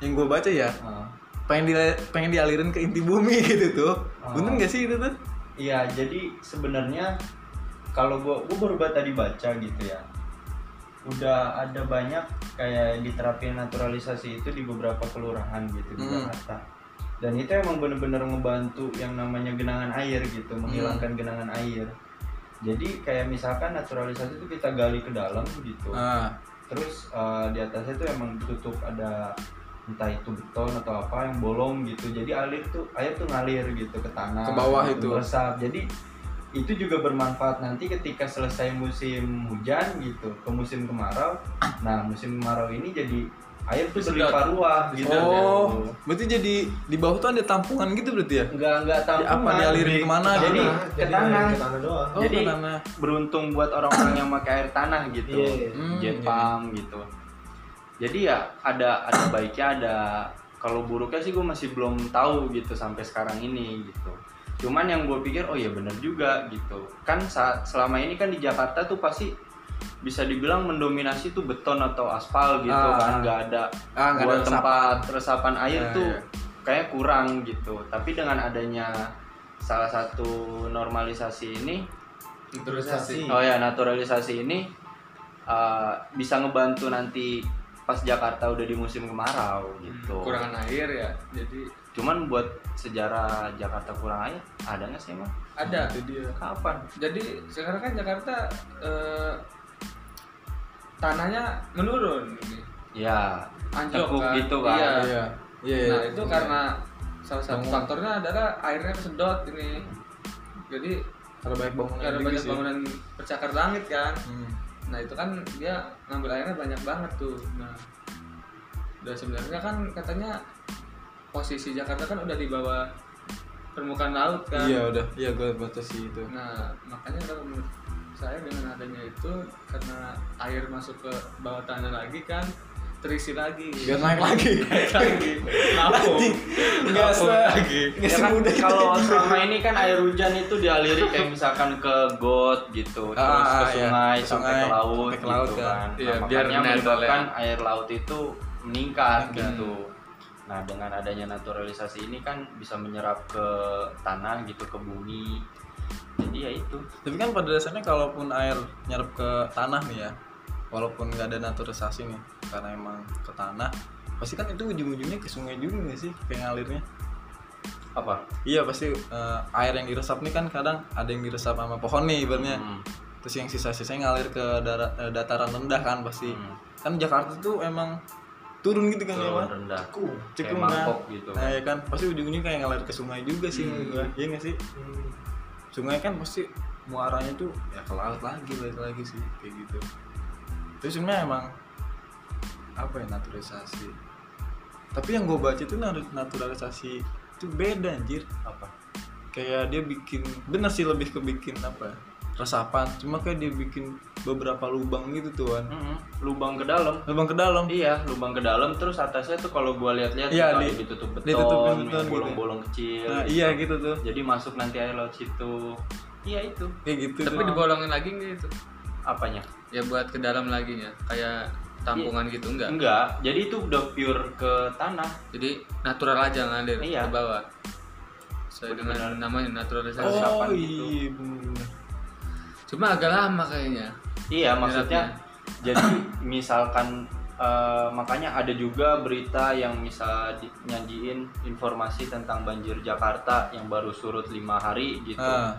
Speaker 2: yang gue baca ya
Speaker 4: Ah.
Speaker 2: pengen dila- pengen dialirin ke inti bumi gitu tuh
Speaker 4: Oh.
Speaker 2: bener gak sih itu tuh
Speaker 4: Iya, jadi sebenarnya kalau gua gua baru ba- tadi baca gitu ya. Udah ada banyak kayak diterapin naturalisasi itu di beberapa kelurahan gitu di
Speaker 2: Hmm.
Speaker 4: Jakarta. Dan itu emang bener-bener ngebantu yang namanya genangan air gitu,
Speaker 2: Hmm.
Speaker 4: menghilangkan genangan air. Jadi kayak misalkan naturalisasi itu kita gali ke dalam gitu.
Speaker 2: ah
Speaker 4: Terus eh, di atasnya tuh emang ditutup ada entah itu beton atau apa yang bolong gitu. Jadi alir tuh air tuh ngalir gitu ke tanah.
Speaker 2: Ke bawah
Speaker 4: gitu,
Speaker 2: itu.
Speaker 4: Meresap. Jadi itu juga bermanfaat nanti ketika selesai musim hujan gitu ke musim kemarau. Nah, musim kemarau ini jadi air tuh
Speaker 1: Disedot.
Speaker 4: berlimpah ruah gitu.
Speaker 2: oh berarti jadi di bawah tuh ada tampungan gitu berarti ya
Speaker 4: Enggak enggak
Speaker 2: Di-
Speaker 4: tampungan.
Speaker 2: apa dialirin kemana
Speaker 4: Jadi
Speaker 2: gitu
Speaker 4: ke tanah.
Speaker 3: Ke tanah doang.
Speaker 2: oh
Speaker 5: Jadi-
Speaker 2: ke tanah
Speaker 5: Beruntung buat orang-orang yang pakai air tanah gitu.
Speaker 2: Hmm, iya.
Speaker 5: jet pump gitu jadi ya ada ada baiknya ada kalau buruknya sih gue masih belum tahu gitu sampai sekarang ini gitu cuman yang gue pikir oh ya bener juga gitu kan sa- selama ini kan di Jakarta tuh pasti bisa dibilang mendominasi tuh beton atau aspal gitu
Speaker 2: Ah.
Speaker 5: kan nggak ada
Speaker 2: ah nggak ada
Speaker 5: buat
Speaker 2: tempat
Speaker 5: tempat resapan air
Speaker 2: Ah,
Speaker 5: tuh
Speaker 2: iya.
Speaker 5: kayak kurang gitu tapi dengan adanya salah satu normalisasi ini
Speaker 1: Naturalisasi.
Speaker 5: Oh ya naturalisasi ini uh, bisa ngebantu nanti pas Jakarta udah di musim kemarau
Speaker 1: Hmm,
Speaker 5: gitu.
Speaker 1: Kurangan air ya. Jadi
Speaker 5: Cuman buat sejarah Jakarta kurang air ada nggak sih emang?
Speaker 1: ada.
Speaker 5: Kapan?
Speaker 1: Jadi sekarang kan Jakarta eh, tanahnya menurun ini.
Speaker 5: Ya
Speaker 1: Anjlok
Speaker 5: Tekuk
Speaker 1: kan.
Speaker 5: gitu kan.
Speaker 1: Iya.
Speaker 2: iya iya
Speaker 1: Nah,
Speaker 2: iya.
Speaker 1: itu karena salah satu faktornya adalah airnya kesedot ini. Jadi
Speaker 2: karena banyak bangunan
Speaker 1: ada
Speaker 2: juga
Speaker 1: banyak
Speaker 2: sih.
Speaker 1: bangunan percakar langit kan.
Speaker 2: Hmm.
Speaker 1: Nah itu kan dia ngambil airnya banyak banget tuh. Nah, dan sebenarnya kan katanya posisi Jakarta kan udah di bawah permukaan laut kan.
Speaker 2: iya udah iya gue baca sih itu
Speaker 1: Nah makanya kalau menurut saya dengan adanya itu karena air masuk ke bawah tanah lagi kan terisi lagi.
Speaker 2: biar naik lagi
Speaker 1: Naik lagi. Nampung.
Speaker 2: nggak se
Speaker 1: Nampung lagi.
Speaker 2: nggak
Speaker 5: Ya kan,
Speaker 2: semudah itu
Speaker 5: kalau selama ini kan air hujan itu dialiri kayak misalkan ke got gitu, terus
Speaker 2: Ah,
Speaker 5: ke
Speaker 2: iya.
Speaker 5: sungai,
Speaker 2: Ke
Speaker 5: sampai
Speaker 2: sungai,
Speaker 5: ke laut,
Speaker 2: sampai ke laut
Speaker 5: gitu
Speaker 2: kan.
Speaker 5: kan.
Speaker 1: Iya,
Speaker 5: Nah,
Speaker 1: biar
Speaker 5: makanya
Speaker 1: netral ya.
Speaker 5: menyebabkan air laut itu meningkat gitu. Nah, dengan adanya naturalisasi ini kan bisa menyerap ke tanah gitu, ke bumi. Jadi ya itu.
Speaker 2: Tapi kan pada dasarnya kalaupun air nyerap ke tanah nih ya, walaupun nggak ada naturalisasi nih, karena emang ke tanah, pasti kan itu ujung-ujungnya ke sungai juga nggak sih, kayak ngalirnya?
Speaker 5: Apa?
Speaker 2: Iya pasti eh, air yang diresap nih kan kadang ada yang diresap sama pohon nih ibaratnya,
Speaker 5: Hmm.
Speaker 2: terus yang sisa-sisanya ngalir ke dara- eh, dataran rendah kan pasti.
Speaker 5: Hmm.
Speaker 2: Kan Jakarta tuh emang turun gitu kan ya,
Speaker 5: Turun
Speaker 2: Pak?
Speaker 5: rendah. Kayak
Speaker 2: Cekung kan?
Speaker 5: mangkok gitu.
Speaker 2: Nah ya kan, pasti ujung-ujungnya kayak ngalir ke sungai juga sih, menurut gua. iya nggak sih?
Speaker 3: Hmm.
Speaker 2: sungai kan pasti muaranya tuh ya ke laut lagi balik lagi sih kayak gitu terus sebenarnya emang apa ya naturalisasi tapi yang gue baca tuh nat- naturalisasi itu beda anjir
Speaker 5: Apa?
Speaker 2: kayak dia bikin bener sih lebih ke bikin apa ya, resapan cuma kayak dia bikin beberapa lubang gitu tuh kan
Speaker 5: Mm-mm. Lubang ke dalam.
Speaker 2: lubang ke dalam
Speaker 5: Iya, lubang ke dalam terus atasnya tuh kalau gua lihat-lihat
Speaker 2: Iya,
Speaker 5: kalau
Speaker 2: di-
Speaker 5: ditutup beton,
Speaker 2: ditutupin beton
Speaker 5: yang
Speaker 2: gitu.
Speaker 5: bolong-bolong kecil.
Speaker 2: nah iya gitu tuh
Speaker 5: Jadi masuk nanti air laut situ. Iya itu.
Speaker 2: kayak gitu
Speaker 1: Tapi
Speaker 2: tuh.
Speaker 1: dibolongin lagi gitu.
Speaker 5: Apanya?
Speaker 1: Ya buat ke dalam lagi ya, kayak tampungan
Speaker 5: Iya.
Speaker 1: gitu enggak.
Speaker 5: Enggak. Jadi itu udah pure ke tanah.
Speaker 1: Jadi natural aja ngalir ke
Speaker 5: Iya.
Speaker 1: bawah. Sesuai dengan namanya naturalisasi.
Speaker 2: oh
Speaker 5: resapan gitu.
Speaker 2: iya bener-bener.
Speaker 1: Cuma agak lama kayaknya.
Speaker 5: Iya, maksudnya jadi misalkan eh, makanya ada juga berita yang bisa di- nyanyiin informasi tentang banjir Jakarta yang baru surut lima hari gitu.
Speaker 2: Ah.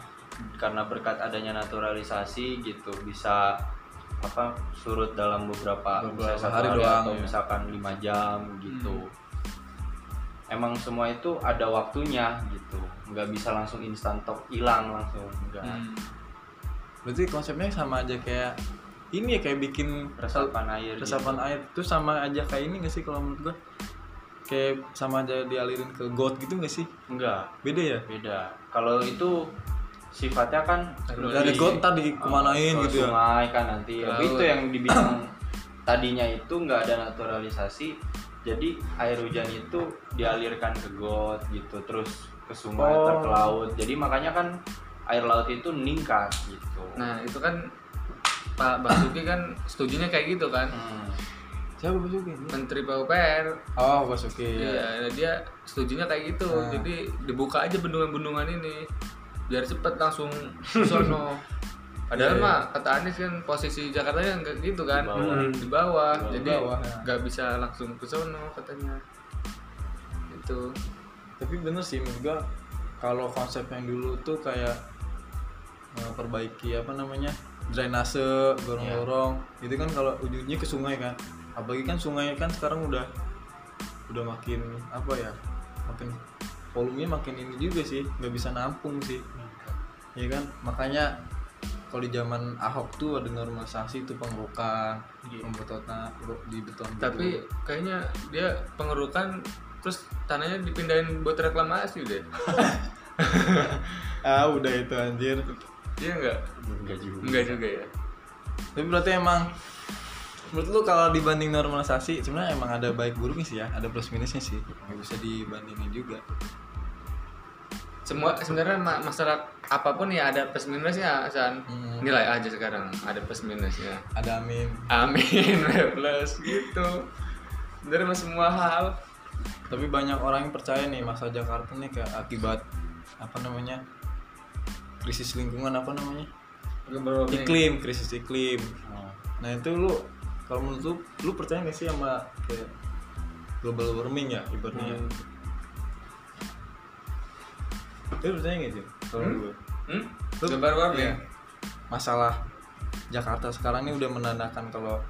Speaker 5: Karena berkat adanya naturalisasi gitu bisa apa surut dalam beberapa,
Speaker 2: Beberapa
Speaker 5: bisa satu
Speaker 2: hari
Speaker 5: hari,
Speaker 2: doang,
Speaker 5: atau
Speaker 2: ya.
Speaker 5: misalkan lima jam gitu.
Speaker 2: Hmm.
Speaker 5: Emang semua itu ada waktunya gitu, nggak bisa langsung instan top hilang langsung, nggak.
Speaker 1: Hmm.
Speaker 2: berarti konsepnya sama aja kayak ini ya kayak bikin
Speaker 5: Resapan air. gitu.
Speaker 2: resapan air itu sama aja kayak ini gak sih kalau menurut gua kayak sama aja dialirin ke got gitu gak sih
Speaker 5: Enggak.
Speaker 2: beda ya
Speaker 5: beda kalau itu sifatnya kan
Speaker 2: dari got ntar dikemanain
Speaker 5: ke
Speaker 2: gitu ya
Speaker 5: sungai kan nanti
Speaker 1: Ke
Speaker 5: Tapi
Speaker 1: laut.
Speaker 5: itu yang dibilang tadinya itu nggak ada naturalisasi jadi air hujan itu dialirkan ke got gitu terus ke sungai
Speaker 2: Oh.
Speaker 5: ntar ke laut jadi makanya kan air laut itu meningkat gitu
Speaker 1: Nah, itu kan Pak Basuki kan setujunya kayak gitu kan.
Speaker 5: Hmm.
Speaker 2: siapa Basuki
Speaker 1: Menteri PUPR
Speaker 2: oh Basuki ya
Speaker 1: Iya, dia setujunya kayak gitu.
Speaker 2: Nah.
Speaker 1: Jadi dibuka aja bendungan-bendungan ini biar cepet langsung ke sono. Padahal
Speaker 2: Iya,
Speaker 1: mah kata Anies kan posisi Jakarta nya nggak gitu kan,
Speaker 5: Di bawah.
Speaker 1: di bawah.
Speaker 2: Di
Speaker 1: Jadi
Speaker 2: bawah, ya.
Speaker 1: nggak bisa langsung ke sono katanya. Gitu.
Speaker 2: Gitu.
Speaker 1: Itu
Speaker 2: tapi bener sih menurut gua kalau konsep yang dulu tuh kayak eh, perbaiki apa namanya drainase gorong-gorong itu kan kalau ujungnya ke sungai kan apalagi kan sungai kan sekarang udah udah makin apa ya makin volumenya makin ini juga sih nggak bisa nampung sih ya kan makanya kalau di zaman Ahok tuh ada normalisasi tuh pengerukan pembetotan di beton gitu.
Speaker 1: tapi kayaknya dia pengerukan terus tanahnya dipindahin buat reklamasi deh.
Speaker 2: ah udah itu anjir
Speaker 1: Iya enggak?
Speaker 5: Nggak juga
Speaker 1: Enggak juga ya.
Speaker 2: Tapi berarti emang menurut lu kalau dibanding normalisasi sebenarnya emang ada baik buruknya sih ya, ada plus minusnya sih. Nggak bisa dibandingin juga.
Speaker 1: semua sebenarnya ma- masalah apapun ya ada plus minusnya San
Speaker 2: Hmm.
Speaker 1: nilai aja sekarang ada plus minusnya
Speaker 2: Ada amin.
Speaker 1: amin plus gitu dari semua hal
Speaker 2: Tapi banyak orang yang percaya nih masa Jakarta nih kayak akibat apa namanya? krisis lingkungan apa namanya?
Speaker 1: ya?
Speaker 2: Iklim, krisis iklim. Nah, itu lu kalau menurut lu, lu percaya nggak sih sama kayak global warming ya ibaratnya? ya? Lu percaya nggak sih? Kalau menurut lu?
Speaker 1: hmm? gambar warming
Speaker 2: Iya. masalah Jakarta sekarang ini udah menandakan kalau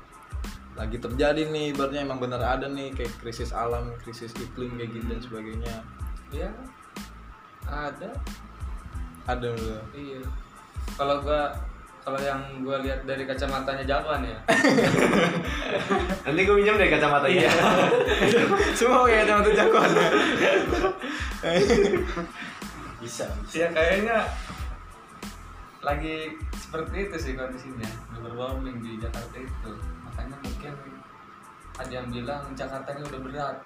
Speaker 2: lagi terjadi nih ibaratnya emang bener ada nih kayak krisis alam krisis iklim kayak gitu dan sebagainya
Speaker 1: ya ada
Speaker 2: ada dulu
Speaker 1: iya kalau gua kalau yang gua lihat dari kacamatanya Javan ya
Speaker 3: Nanti gue minjem deh kacamatanya.
Speaker 2: semua kayak teman tuh jagoan
Speaker 5: bisa
Speaker 1: ya kayaknya lagi seperti itu sih kondisinya global warming di Jakarta itu makanya mungkin ada yang bilang Jakarta ini udah berat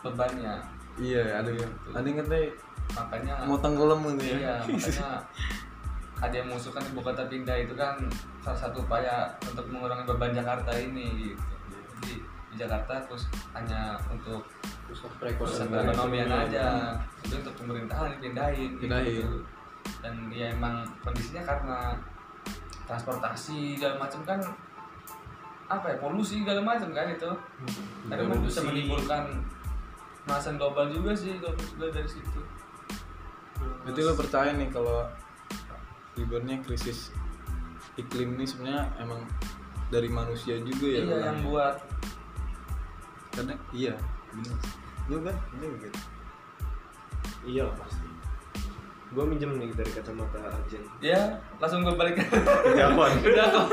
Speaker 1: bebannya
Speaker 2: iya ada ya ada yang katanya
Speaker 1: makanya
Speaker 2: mau tenggelam gitu ya
Speaker 1: iya makanya ada yang mengusulkan ibu kota pindah itu kan salah satu upaya untuk mengurangi beban Jakarta ini gitu. jadi di Jakarta terus hanya untuk pusat
Speaker 3: pusat perekonomian
Speaker 1: perekonomian aja itu untuk pemerintahan dipindahin gitu.
Speaker 2: Pindahin.
Speaker 1: dan ya emang kondisinya karena transportasi segala macam kan apa ya polusi segala macam kan itu karena emang bisa
Speaker 3: Polusi.
Speaker 1: menimbulkan pemanasan global juga sih global juga dari situ
Speaker 2: Berarti lo percaya nih kalau ibaratnya krisis iklim ini sebenarnya emang dari manusia juga ya?
Speaker 1: iya yang
Speaker 2: orangnya.
Speaker 1: buat
Speaker 2: Karena iya, benar. Lu kan, lu gitu.
Speaker 3: iya lah pasti gue minjem nih dari kacamata Arjen
Speaker 1: ya langsung gue balik
Speaker 3: Jawaban.
Speaker 1: udah kok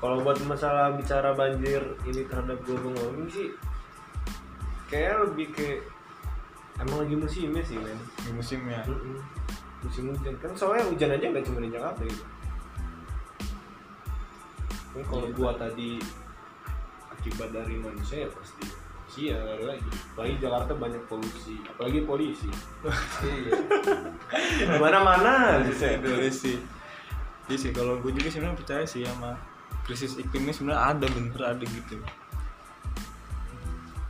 Speaker 3: kalau buat masalah bicara banjir ini terhadap global warming sih kayak lebih ke emang lagi musimnya sih men
Speaker 2: Di musimnya.
Speaker 3: Mm-mm. musim hujan kan soalnya hujan aja nggak cuma di Jakarta gitu kan kalau gua tadi akibat dari manusia ya pasti sih ya nggak ada lagi apalagi Jakarta banyak polusi apalagi polisi mana mana gitu ya.
Speaker 2: Boleh iya sih. Iya sih, kalau gue juga sebenarnya percaya sih sama krisis iklim ini sebenarnya ada bener ada gitu.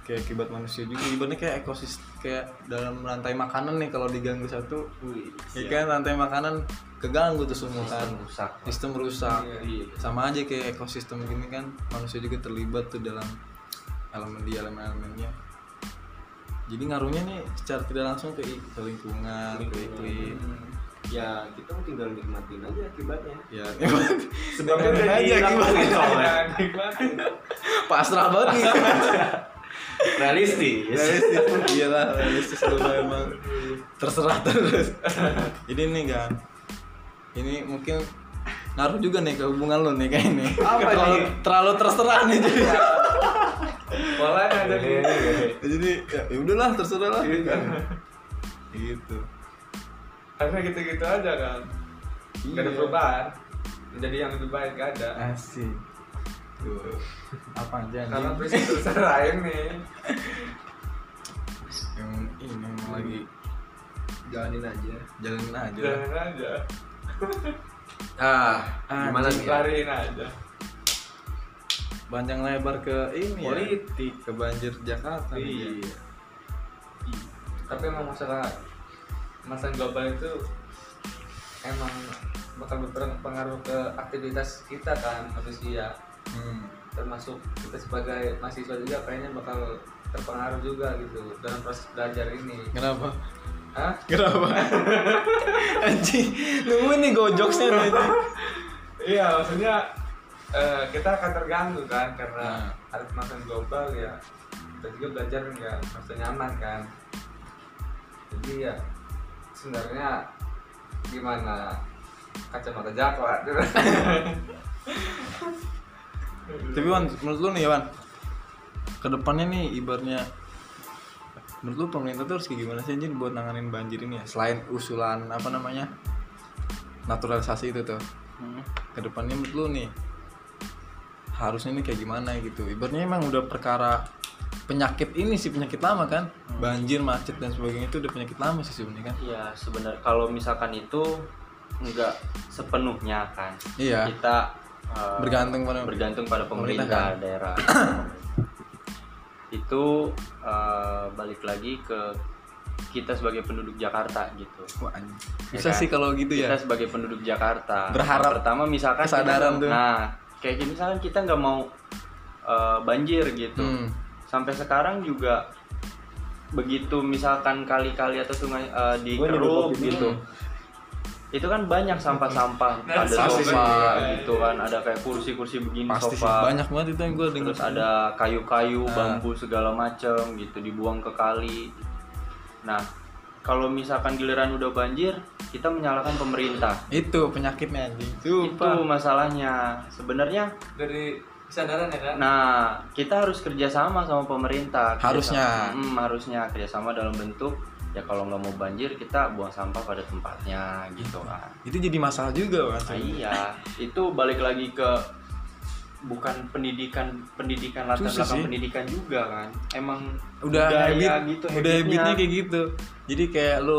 Speaker 2: Kayak akibat manusia juga, ibaratnya kayak ekosistem kayak dalam rantai makanan nih kalau diganggu satu,
Speaker 3: Wih,
Speaker 2: ya kan rantai makanan keganggu tuh semua kan.
Speaker 5: Sistem rusak.
Speaker 2: Sistem rusak. sama aja kayak ekosistem gini kan manusia juga terlibat tuh dalam elemen di elemen-elemennya jadi ngaruhnya nih secara tidak langsung ke, i- ke lingkungan ke iklim
Speaker 3: ya kita tinggal nikmatin aja akibatnya
Speaker 2: ya
Speaker 3: sebabnya udah
Speaker 2: Aja
Speaker 3: dihilang
Speaker 2: gimana?
Speaker 3: gitu soalnya.
Speaker 2: pasrah banget nih
Speaker 3: realistis
Speaker 2: realistis iyalah realistis dulu emang terserah terus jadi nih kan ini mungkin ngaruh juga nih ke hubungan lo nih kayak ini
Speaker 3: Apa
Speaker 2: terlalu,
Speaker 3: nih?
Speaker 2: terlalu terserah nih jadi
Speaker 1: boleh ada di
Speaker 2: jadi ya, ya udahlah terserah lah gitu
Speaker 1: karena gitu-gitu aja kan nggak ada
Speaker 2: Iya.
Speaker 1: perubahan jadi yang lebih baik gak ada
Speaker 2: Asik. Tuh. Apa aja
Speaker 1: karena
Speaker 2: nih?
Speaker 1: prinsip terserah ini
Speaker 2: Yang ini memang lagi
Speaker 3: jalanin aja
Speaker 2: jalanin aja. lah.
Speaker 1: jalanin aja
Speaker 3: ah gimana
Speaker 2: Anjing.
Speaker 3: nih ya?
Speaker 1: lariin aja
Speaker 2: Panjang lebar ke ini ya.
Speaker 3: politik
Speaker 2: Ke banjir Jakarta. nih ya.
Speaker 1: tapi emang masalah masalah global itu emang bakal berpengaruh ke aktivitas kita kan manusia
Speaker 2: Hmm.
Speaker 1: termasuk kita sebagai mahasiswa juga kayaknya bakal terpengaruh juga gitu dalam proses belajar ini
Speaker 2: Kenapa?
Speaker 1: Hah?
Speaker 2: Kenapa? anjing, nunggu nih gojoksnya nih. anjing.
Speaker 1: Iya, maksudnya eh, kita akan terganggu kan karena
Speaker 2: Nah.
Speaker 1: harus makan global ya. Kita juga belajar nggak merasa nyaman kan. Jadi ya sebenarnya gimana kacamata Jakwa.
Speaker 2: Tapi Wan, menurut lu nih Wan, kedepannya nih ibarnya menurut lu pemerintah tuh harus kayak gimana sih anjir buat nanganin banjir ini ya? Selain usulan apa namanya naturalisasi itu tuh, kedepannya menurut lu nih harusnya ini kayak gimana gitu? Ibarnya emang udah perkara penyakit ini sih penyakit lama kan, banjir, macet dan sebagainya itu udah penyakit lama sih sebenarnya kan?
Speaker 5: Ya sebenarnya kalau misalkan itu nggak sepenuhnya kan
Speaker 2: Iya.
Speaker 5: kita eh,
Speaker 2: Bergantung pada-
Speaker 5: bergantung pada pemerintah,
Speaker 2: pemerintah, kan?
Speaker 5: daerah itu eh, balik lagi ke kita sebagai penduduk Jakarta gitu
Speaker 2: Wah, anjing. bisa
Speaker 5: kan?
Speaker 2: sih kalau gitu ya.
Speaker 5: kita sebagai penduduk Jakarta
Speaker 2: Berharap
Speaker 5: Yang pertama misalkan kita-
Speaker 2: kesadaran tuh.
Speaker 5: nah kayak gini misalkan kita nggak mau eh, banjir gitu
Speaker 2: Hmm.
Speaker 5: sampai sekarang juga begitu misalkan kali-kali atau sungai eh, dikeruk
Speaker 3: nyeduh kopi
Speaker 5: gitu
Speaker 2: hmm,
Speaker 5: itu kan banyak sampah-sampah ada
Speaker 2: Pasti sih.
Speaker 5: sofa gitu kan ada kayak kursi-kursi begini
Speaker 2: Pasti sih
Speaker 5: sofa
Speaker 2: banyak banget itu yang gue dengar.
Speaker 5: terus ada kayu-kayu
Speaker 2: Nah.
Speaker 5: bambu segala macem gitu dibuang ke kali nah kalau misalkan giliran udah banjir kita menyalahkan pemerintah
Speaker 2: itu penyakitnya anjing.
Speaker 5: itu masalahnya sebenarnya
Speaker 1: Dari kesadaran ya kan.
Speaker 5: nah kita harus kerjasama sama pemerintah Kerjasama-
Speaker 2: Harusnya.
Speaker 5: Mm, harusnya kerjasama dalam bentuk ya kalau nggak mau banjir kita buang sampah pada tempatnya gitu kan
Speaker 2: itu jadi masalah juga kan
Speaker 5: Nah, iya itu balik lagi ke bukan pendidikan pendidikan latar
Speaker 2: Susah
Speaker 5: belakang
Speaker 2: sih.
Speaker 5: pendidikan juga kan emang
Speaker 2: udah
Speaker 5: budaya
Speaker 2: habit
Speaker 5: gitu
Speaker 2: udah
Speaker 5: habitnya.
Speaker 2: habitnya kayak gitu jadi kayak lo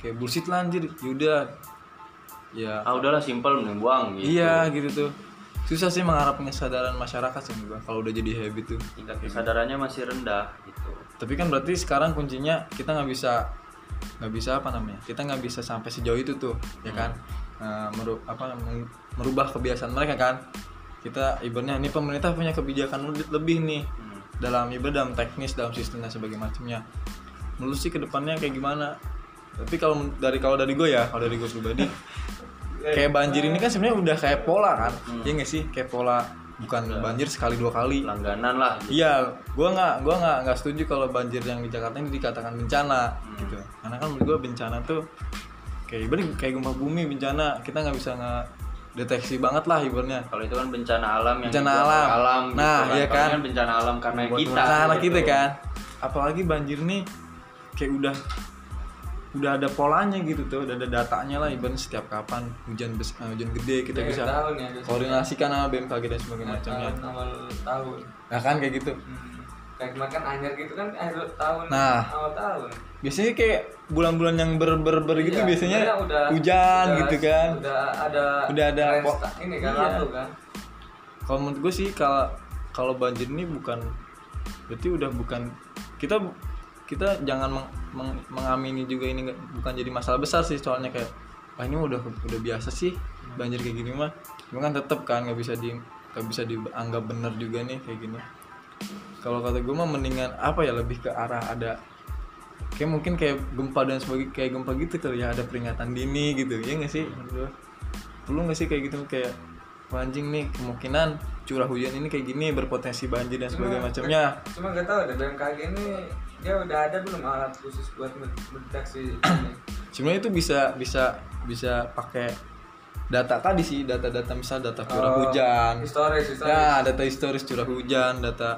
Speaker 2: kayak bullshit lah anjir yaudah ya
Speaker 5: ah udahlah simpel mending buang gitu
Speaker 2: iya gitu tuh susah sih mengharapkan kesadaran masyarakat sih menurut gua kalau udah jadi habit tuh
Speaker 5: tingkat kesadarannya masih rendah gitu
Speaker 2: tapi kan berarti sekarang kuncinya kita nggak bisa nggak bisa apa namanya kita nggak bisa sampai sejauh itu tuh ya kan Eh, meru- apa men- merubah kebiasaan mereka kan kita ibaratnya ini pemerintah punya kebijakan lebih- lebih nih
Speaker 5: Hmm.
Speaker 2: dalam ibarat dalam teknis dalam sistem dan sebagainya macamnya menurut sih kedepannya kayak gimana tapi kalau men- dari kalau dari gue ya kalau dari gue pribadi kayak banjir ini kan sebenarnya udah kayak pola kan Iya nggak sih kayak pola bukan banjir sekali dua kali
Speaker 5: langganan lah gitu.
Speaker 2: Iya, gua nggak gua nggak nggak setuju kalau banjir yang di Jakarta ini dikatakan bencana
Speaker 5: Hmm.
Speaker 2: gitu. Karena kan menurut gua bencana tuh kayak ibarat kayak gempa bumi bencana kita nggak bisa nggak deteksi banget lah ibaratnya.
Speaker 5: kalau itu kan bencana alam yang
Speaker 2: Bencana
Speaker 5: dibuat oleh
Speaker 2: alam.
Speaker 5: alam
Speaker 2: Nah,
Speaker 5: gitu kan.
Speaker 2: iya
Speaker 5: Kalau
Speaker 2: kan.
Speaker 5: ini bencana alam karena kita
Speaker 2: Nah, anak
Speaker 5: gitu.
Speaker 2: kita kan. Apalagi banjir nih kayak udah udah ada polanya gitu tuh, udah ada datanya lah ibaratnya setiap kapan hujan bes- eh, hujan gede
Speaker 5: Iya,
Speaker 2: kita bisa Oh, iya,
Speaker 1: tahun ya biasanya.
Speaker 2: koordinasikan sama BMKG dan sebagainya
Speaker 1: Akhir
Speaker 2: macamnya.
Speaker 1: tahun awal tahun
Speaker 2: Nah kan kayak gitu.
Speaker 1: Hmm. kayak kemarin kan anjir gitu kan akhir tahun
Speaker 2: Nah.
Speaker 1: awal tahun
Speaker 2: Biasanya kayak bulan-bulan yang ber ber ber gitu
Speaker 1: Iya,
Speaker 2: biasanya
Speaker 1: sebenarnya udah-
Speaker 2: hujan
Speaker 1: udah-
Speaker 2: gitu kan.
Speaker 1: udah ada
Speaker 2: Udah ada
Speaker 1: trend
Speaker 2: po-
Speaker 1: sta- ini kan
Speaker 2: Iya.
Speaker 1: lalu kan
Speaker 2: kalau menurut gue sih kalau kalau banjir ini bukan berarti udah bukan kita bu- kita jangan meng- meng- mengamini juga ini nggak- bukan jadi masalah besar sih soalnya kayak ah ini udah udah biasa sih banjir kayak gini mah cuma kan tetap kan nggak bisa di nggak bisa dianggap bener juga nih kayak gini kalau kata gue mah mendingan apa ya lebih ke arah ada kayak mungkin kayak gempa dan sebagainya kayak gempa gitu kali ya ada peringatan dini gitu ya nggak sih menurut gua? perlu nggak sih kayak gitu kayak "Wah, anjing nih kemungkinan curah hujan ini kayak gini berpotensi banjir dan
Speaker 1: Nah,
Speaker 2: sebagainya Ya, macamnya
Speaker 1: cuma gak tahu deh BMKG ini dia udah ada belum alat khusus buat men- mendeteksi ini
Speaker 2: sebenarnya itu bisa bisa bisa pakai data tadi sih data-data misal data
Speaker 1: Oh,
Speaker 2: curah hujan
Speaker 1: historis historis
Speaker 2: ya data historis curah hujan data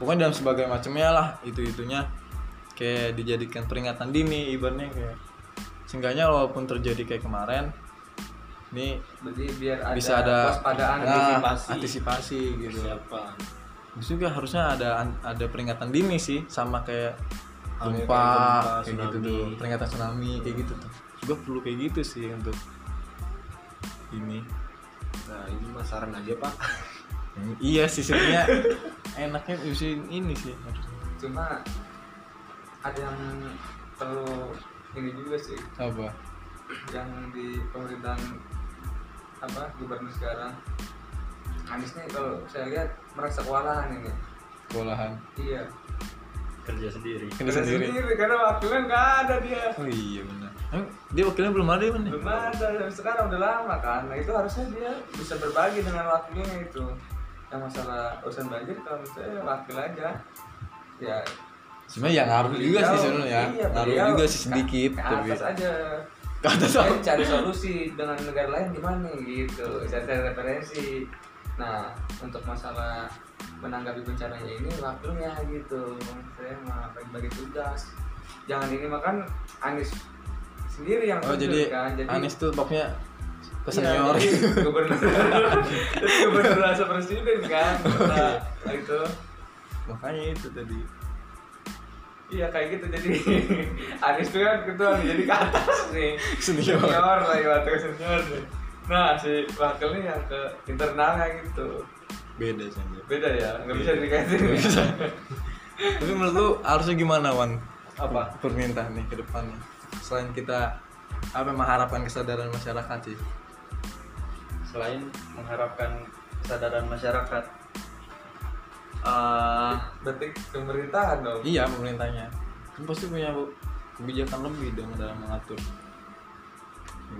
Speaker 2: pokoknya dalam sebagai macamnya lah itu itunya kayak dijadikan peringatan dini ibaratnya kayak seenggaknya walaupun terjadi kayak kemarin ini
Speaker 1: jadi biar ada
Speaker 2: bisa ada
Speaker 1: kewaspadaan
Speaker 2: nah, antisipasi. gitu
Speaker 3: Siapa?
Speaker 2: Terus juga harusnya ada ada peringatan dini sih sama kayak gempa kayak gitu tuh peringatan tsunami kayak gitu tuh juga perlu kayak gitu sih untuk ini
Speaker 3: Nah ini mah saran aja pak.
Speaker 2: Hmm, iya sih sebenarnya enaknya usin ini sih harusnya.
Speaker 1: cuma ada yang perlu ini juga sih
Speaker 2: apa
Speaker 1: yang di pemerintahan apa gubernur sekarang Anies nih kalau saya lihat merasa kewalahan ini
Speaker 2: kewalahan
Speaker 1: iya
Speaker 5: kerja sendiri
Speaker 2: Kerja
Speaker 1: Karena
Speaker 2: sendiri.
Speaker 1: karena wakilnya nggak ada dia
Speaker 2: oh iya benar Emang dia wakilnya belum ada ya mana
Speaker 1: belum ada Dan sekarang udah lama kan nah itu harusnya dia bisa berbagi dengan wakilnya itu yang masalah urusan banjir kalau misalnya wakil aja ya
Speaker 2: sebenarnya ya ngaruh juga sih
Speaker 1: beliau-
Speaker 2: sebenarnya ya.
Speaker 1: iya,
Speaker 2: ngaruh
Speaker 1: beliau
Speaker 2: juga sih sedikit
Speaker 1: ke, ke
Speaker 2: tapi
Speaker 1: atas aja
Speaker 2: ke atas
Speaker 1: Dia
Speaker 2: apa?
Speaker 1: cari solusi dengan negara lain gimana gitu cari, cari referensi nah untuk masalah menanggapi bencananya ini wakilnya gitu saya mah bagi-bagi tugas jangan ini makan Anies sendiri yang
Speaker 2: oh
Speaker 1: tunjuk,
Speaker 2: jadi
Speaker 1: kan. jadi
Speaker 2: Anies tuh pokoknya ke
Speaker 1: Iya,
Speaker 2: senior
Speaker 1: jadi gubernur jadi gubernur rasa presiden kan nah, itu
Speaker 2: makanya itu tadi
Speaker 1: iya kayak gitu jadi Anies tuh kan ketua nih, jadi ke atas nih
Speaker 2: Senior.
Speaker 1: senior lagi waktu ke senior nih nah si wakilnya yang ke internalnya gitu
Speaker 2: beda sih anjir.
Speaker 1: beda ya nggak
Speaker 2: Iya.
Speaker 1: bisa dikaitin
Speaker 2: tapi menurut lu harusnya gimana Wan
Speaker 1: Apa?
Speaker 2: permintaan nih ke depannya selain kita apa mengharapkan kesadaran masyarakat sih
Speaker 5: selain mengharapkan kesadaran masyarakat eh,
Speaker 1: berarti pemerintahan dong
Speaker 2: Iya pemerintahnya kan pasti punya kebijakan lebih dong dalam mengatur.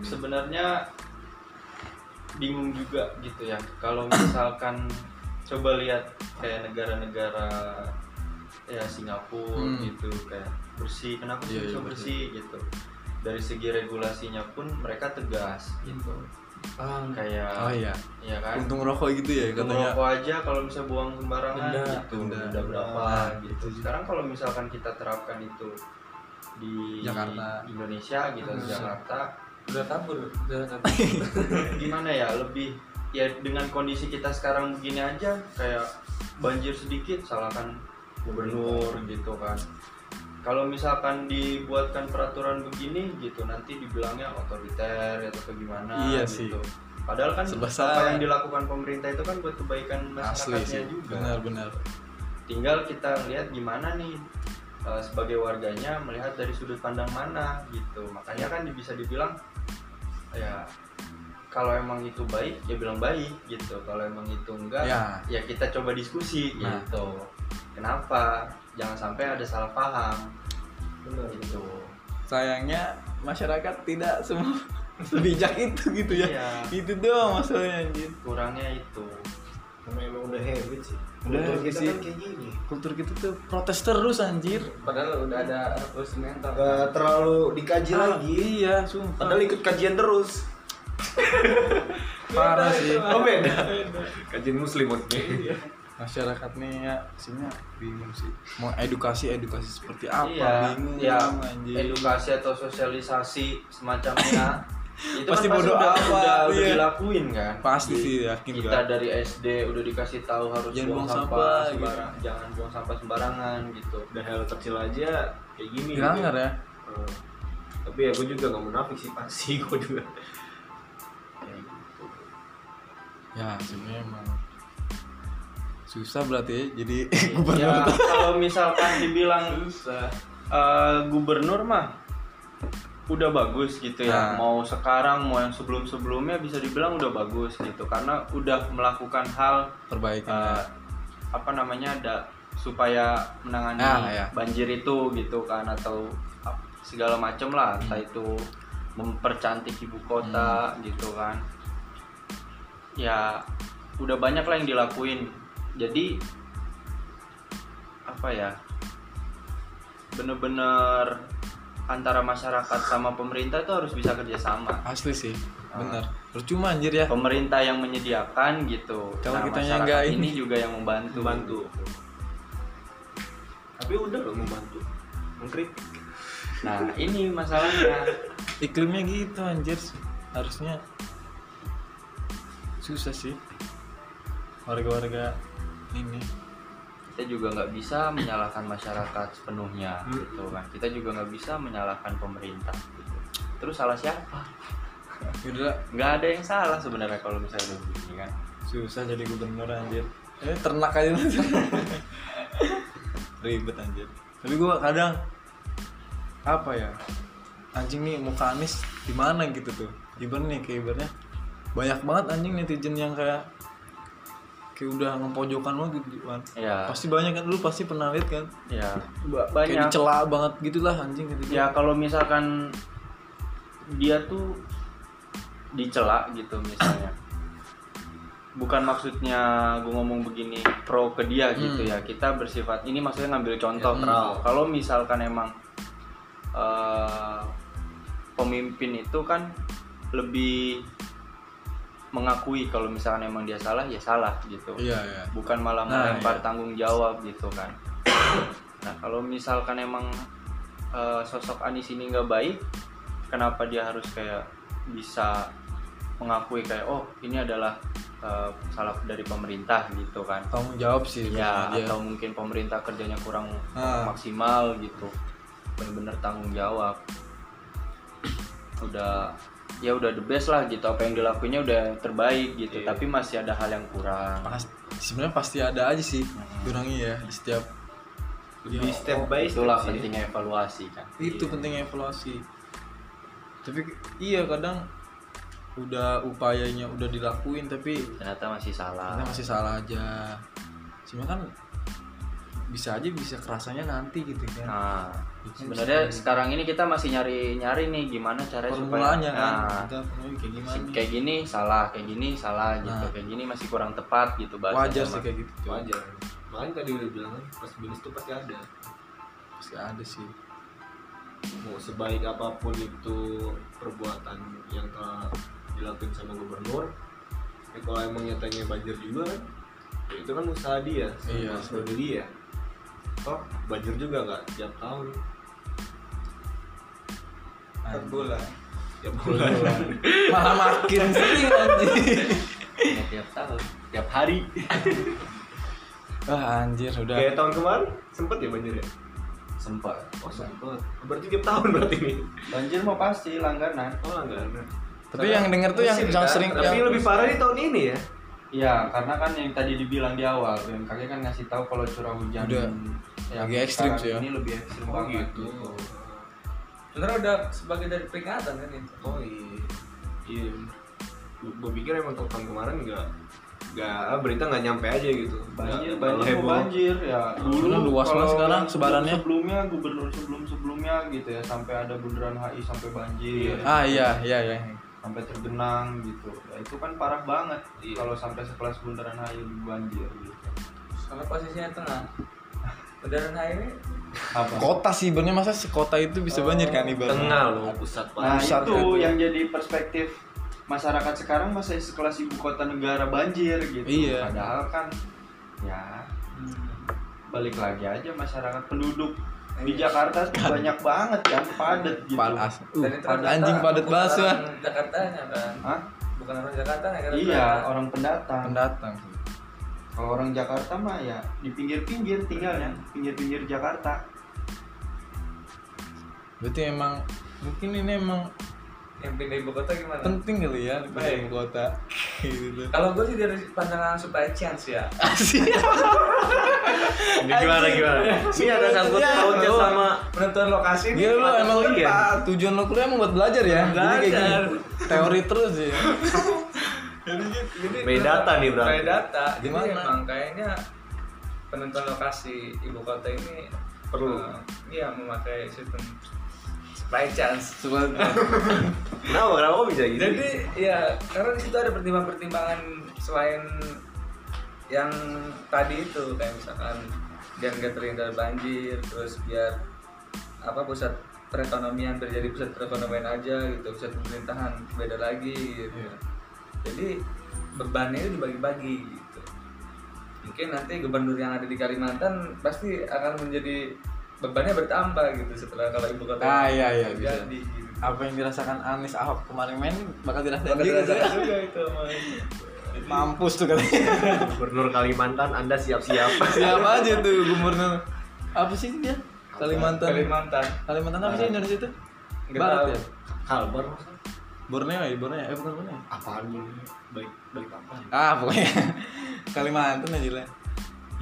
Speaker 5: sebenarnya bingung juga gitu ya kalau misalkan coba lihat kayak negara-negara ya Singapura
Speaker 2: Hmm.
Speaker 5: gitu kayak bersih kenapa sih
Speaker 2: Iya, iya,
Speaker 5: bisa
Speaker 2: betul.
Speaker 5: bersih gitu dari segi regulasinya pun mereka tegas gitu
Speaker 1: Ah,
Speaker 5: kayak
Speaker 2: Oh iya,
Speaker 5: ya kan
Speaker 2: untung rokok gitu ya
Speaker 5: Untung
Speaker 2: katanya.
Speaker 5: rokok aja kalau bisa buang sembarangan
Speaker 2: Denda.
Speaker 5: gitu
Speaker 2: Denda.
Speaker 5: udah berapa gitu sekarang kalau misalkan kita terapkan itu di
Speaker 2: Jakarta.
Speaker 5: Indonesia gitu di
Speaker 1: Hmm.
Speaker 5: Jakarta
Speaker 1: udah kabur udah kabur
Speaker 5: gimana ya lebih ya dengan kondisi kita sekarang begini aja kayak banjir sedikit salahkan gubernur gitu kan kalau misalkan dibuatkan peraturan begini gitu nanti dibilangnya otoriter atau kayak gimana
Speaker 2: Iya sih.
Speaker 5: gitu Padahal kan
Speaker 2: Sebesar.
Speaker 5: apa yang dilakukan pemerintah itu kan buat kebaikan
Speaker 2: asli sih
Speaker 5: masyarakatnya juga.
Speaker 2: benar-benar
Speaker 5: Tinggal kita lihat gimana nih eh, sebagai warganya melihat dari sudut pandang mana gitu. Makanya kan bisa dibilang ya kalau emang itu baik ya bilang baik gitu. Kalau emang itu enggak
Speaker 2: ya
Speaker 5: ya kita coba diskusi
Speaker 2: Nah.
Speaker 5: gitu. Kenapa? Jangan sampai ada salah paham
Speaker 3: benar
Speaker 5: gitu.
Speaker 2: sayangnya masyarakat tidak semua sebijak itu gitu ya
Speaker 5: Iya.
Speaker 2: itu doang masalahnya anjir
Speaker 5: Kurangnya itu.
Speaker 3: karena emang udah habit sih
Speaker 2: Udah
Speaker 3: Kultur
Speaker 2: habit
Speaker 3: kita
Speaker 2: sih.
Speaker 3: kan kayak gini
Speaker 2: kultur kita tuh protes terus anjir
Speaker 1: Padahal udah ada harus mental.
Speaker 3: Gak terlalu dikaji lagi
Speaker 2: iya sumpah
Speaker 3: padahal ikut kajian terus
Speaker 2: parah sih
Speaker 3: oh beda Iya. kajian muslim maksudnya
Speaker 2: masyarakat nih ya sini bingung sih mau edukasi edukasi seperti apa
Speaker 5: Iya,
Speaker 2: bingung
Speaker 5: iya.
Speaker 2: anjir
Speaker 5: edukasi atau sosialisasi semacamnya itu
Speaker 2: Pasti
Speaker 5: kan
Speaker 2: bodo
Speaker 5: udah,
Speaker 2: amat,
Speaker 5: udah, udah
Speaker 2: iya.
Speaker 5: dilakuin kan
Speaker 2: pasti
Speaker 5: Jadi,
Speaker 2: sih yakin
Speaker 5: kita
Speaker 2: gua
Speaker 5: dari SD udah dikasih tahu harus
Speaker 2: Jangan
Speaker 5: buang
Speaker 2: buang
Speaker 5: sampah,
Speaker 2: sampah, gitu.
Speaker 5: sembarang- jangan buang sampah sembarangan gitu
Speaker 3: udah hal kecil aja kayak gini gitu.
Speaker 2: dilanggar ya
Speaker 3: Hmm. tapi ya gue juga gak munafik sih pasti gue juga
Speaker 2: ya sebenarnya emang susah berarti ya jadi gubernur
Speaker 5: ya kalau misalkan dibilang eh, gubernur mah udah bagus gitu
Speaker 2: Nah.
Speaker 5: ya mau sekarang mau yang sebelum sebelumnya bisa dibilang udah bagus gitu karena udah melakukan hal
Speaker 2: perbaikan
Speaker 5: eh,
Speaker 2: ya.
Speaker 5: apa namanya ada supaya menangani
Speaker 2: Ah, ya.
Speaker 5: banjir itu gitu kan atau ap- segala macam lah entah
Speaker 2: Hmm.
Speaker 5: itu mempercantik ibu kota gitu kan ya udah banyak lah yang dilakuin jadi apa ya bener-bener antara masyarakat sama pemerintah itu harus bisa kerjasama
Speaker 2: asli sih bener percuma anjir ya
Speaker 5: pemerintah yang menyediakan gitu
Speaker 2: Kalau
Speaker 5: Nah,
Speaker 2: kita
Speaker 5: masyarakat
Speaker 2: nggak
Speaker 5: ini
Speaker 2: ini.
Speaker 5: juga yang membantu
Speaker 3: bantu tapi udah lo membantu mengkritik
Speaker 5: nah ini masalahnya
Speaker 2: iklimnya gitu anjir harusnya susah sih warga-warga ini
Speaker 5: kita juga nggak bisa menyalahkan masyarakat sepenuhnya
Speaker 3: Hmm.
Speaker 5: gitu kan kita juga nggak bisa menyalahkan pemerintah gitu. terus salah siapa
Speaker 2: udah lah,
Speaker 5: nggak ada yang salah sebenarnya kalau misalnya udah begini kan
Speaker 2: susah jadi gubernur anjir eh ternak aja lu. ribet anjir tapi gua kadang apa ya anjing nih muka Anis di mana gitu tuh ibaratnya nih kayak ibaratnya banyak banget anjing netizen yang kayak kayak udah ngepojokan lo gitu Wan.
Speaker 5: ya
Speaker 2: pasti banyak kan lu pasti pernah lihat kan
Speaker 5: ya
Speaker 2: kayak
Speaker 5: banyak
Speaker 2: dicela banget gitulah anjing gitu
Speaker 5: ya kalau misalkan dia tuh dicela gitu misalnya bukan maksudnya gue ngomong begini pro ke dia gitu
Speaker 2: Hmm.
Speaker 5: ya kita bersifat ini maksudnya ngambil contoh
Speaker 2: Ya,
Speaker 5: Kalau-
Speaker 3: hmm.
Speaker 5: kalau misalkan emang eh, pemimpin itu kan lebih mengakui kalau misalkan emang dia salah ya salah gitu
Speaker 2: iya iya
Speaker 5: bukan malah
Speaker 2: Nah, iya.
Speaker 5: melempar tanggung jawab gitu kan nah kalau misalkan emang eh, sosok Anies ini nggak baik kenapa dia harus kayak bisa mengakui kayak oh ini adalah eh, salah dari pemerintah gitu kan
Speaker 2: tanggung jawab sih
Speaker 5: ya
Speaker 2: dia.
Speaker 5: atau mungkin pemerintah kerjanya kurang
Speaker 2: Iya, Ah.
Speaker 5: maksimal gitu bener-bener tanggung jawab udah ya udah the best lah gitu apa yang dilakuinnya udah terbaik gitu
Speaker 2: Iya.
Speaker 5: tapi masih ada hal yang kurang
Speaker 2: Pas- sebenarnya pasti ada aja sih kurangnya ya di setiap
Speaker 3: lebih
Speaker 2: Ya,
Speaker 3: step by step
Speaker 5: itulah
Speaker 3: sih.
Speaker 5: pentingnya evaluasi kan
Speaker 2: itu pentingnya evaluasi tapi iya kadang udah upayanya udah dilakuin tapi
Speaker 5: ternyata masih salah
Speaker 2: kita masih salah aja sebenarnya kan bisa aja bisa kerasanya nanti gitu kan
Speaker 5: nah sebenarnya sekarang ini kita masih nyari nyari nih gimana caranya
Speaker 2: formulanya kan
Speaker 5: supaya Nah,
Speaker 2: kita formulanya kayak gimana
Speaker 5: si- kayak gini salah kayak gini salah gitu
Speaker 2: Nah.
Speaker 5: kayak gini masih kurang tepat gitu bahasanya
Speaker 2: wajar sih
Speaker 5: mah.
Speaker 2: kayak gitu tuh.
Speaker 3: wajar makanya tadi udah bilang kan plus minus tuh pasti ada
Speaker 2: pasti ada sih
Speaker 3: mau sebaik apapun itu perbuatan yang telah dilakukan sama gubernur tapi kalau emang nyatanya banjir juga kan ya itu kan usaha dia
Speaker 2: Iya.
Speaker 3: usaha dia toh banjir juga nggak tiap tahun
Speaker 2: bulan
Speaker 3: tiap bulan
Speaker 2: Iya. malah makin sering anjir
Speaker 5: Ya, tiap tahun tiap hari
Speaker 2: ah anjir udah
Speaker 3: kayak tahun kemarin sempet ya banjir ya
Speaker 5: sempat
Speaker 3: oh sempet berarti tiap tahun berarti nih
Speaker 5: banjir mau pasti langganan
Speaker 3: oh enggak
Speaker 2: Tapi yang denger tuh yang, yang sering
Speaker 3: Tapi
Speaker 2: yang-
Speaker 3: lebih parah di tahun ini ya.
Speaker 5: Iya, karena kan yang tadi dibilang di awal BMKG kan ngasih tahu kalau curah hujan
Speaker 2: Udah.
Speaker 5: yang
Speaker 2: Agak ekstrim
Speaker 5: sekarang
Speaker 2: sih ya.
Speaker 5: Ini lebih
Speaker 3: Oh,
Speaker 5: ekstrim banget gitu.
Speaker 1: Sebenarnya udah sebagai dari peringatan kan itu.
Speaker 3: Oh iya. Iya. Gue pikir emang tahun kemarin nggak nggak berita nggak nyampe aja gitu.
Speaker 5: Banjir,
Speaker 3: Nggak
Speaker 5: banjir,
Speaker 3: heboh.
Speaker 5: mau banjir ya.
Speaker 2: Soalnya luas banget
Speaker 5: kalau
Speaker 2: sekarang
Speaker 5: yang
Speaker 2: sebarannya.
Speaker 5: Sebelumnya gubernur sebelum sebelumnya gitu ya sampai ada bundaran HI sampai banjir,
Speaker 2: Ah iya iya iya.
Speaker 5: sampai tergenang gitu. Ya, itu kan parah banget
Speaker 3: Iya.
Speaker 5: kalau sampai sekelas bundaran HI lebih banjir gitu.
Speaker 1: Karena posisinya tengah. Bundaran HI ini
Speaker 5: Apa?
Speaker 2: Kota sih ibaratnya masa sekota itu bisa banjir kan ibaratnya.
Speaker 3: Tengah loh pusat
Speaker 5: Nah
Speaker 3: banget.
Speaker 2: Pusat
Speaker 5: itu
Speaker 2: gitu.
Speaker 5: yang jadi perspektif masyarakat sekarang masih sekelas ibu kota negara banjir gitu.
Speaker 2: Iya.
Speaker 5: Padahal kan ya balik lagi aja masyarakat penduduk di Jakarta tuh banyak banget kan padat gitu.
Speaker 2: Iya. Panas.
Speaker 1: dan itu
Speaker 2: Uh,
Speaker 1: rata-rata
Speaker 2: anjing padat
Speaker 1: bukan
Speaker 2: banget sih,
Speaker 1: orang Jakartanya kan.
Speaker 5: Hah?
Speaker 1: Bukan orang Jakarta ya
Speaker 5: Iya orang pendatang.
Speaker 2: pendatang.
Speaker 5: Kalau orang Jakarta mah ya di pinggir-pinggir tinggalnya pinggir-pinggir Jakarta.
Speaker 2: Berarti emang mungkin ini emang
Speaker 1: Yang pindah ibu kota gimana?
Speaker 2: penting kali ya daripada
Speaker 1: Baik.
Speaker 2: ibu kota. Gitu tuh.
Speaker 1: Kalau gue sih dari pandangan supply chance ya.
Speaker 2: Asik.
Speaker 3: Ini gimana gimana? Ini ada sangkut
Speaker 2: Iya.
Speaker 3: pautnya sama
Speaker 1: Penentuan lokasi ini
Speaker 2: Gila Iya, lu
Speaker 1: patut
Speaker 2: emang
Speaker 1: kuliah.
Speaker 2: tujuan lu kuliah emang buat belajar ya. Jadi kayak gini.
Speaker 1: Belajar.
Speaker 2: Teori terus ya.
Speaker 1: Jadi, jadi
Speaker 3: Medata nih, berarti.
Speaker 1: Medata. Jadi
Speaker 2: Gimana?
Speaker 1: emang kayaknya penentuan lokasi ibu kota ini
Speaker 3: Perlu.
Speaker 1: eh, iya memakai sistem supply chance.
Speaker 3: Kenapa kenapa kok bisa gitu?
Speaker 1: Jadi ya karena di situ ada pertimbangan-pertimbangan selain yang tadi itu kayak misalkan biar nggak terhindar banjir, terus biar apa pusat perekonomian terjadi pusat perekonomian aja gitu, pusat pemerintahan beda lagi gitu.
Speaker 2: Iya.
Speaker 1: Jadi bebannya itu dibagi-bagi gitu. Mungkin nanti gubernur yang ada di Kalimantan pasti akan menjadi bebannya bertambah gitu setelah kalau ibu kota
Speaker 2: Ah, iya, iya, bisa.
Speaker 1: jadi gitu
Speaker 2: Apa yang dirasakan Anies Ahok kemarin main bakal dirasakan
Speaker 1: bakal
Speaker 2: juga.
Speaker 1: dirasakan juga itu sama ini.
Speaker 2: Mampus tuh katanya.
Speaker 3: Gubernur Kalimantan Anda siap-siap.
Speaker 2: Siapa aja tuh gubernur? Apa sih dia? Kalimantan.
Speaker 1: Kalimantan
Speaker 2: Kalimantan apa sih Indonesia itu?
Speaker 1: Nggak
Speaker 2: Barat
Speaker 1: tahu.
Speaker 2: ya?
Speaker 3: Kalbar maksudnya?
Speaker 2: Borneo ya, Borneo. Eh bukan Borneo.
Speaker 3: Apaan dulu? Baik baik apa?
Speaker 2: Ah, pokoknya Kalimantan aja lah.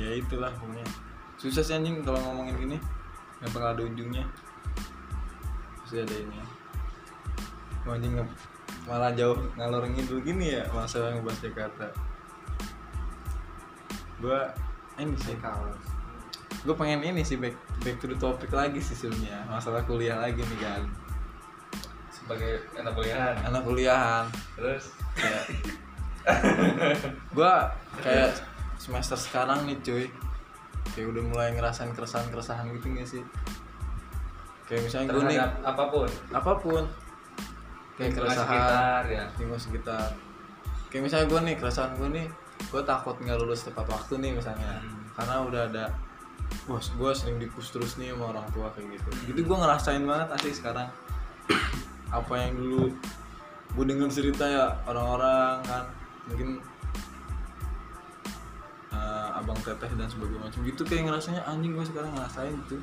Speaker 2: Ya itulah pokoknya. Susah sih anjing kalau ngomongin gini. Gak bakal ada ujungnya. Pasti ada ini. Wah, Anjing nge- malah jauh ngalor ngidul gini ya masalah ngebahas Jakarta. Gua ini sih gue pengen ini sih back, back to the topic lagi sih sebenarnya masalah kuliah lagi nih kan
Speaker 1: sebagai anak kuliahan
Speaker 2: anak kuliahan
Speaker 1: terus
Speaker 2: gue kayak semester sekarang nih cuy kayak udah mulai ngerasain keresahan keresahan gitu gak sih kayak misalnya gue nih
Speaker 1: terhadap apapun
Speaker 2: apapun kayak
Speaker 1: Lingkungan
Speaker 2: keresahan
Speaker 1: sekitar ya
Speaker 2: lingkungan sekitar kayak misalnya gue nih keresahan gue nih gue takut nggak lulus tepat waktu nih misalnya karena udah ada bos gue sering dipus terus nih sama orang tua kayak gitu itu gue ngerasain banget asli sekarang apa yang dulu gue denger cerita ya orang-orang kan mungkin eh, abang teteh dan sebagainya macam gitu kayak ngerasanya anjing gue sekarang ngerasain gitu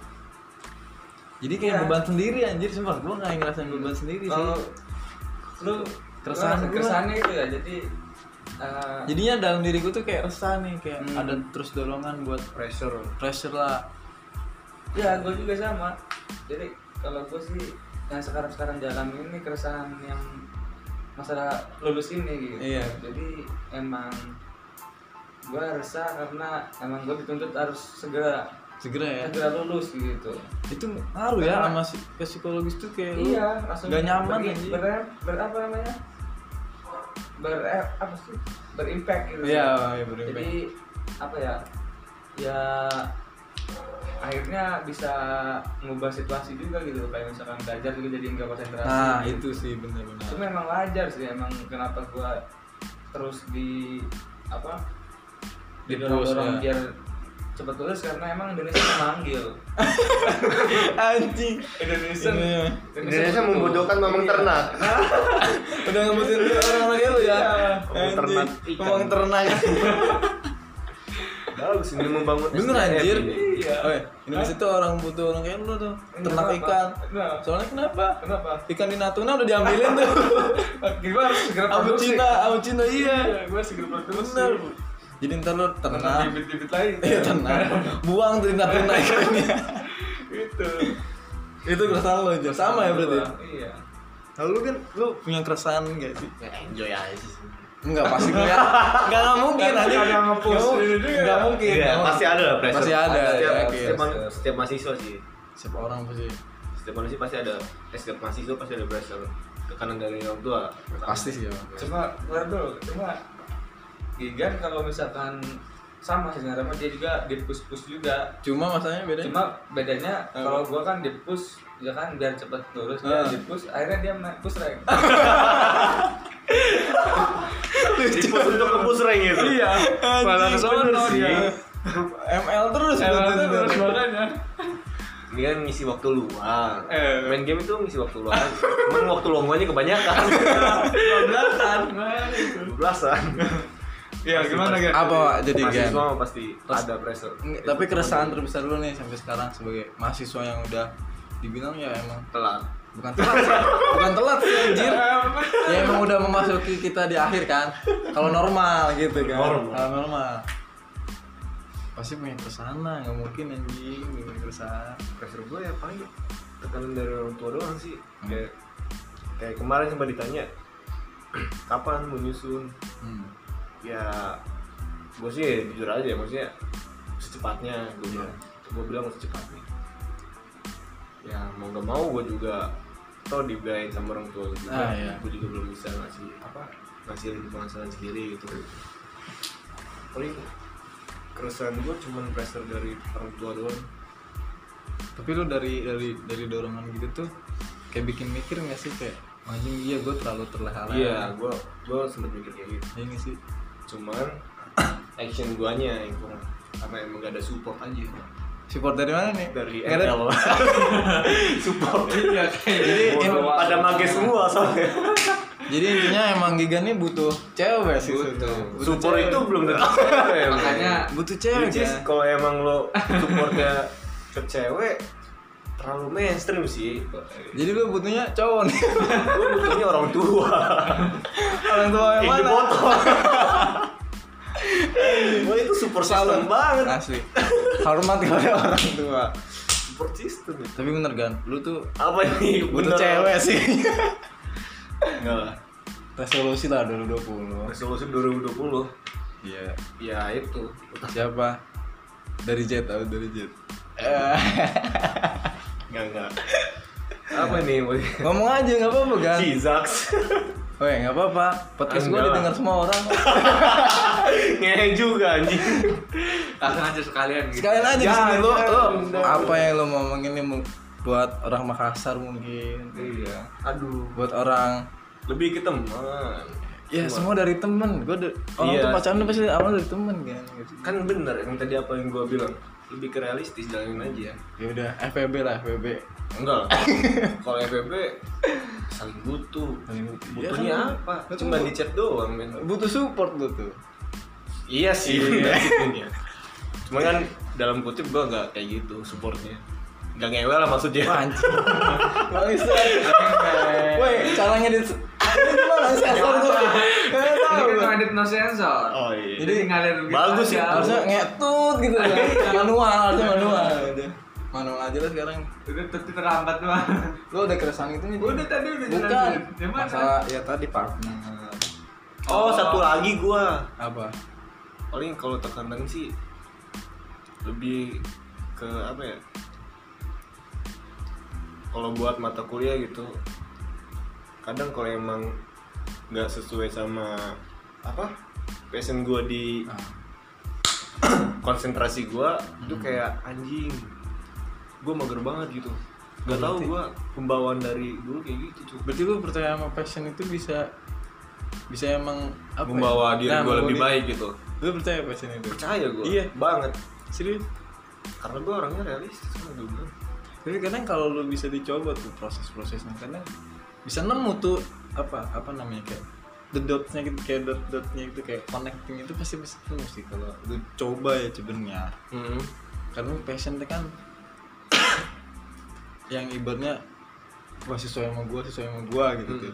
Speaker 2: jadi kayak beban sendiri anjir sumpah gue nggak ngerasain beban sendiri sih
Speaker 1: kalau lu lu
Speaker 2: Keresahan gua. Iya.
Speaker 1: keresahannya itu ya jadi eh,
Speaker 2: jadinya dalam diri gue tuh kayak resah nih kayak
Speaker 1: Hmm.
Speaker 2: ada terus dorongan buat
Speaker 3: Pressure.
Speaker 2: pressure lah
Speaker 1: ya gue juga sama jadi kalau gue sih yang sekarang sekarang jalan ini keresahan yang masalah lulus ini gitu
Speaker 2: Iya.
Speaker 1: jadi emang gue resah karena emang gue dituntut harus segera
Speaker 2: segera ya
Speaker 1: segera lulus gitu
Speaker 2: itu ngaruh ya sama si- ke psikologis tuh kayak lu
Speaker 1: iya langsung
Speaker 2: nggak nyaman
Speaker 1: ber,
Speaker 2: anjing.
Speaker 1: ber, ber- apa namanya ber eh, apa sih berimpact gitu
Speaker 2: iya iya bener
Speaker 1: jadi apa ya ya akhirnya bisa mengubah situasi juga gitu kayak misalkan belajar juga jadi nggak konsentrasi
Speaker 2: nah
Speaker 1: gitu.
Speaker 2: itu sih
Speaker 1: itu
Speaker 2: bener-bener
Speaker 1: memang wajar sih emang kenapa gua terus di apa didorong-dorong
Speaker 2: Di push, ya.
Speaker 1: biar cepet lulus karena emang Indonesia memanggil
Speaker 2: anjing
Speaker 1: Indonesia
Speaker 2: Iya.
Speaker 3: Indonesia membodohkan mamang
Speaker 1: Iya.
Speaker 3: ternak.
Speaker 2: udah ngebutin orang lagi lu ya
Speaker 3: Ngomong
Speaker 2: anjing
Speaker 3: ternak ikan.
Speaker 2: ngomong ternak
Speaker 3: Bagus ini membangun
Speaker 2: Bener
Speaker 3: SDM
Speaker 2: anjir.
Speaker 3: ini.
Speaker 1: Iya.
Speaker 2: Oh, ya. Indonesia tuh orang butuh orang kayak lu tuh. Ternak
Speaker 1: Kenapa?
Speaker 2: ikan.
Speaker 1: Nah,
Speaker 2: Soalnya kenapa?
Speaker 1: Kenapa?
Speaker 2: Ikan di Natuna udah diambilin tuh.
Speaker 1: Gue harus segera
Speaker 2: Abu
Speaker 1: produksi.
Speaker 2: Cina, Abu Cina iya.
Speaker 1: Iya, gue segera produksi.
Speaker 2: Bener. Jadi ntar lu
Speaker 1: Tanam
Speaker 2: ternak.
Speaker 1: bibit-bibit lain.
Speaker 2: Iya tenang. Buang tuh di Natuna ikannya.
Speaker 1: Itu.
Speaker 2: Itu keresahan lo Jor. Sama ya berarti.
Speaker 1: Iya.
Speaker 2: Lalu kan lu punya keresahan gak sih?
Speaker 4: enjoy aja sih
Speaker 2: Enggak pasti gue ya. Enggak enggak mungkin nanti.
Speaker 1: ada yang nge-post.
Speaker 2: Enggak mungkin. Enggak mungkin.
Speaker 4: Iya,
Speaker 2: Enggak
Speaker 4: pasti ada lah pressure.
Speaker 2: Pasti ada,
Speaker 3: Setiap,
Speaker 2: ya,
Speaker 3: setiap,
Speaker 2: oke.
Speaker 3: man- setiap mahasiswa sih.
Speaker 2: Siapa orang pasti.
Speaker 3: Setiap manusia pasti ada. eh, Setiap mahasiswa pasti ada pressure tekanan dari orang tua.
Speaker 2: Pasti sih. ya.
Speaker 1: Cuma, bentar dulu. Cuma, Gigan kalau misalkan sama sih sebenarnya dia juga dipus-pus juga
Speaker 2: Cuma masalahnya beda.
Speaker 1: cuma bedanya kalau gua kan dipus ya kan biar cepet lurus dia
Speaker 2: Ah.
Speaker 1: dipus akhirnya dia naik push rank
Speaker 4: Dipus untuk kebus rank
Speaker 3: gitu.
Speaker 4: itu
Speaker 1: iya
Speaker 4: malah
Speaker 2: Anjing,
Speaker 4: kesono
Speaker 2: bener
Speaker 4: sih.
Speaker 2: ya. ML terus.
Speaker 1: Emang
Speaker 2: bener,
Speaker 1: itu terus
Speaker 2: bener.
Speaker 1: makanya
Speaker 3: Ini kan ngisi waktu luang.
Speaker 1: Eh.
Speaker 3: Main game itu ngisi waktu luang. Cuman waktu luangnya kebanyakan.
Speaker 1: kebablasan
Speaker 3: Belasan.
Speaker 1: ya gimana gitu
Speaker 2: Apa Pak, jadi game?
Speaker 3: Mahasiswa mah pasti ada pressure.
Speaker 2: Nggak, tapi keresahan terbesar lu nih sampai sekarang sebagai mahasiswa yang udah dibilang ya emang
Speaker 3: telat.
Speaker 2: bukan telat sih. bukan telat sih anjir ya emang udah memasuki kita di akhir kan kalau normal gitu kan
Speaker 3: Normal.
Speaker 2: kalau normal pasti punya kesana nggak mungkin anjing punya kesana
Speaker 3: pressure gue ya paling tekanan dari orang tua doang sih
Speaker 2: Hmm.
Speaker 3: kayak kayak kemarin sempat ditanya kapan mau nyusun
Speaker 2: hmm.
Speaker 3: ya gue sih jujur aja ya, maksudnya secepatnya gue bilang gue bilang secepatnya ya mau nggak mau gue juga tau dibiayain sama orang tua gue juga
Speaker 2: Ah, iya.
Speaker 3: gue juga belum bisa ngasih apa ngasihin penghasilan sendiri gitu paling keresahan gue cuman pressure dari orang tua doang
Speaker 2: tapi lu dari dari dari dorongan gitu tuh kayak bikin mikir nggak sih kayak anjing iya gue terlalu terlehal
Speaker 3: iya gue gue sempet mikir kayak gitu
Speaker 2: ini sih
Speaker 3: cuman action guanya yang kurang karena emang gak ada support aja
Speaker 2: support dari mana nih
Speaker 3: dari
Speaker 2: Nggak ada-
Speaker 3: ML support
Speaker 1: iya kayak
Speaker 2: jadi em-
Speaker 3: pada mage semua soalnya
Speaker 2: Jadi intinya emang Giga nih butuh cewek sih
Speaker 1: Butuh.
Speaker 2: sebenarnya.
Speaker 3: support
Speaker 2: cewek.
Speaker 3: itu belum tentu cewek, Bro.
Speaker 1: makanya
Speaker 2: butuh cewek
Speaker 3: Which is,
Speaker 2: kan?
Speaker 3: kalau emang lo supportnya ke cewek terlalu mainstream sih
Speaker 2: Jadi lu butuhnya cowok nih.
Speaker 3: gue butuhnya orang tua
Speaker 2: Orang tua yang
Speaker 3: ini
Speaker 2: mana?
Speaker 3: botol Wah itu support system banget
Speaker 2: Asli. Hormat kepada orang tua.
Speaker 3: Support system ya.
Speaker 2: Tapi bener kan, lu tuh
Speaker 3: Apa ini?
Speaker 2: butuh
Speaker 3: Bener.
Speaker 2: cewek sih.
Speaker 3: Enggak lah
Speaker 2: Resolusi lah 2020.
Speaker 3: Resolusi 2020
Speaker 2: Iya.
Speaker 3: Ya itu
Speaker 2: Siapa? Dari Jet, atau dari Jet.
Speaker 3: Enggak, enggak. Apa nih?
Speaker 2: Ngomong aja nggak apa-apa kan?
Speaker 3: Cizaks.
Speaker 2: Weh nggak apa-apa. Podcast gua
Speaker 3: Enggak.
Speaker 2: didengar semua orang.
Speaker 3: Ngehe juga anjing.
Speaker 1: langsung aja sekalian gitu
Speaker 2: Sekalian aja di sini Ya,
Speaker 3: Jangan,
Speaker 2: lu, lu
Speaker 3: jangan.
Speaker 2: apa yang lu mau ngomongin nih mu- buat orang Makassar mungkin,
Speaker 1: iya
Speaker 3: Aduh.
Speaker 2: buat orang
Speaker 3: Lebih ke teman.
Speaker 2: Ya semua dari temen, gue de- orang
Speaker 3: Iya.
Speaker 2: tuh pacaran pasti awal dari temen kan. Gitu.
Speaker 3: Kan bener yang tadi apa yang gua bilang. Lebih ke realistis jalanin aja.
Speaker 2: Ya udah FBB lah FBB.
Speaker 3: Enggak lah. Kalau FBB saling butuh. kan? Butuhnya
Speaker 2: Iya,
Speaker 3: apa? Cuma di chat doang men.
Speaker 2: Butuh support lu tuh.
Speaker 3: Iya sih. basicnya. Cuma kan dalam kutip gua nggak kayak gitu supportnya. Gak ngewel lah maksudnya.
Speaker 2: Anjing. Gak bisa. Woi, caranya di Ini gimana sih asal tuh? Nggak tahu
Speaker 1: ini
Speaker 2: gua.
Speaker 1: kan edit no sensor
Speaker 3: Oh iya.
Speaker 1: jadi ngalir gitu kan, begitu
Speaker 3: Bagus
Speaker 1: aja.
Speaker 3: sih,
Speaker 2: Harusnya ngetut gitu kan.
Speaker 1: Iya.
Speaker 2: Manual, harusnya manual. gitu. Manual aja lah sekarang.
Speaker 1: itu tapi terlambat mah
Speaker 2: Lu udah keresahan itu nih. Jin?
Speaker 1: Udah tadi udah
Speaker 2: Bukan.
Speaker 1: jelasin. Yang mana?
Speaker 2: Masalah ya tadi partner.
Speaker 3: Oh, satu lagi gua.
Speaker 2: Apa?
Speaker 3: paling kalau tekanan sih lebih ke apa ya kalau buat mata kuliah gitu kadang kalau emang nggak sesuai sama apa passion gue di
Speaker 2: Ah.
Speaker 3: konsentrasi gue itu
Speaker 2: Hmm.
Speaker 3: kayak anjing gue mager banget gitu nggak tahu gue pembawaan dari dulu kayak gitu cuy
Speaker 2: Berarti lu percaya sama passion itu bisa bisa emang apa? ya?
Speaker 3: membawa diri
Speaker 2: Nah,
Speaker 3: gue
Speaker 2: membawa
Speaker 3: lebih
Speaker 2: diri.
Speaker 3: baik gitu
Speaker 2: Lu percaya passion itu?
Speaker 3: percaya gue
Speaker 2: Iya.
Speaker 3: banget
Speaker 2: Serius.
Speaker 3: karena gue orangnya realistis kan gue bilang
Speaker 2: Tapi kadang kalau lu bisa dicoba tuh proses-prosesnya kadang bisa nemu tuh apa apa namanya kayak the dotsnya gitu kayak dot dotnya gitu kayak connecting itu pasti pasti ketemu sih kalau lu coba ya sebenarnya
Speaker 3: Hmm.
Speaker 2: karena passion itu kan yang ibaratnya wah sesuai sama gua sesuai sama gua gitu
Speaker 3: Hmm.
Speaker 2: tuh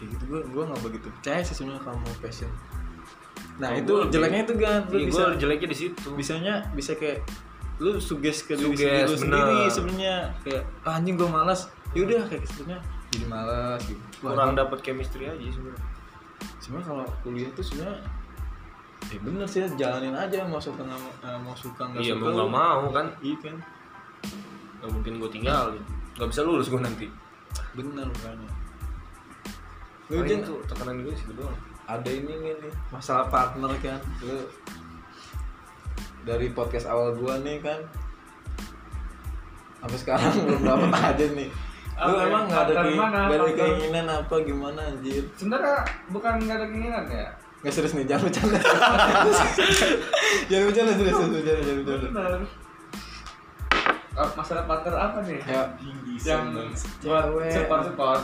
Speaker 2: kayak gitu gua gua nggak begitu percaya sih sebenarnya kalau mau passion nah
Speaker 3: Kalau
Speaker 2: itu
Speaker 3: gua lebih-
Speaker 2: jeleknya itu kan lu
Speaker 3: Iya,
Speaker 2: bisa
Speaker 3: gue jeleknya di situ.
Speaker 2: bisanya bisa kayak lu suges ke diri
Speaker 3: Suges,
Speaker 2: sendiri lu
Speaker 3: bener.
Speaker 2: sendiri sebenarnya kayak "Ah, anjing gua malas yaudah kayak sebenarnya jadi malas gitu Wah,
Speaker 3: Kurang dapet chemistry aja sebenarnya.
Speaker 2: sebenarnya kalau kuliah tuh sebenarnya ya bener sih jalanin aja mau suka nggak mau- eh, mau suka nggak
Speaker 3: Iya
Speaker 2: suka
Speaker 3: mau
Speaker 2: lu-
Speaker 3: nggak mau kan,
Speaker 2: iya kan
Speaker 3: nggak mungkin gue tinggalin. Gak bisa lulus gue nanti.
Speaker 2: bener makanya lu
Speaker 3: Paling
Speaker 2: Jin,
Speaker 3: tuh tekanan gue sih doang.
Speaker 2: Oh, ada ini nggak nih masalah partner kan lu dari podcast awal gua nih kan sampai sekarang belum dapat aja nih lu
Speaker 1: Apa,
Speaker 2: emang nggak ada
Speaker 1: partner
Speaker 2: di
Speaker 1: mana,
Speaker 2: nggak ada
Speaker 1: partner?
Speaker 2: keinginan apa gimana anjir
Speaker 1: sebenarnya bukan nggak ada keinginan ya
Speaker 2: nggak serius nih jangan bercanda jangan bercanda serius serius, bercanda jangan bercanda
Speaker 1: benar Oh, masalah partner apa nih
Speaker 2: ya
Speaker 1: yang buat
Speaker 2: Cewek. Iya.
Speaker 1: support support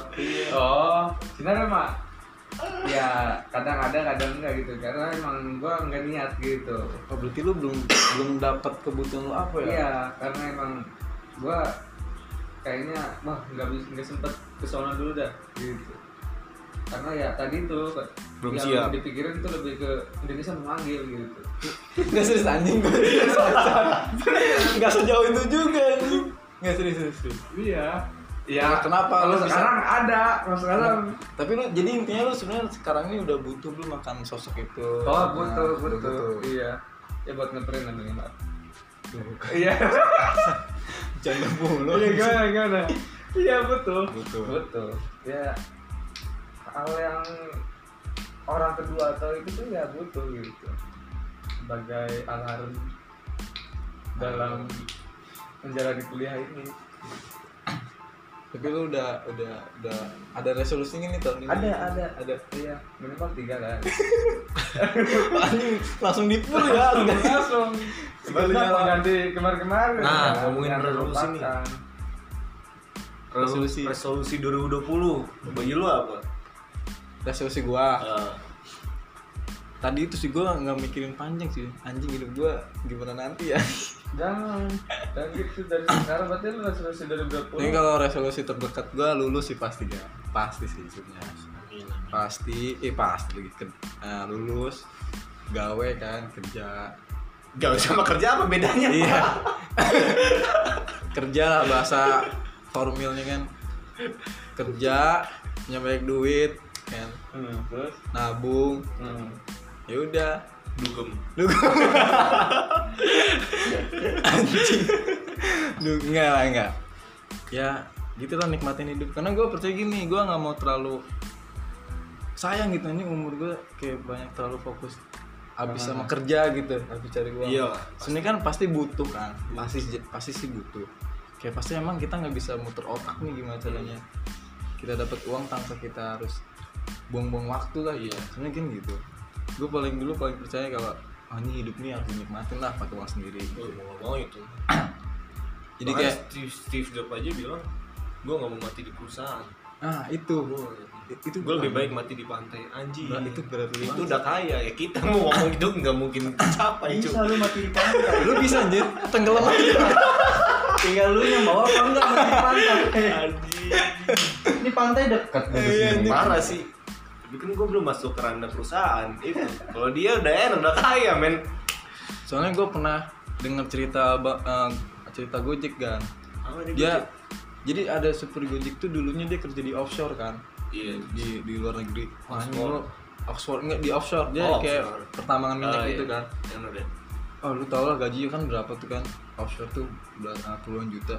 Speaker 1: oh sebenarnya mah ya kadang ada kadang enggak gitu karena emang gua nggak niat gitu
Speaker 2: oh, berarti lu belum belum dapat kebutuhan lu apa ya
Speaker 1: iya karena emang gua kayaknya wah nggak bisa nggak sempet kesana dulu dah gitu karena ya tadi itu
Speaker 3: Belum
Speaker 1: yang
Speaker 3: siap.
Speaker 1: dipikirin tuh lebih ke Indonesia memanggil gitu
Speaker 2: nggak serius anjing gue nggak sejauh itu juga anjing nggak serius serius, serius
Speaker 1: iya
Speaker 2: Nah,
Speaker 1: ya
Speaker 2: kenapa
Speaker 1: kalau
Speaker 2: lu bisa- Nah,
Speaker 1: sekarang ada kalau sekarang
Speaker 2: tapi lu jadi intinya lu sebenarnya sekarang ini udah butuh lu makan sosok itu
Speaker 1: oh
Speaker 2: Nah,
Speaker 1: butuh
Speaker 2: udah
Speaker 1: butuh iya ya buat ngeprint namanya Mbak.
Speaker 2: Tuh,
Speaker 1: iya
Speaker 2: jangan mulu
Speaker 1: iya gimana gimana iya betul
Speaker 2: Butuh.
Speaker 1: betul ya kalau yang orang kedua atau itu tuh ya butuh gitu sebagai alarm dalam menjalani kuliah ini
Speaker 2: tapi lu udah udah udah ada resolusinya nih tahun ini
Speaker 1: ada ada
Speaker 2: ada
Speaker 1: iya minimal tiga lah
Speaker 2: anjing langsung di full ya
Speaker 1: langsung kan.
Speaker 2: Sekalinya
Speaker 1: sebenarnya mengganti kemarin-kemarin
Speaker 3: Nah,
Speaker 1: ya,
Speaker 3: ngomongin
Speaker 1: yang
Speaker 3: resolusi nih.
Speaker 1: terlupakan.
Speaker 2: Resolusi.
Speaker 3: Resolusi 2020. Bagi lu apa?
Speaker 2: resolusi gua
Speaker 3: Eh,
Speaker 2: tadi itu sih gua nggak mikirin panjang sih anjing hidup gua gimana nanti ya
Speaker 1: jangan dan gitu dari sekarang berarti lu resolusi
Speaker 2: Ini
Speaker 1: 2020
Speaker 2: kalau resolusi terdekat gua lulus sih pasti ya. Pasti sih sebenarnya. Pasti, eh pasti lagi ke, eh, lulus, gawe kan kerja.
Speaker 3: Gak sama kerja apa bedanya?
Speaker 2: Iya. kerja lah bahasa formilnya kan. Kerja, punya banyak duit, kan.
Speaker 1: Hmm, terus
Speaker 2: Nabung.
Speaker 1: hmm.
Speaker 2: Ya udah.
Speaker 3: Dugem.
Speaker 2: Duh, enggak lah, enggak. Ya, gitu lah nikmatin hidup. Karena gue percaya gini, gue nggak mau terlalu sayang gitu ini umur gue kayak banyak terlalu fokus habis sama kerja gitu, habis cari uang.
Speaker 3: Iya lah,
Speaker 2: Sebenarnya kan pasti butuh kan, pasti pasti sih butuh. Kayak pasti emang kita nggak bisa muter otak nih gimana caranya kita dapat uang tanpa kita harus buang-buang waktu lah iya sebenarnya kan gitu gue paling dulu paling percaya kalau ah, ini hidup nih harus dinikmatin lah pakai uang sendiri
Speaker 3: Gue Eh, mau nggak mau itu.
Speaker 2: jadi
Speaker 3: Makanya
Speaker 2: kayak
Speaker 3: Steve, Steve Jobs aja bilang, gue nggak mau mati di perusahaan.
Speaker 2: ah itu
Speaker 3: Gua-
Speaker 2: itu
Speaker 3: Gue lebih baik mati di pantai. Anjing.
Speaker 2: Nah, itu berat banget.
Speaker 3: Itu udah kaya ya kita mau ngomong itu nggak mungkin capai cuy.
Speaker 1: lu mati di pantai
Speaker 2: lu bisa anjir Iya, tenggelam aja
Speaker 4: Tinggal lu yang bawa apa enggak mati pantai.
Speaker 3: Anjing.
Speaker 4: Ini pantai dekat dari
Speaker 3: Iya,
Speaker 5: Iya,
Speaker 4: sini.
Speaker 3: Parah sih. Tapi kan gue belum masuk ke ranah perusahaan itu. Kalau dia udah enak udah kaya men.
Speaker 2: soalnya gue pernah dengar cerita ba- eh, cerita gojek kan
Speaker 3: Apa dia?
Speaker 2: dia jadi ada super gojek tuh dulunya dia kerja di offshore kan
Speaker 3: Iya.
Speaker 2: di di luar negeri Wah, ini
Speaker 3: Offshore.
Speaker 2: lu Oxford enggak di offshore dia
Speaker 3: Oh,
Speaker 2: kayak
Speaker 3: offshore.
Speaker 2: pertambangan minyak
Speaker 3: Ah,
Speaker 2: gitu
Speaker 3: iya.
Speaker 2: kan
Speaker 3: Yang udah.
Speaker 2: oh lu tau lah gajinya kan berapa tuh kan offshore tuh belasan puluhan juta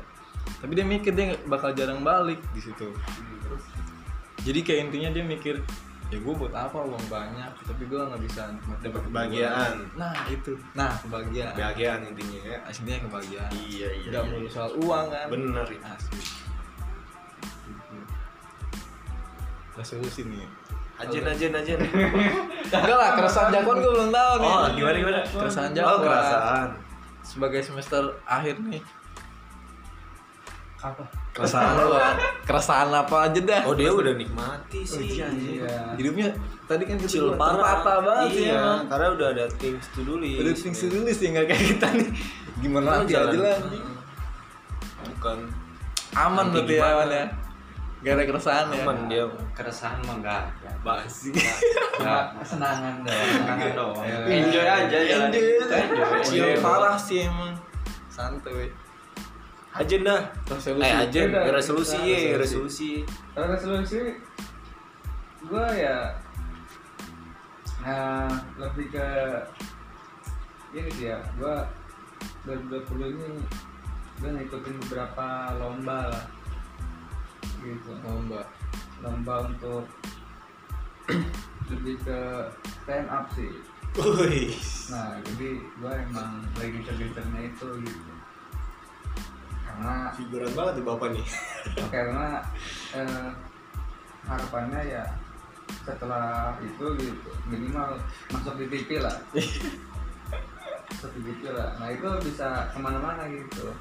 Speaker 2: tapi dia mikir dia nggak- bakal jarang balik di situ
Speaker 3: Hmm.
Speaker 2: jadi kayak intinya dia mikir ya gue buat apa uang banyak tapi gue nggak bisa nikmatin
Speaker 3: Dapat
Speaker 2: hidup
Speaker 3: kebahagiaan.
Speaker 2: gua." nah itu nah kebahagiaan
Speaker 3: Kebahagiaan intinya ya.
Speaker 2: aslinya kebahagiaan
Speaker 3: Iya iya.
Speaker 2: nggak
Speaker 3: iya.
Speaker 2: melulu soal uang kan
Speaker 3: Bener ya.
Speaker 2: asli Gitu. resolusi nih
Speaker 3: Ajen ajen ajen.
Speaker 2: enggak lah keresahan jakon gue belum tahu nih
Speaker 3: Oh gimana gimana?
Speaker 2: keresahan
Speaker 3: Oh
Speaker 2: jakon
Speaker 3: kerasaan.
Speaker 2: sebagai semester akhir nih
Speaker 4: apa
Speaker 2: keresahan keresahan apa aja dah
Speaker 3: oh iya, dia udah nikmati
Speaker 5: Iya,
Speaker 3: sih
Speaker 2: hidupnya tadi kan
Speaker 3: kecil
Speaker 2: kecil
Speaker 3: parah
Speaker 2: rata banget
Speaker 3: iya,
Speaker 2: ya emang.
Speaker 3: karena udah ada things to do list gitu.
Speaker 2: udah things to do list ya nggak kayak kita nih gimana
Speaker 3: Lu
Speaker 2: aja aja
Speaker 3: jalan.
Speaker 2: lah
Speaker 3: bukan
Speaker 2: aman
Speaker 3: Nanti
Speaker 2: berarti ya
Speaker 3: gimana?
Speaker 2: aman ya gak ada keresahan ya
Speaker 3: aman dia
Speaker 4: keresahan mah enggak ya.
Speaker 2: basi
Speaker 4: enggak kesenangan doang kesenangan doang
Speaker 1: Iya.
Speaker 4: enjoy aja jalan
Speaker 2: kecil
Speaker 4: enjoy
Speaker 2: Iya, parah sih emang santuy
Speaker 3: ajen dah
Speaker 2: resolusi
Speaker 3: eh ajen
Speaker 1: Udah,
Speaker 3: resolusi
Speaker 1: kita resolusi.
Speaker 3: ya resolusi
Speaker 1: Kalau resolusi gue ya nah lebih ke ini sih ya gue 2020 ini gue ngikutin beberapa lomba lah gitu
Speaker 2: lomba
Speaker 1: lomba untuk lebih ke stand up sih
Speaker 2: Wih,
Speaker 1: nah jadi gue emang lagi gencar-gencarnya itu gitu karena
Speaker 3: figuran banget tuh bapak nih
Speaker 1: karena eh, harapannya ya setelah itu gitu minimal masuk di TV lah masuk di TV lah nah itu bisa kemana-mana gitu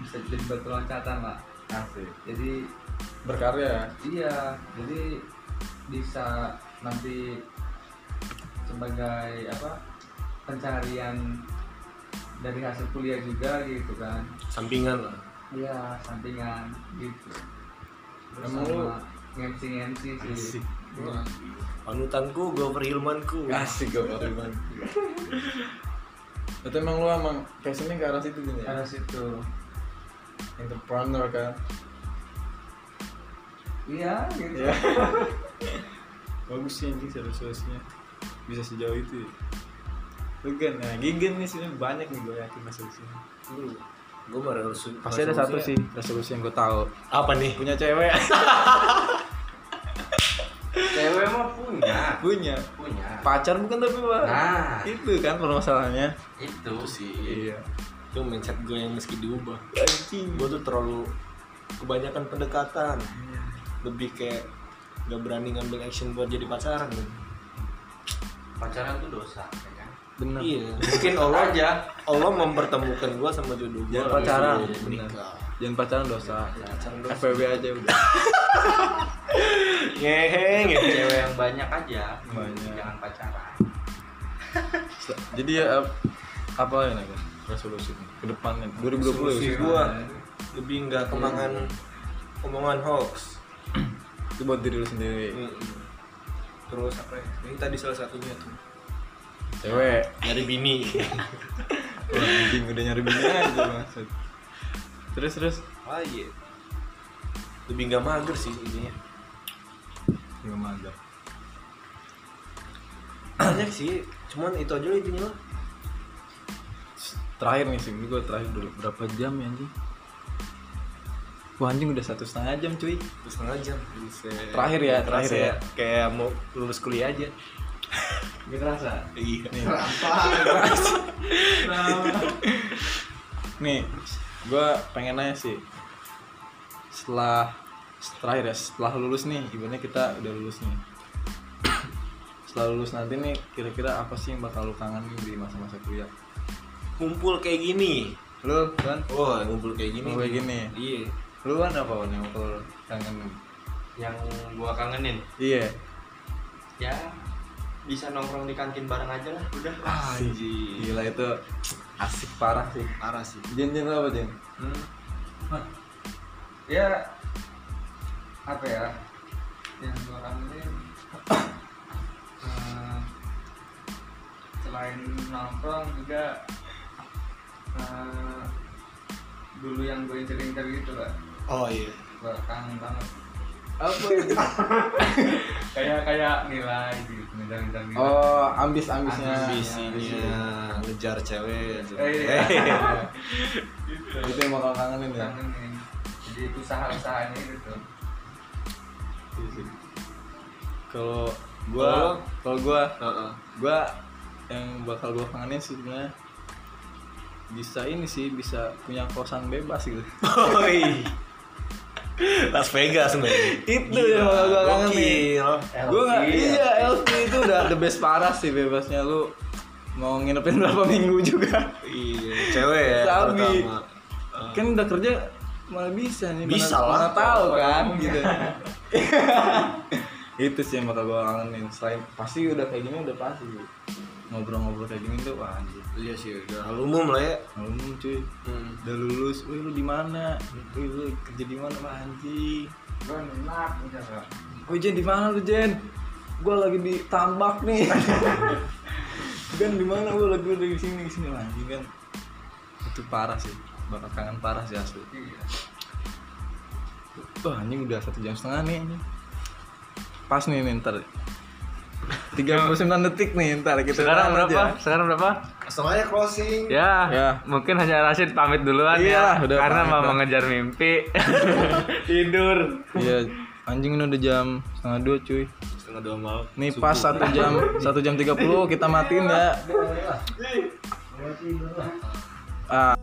Speaker 1: bisa jadi batu loncatan lah
Speaker 4: asik
Speaker 1: jadi
Speaker 2: berkarya
Speaker 1: iya jadi bisa nanti sebagai apa pencarian dari hasil kuliah juga gitu kan
Speaker 3: sampingan lah
Speaker 1: Iya, sampingan gitu. Terus
Speaker 2: Emang lu-
Speaker 1: sama MC MC sih. Gua-
Speaker 3: panutanku Gover Hilmanku
Speaker 2: asik gue baru banget itu emang lu emang passionnya ke arah situ gini ya
Speaker 1: Ada situ.
Speaker 2: entrepreneur kan
Speaker 1: Iya, gitu.
Speaker 2: ya bagus sih anjing serius-seriusnya bisa sejauh itu ya lu kan nah gigen nih sebenarnya banyak nih gue yakin resolusinya
Speaker 3: Hmm, gue baru
Speaker 2: pasti ada
Speaker 3: ya?
Speaker 2: satu sih resolusi yang gue tahu
Speaker 3: apa nih
Speaker 2: punya cewek
Speaker 4: cewek mah punya
Speaker 2: punya
Speaker 4: punya
Speaker 2: pacar bukan tapi pak
Speaker 4: nah
Speaker 2: itu kan permasalahannya
Speaker 4: itu sih
Speaker 2: iya
Speaker 3: itu mindset gue yang meski diubah
Speaker 2: anjing
Speaker 3: gue tuh terlalu kebanyakan pendekatan lebih kayak gak berani ngambil action buat jadi pacaran gitu.
Speaker 4: pacaran tuh dosa ya kan?
Speaker 2: bener
Speaker 3: iya mungkin Allah aja
Speaker 4: aja
Speaker 3: Allah mempertemukan gue sama jodoh gue
Speaker 2: Jangan pacaran.
Speaker 3: menikah
Speaker 2: jangan pacaran dosa
Speaker 3: iya, pacaran dosa.
Speaker 2: FPB aja udah
Speaker 3: ngeheng ya.
Speaker 4: cewek yang banyak aja
Speaker 2: Banyak.
Speaker 4: jangan pacaran
Speaker 2: jadi ya ap- apa ya Naga? resolusinya ke depannya 2020
Speaker 3: resolusi
Speaker 2: ya
Speaker 3: gue lebih nggak kemakan omongan hoax
Speaker 2: itu buat diri lu sendiri
Speaker 3: terus apa ya ini tadi salah satunya tuh
Speaker 2: cewek
Speaker 3: nyari bini
Speaker 2: anjing udah nyari bini aja maksud terus terus
Speaker 3: ah iya lebih nggak mager sih ininya
Speaker 2: ya mantap
Speaker 3: banyak sih cuman itu aja lah intinya lah
Speaker 2: terakhir nih sih gue terakhir dulu berapa jam ya anjing Wah anjing udah satu setengah jam cuy
Speaker 3: Terus setengah jam
Speaker 2: Terakhir ya, terakhir
Speaker 3: Terasa
Speaker 2: ya.
Speaker 3: kayak mau lulus kuliah aja
Speaker 1: Gak terasa.
Speaker 3: iya
Speaker 2: Nih,
Speaker 1: Nah,
Speaker 2: nih gue pengen nanya sih setelah terakhir ya setelah lulus nih ibaratnya kita udah lulus nih setelah lulus nanti nih kira-kira apa sih yang bakal lu kangenin di masa-masa kuliah
Speaker 3: ngumpul kayak gini
Speaker 2: lu kan
Speaker 3: wah Oh, ngumpul kayak gini
Speaker 2: Ngumpul kayak gini.
Speaker 3: iya
Speaker 2: lu kan apa Wan, yang bakal lu kangenin
Speaker 4: yang gua kangenin
Speaker 2: iya
Speaker 4: ya bisa nongkrong di kantin bareng aja lah udah
Speaker 3: Ah,
Speaker 2: asik gila itu asik parah sih
Speaker 3: Iya. parah sih
Speaker 2: Jen Jen lu apa Jen
Speaker 3: hmm.
Speaker 1: ya apa ya? Yang gua kangenin eh, selain nongkrong juga eh, dulu yang gue incer-incer gitu lah
Speaker 3: oh iya
Speaker 1: gue kangen banget
Speaker 2: apa
Speaker 1: kayak kayak nilai gitu ngejar-ngejar nilai
Speaker 2: oh ambis
Speaker 3: Ah, iya,
Speaker 2: ambisnya
Speaker 3: ambisinya ngejar cewek aja.
Speaker 1: Eh, iya. gitu
Speaker 2: itu yang bakal kangenin ya
Speaker 1: kangenin jadi usaha-usahanya gitu
Speaker 2: kalau
Speaker 3: Kalau
Speaker 2: gua
Speaker 3: lu?
Speaker 2: kalau gua
Speaker 3: Heeh.
Speaker 2: gua yang bakal gua kangenin sih sebenarnya bisa ini sih bisa punya kosan bebas gitu
Speaker 3: Oi. Las Vegas men
Speaker 2: Itu yang bakal gua kangenin.
Speaker 3: Gokil.
Speaker 2: gua nggak iya LV itu udah the best parah sih bebasnya lu mau nginepin berapa minggu juga
Speaker 3: iya cewek ya
Speaker 2: Sabi.
Speaker 3: terutama.
Speaker 2: kan udah kerja malah bisa nih
Speaker 3: Bisa
Speaker 2: mana,
Speaker 3: lah.
Speaker 2: mana tahu kan gitu itu sih yang bakal gue kangenin selain pasti udah kayak gini udah pasti sih. ngobrol-ngobrol kayak gini tuh wah anjir
Speaker 3: Iya sih, udah hal umum lah ya.
Speaker 2: Ngomong cuy udah lulus, wih lu di mana? Wih lu kerja di mana mah anjing?
Speaker 4: Gue nolak, udah gak.
Speaker 2: Wih "Oh, Jen di mana lu Jen? Gua lagi di tambak nih. kan di mana gua lagi udah di sini di sini Wah, anjing kan. Itu parah sih, bakal kangen parah sih asli. Wah anjing udah satu jam setengah nih anjing. Pas nih, nih ntar 39 detik nih ntar kita
Speaker 7: Sekarang
Speaker 2: tahan
Speaker 7: berapa?
Speaker 2: aja.
Speaker 7: Sekarang berapa?
Speaker 3: Langsung aja closing.
Speaker 7: Ya,
Speaker 2: Ya.
Speaker 7: mungkin hanya Rashid pamit duluan ya,
Speaker 2: Iya, udah
Speaker 7: karena
Speaker 2: pamit
Speaker 7: mau
Speaker 2: lah.
Speaker 7: mengejar mimpi. Tidur.
Speaker 2: Iya, anjing ini udah jam setengah dua cuy.
Speaker 3: Setengah dua malam.
Speaker 2: Nih pas satu jam satu jam tiga puluh kita matiin ya. Ah.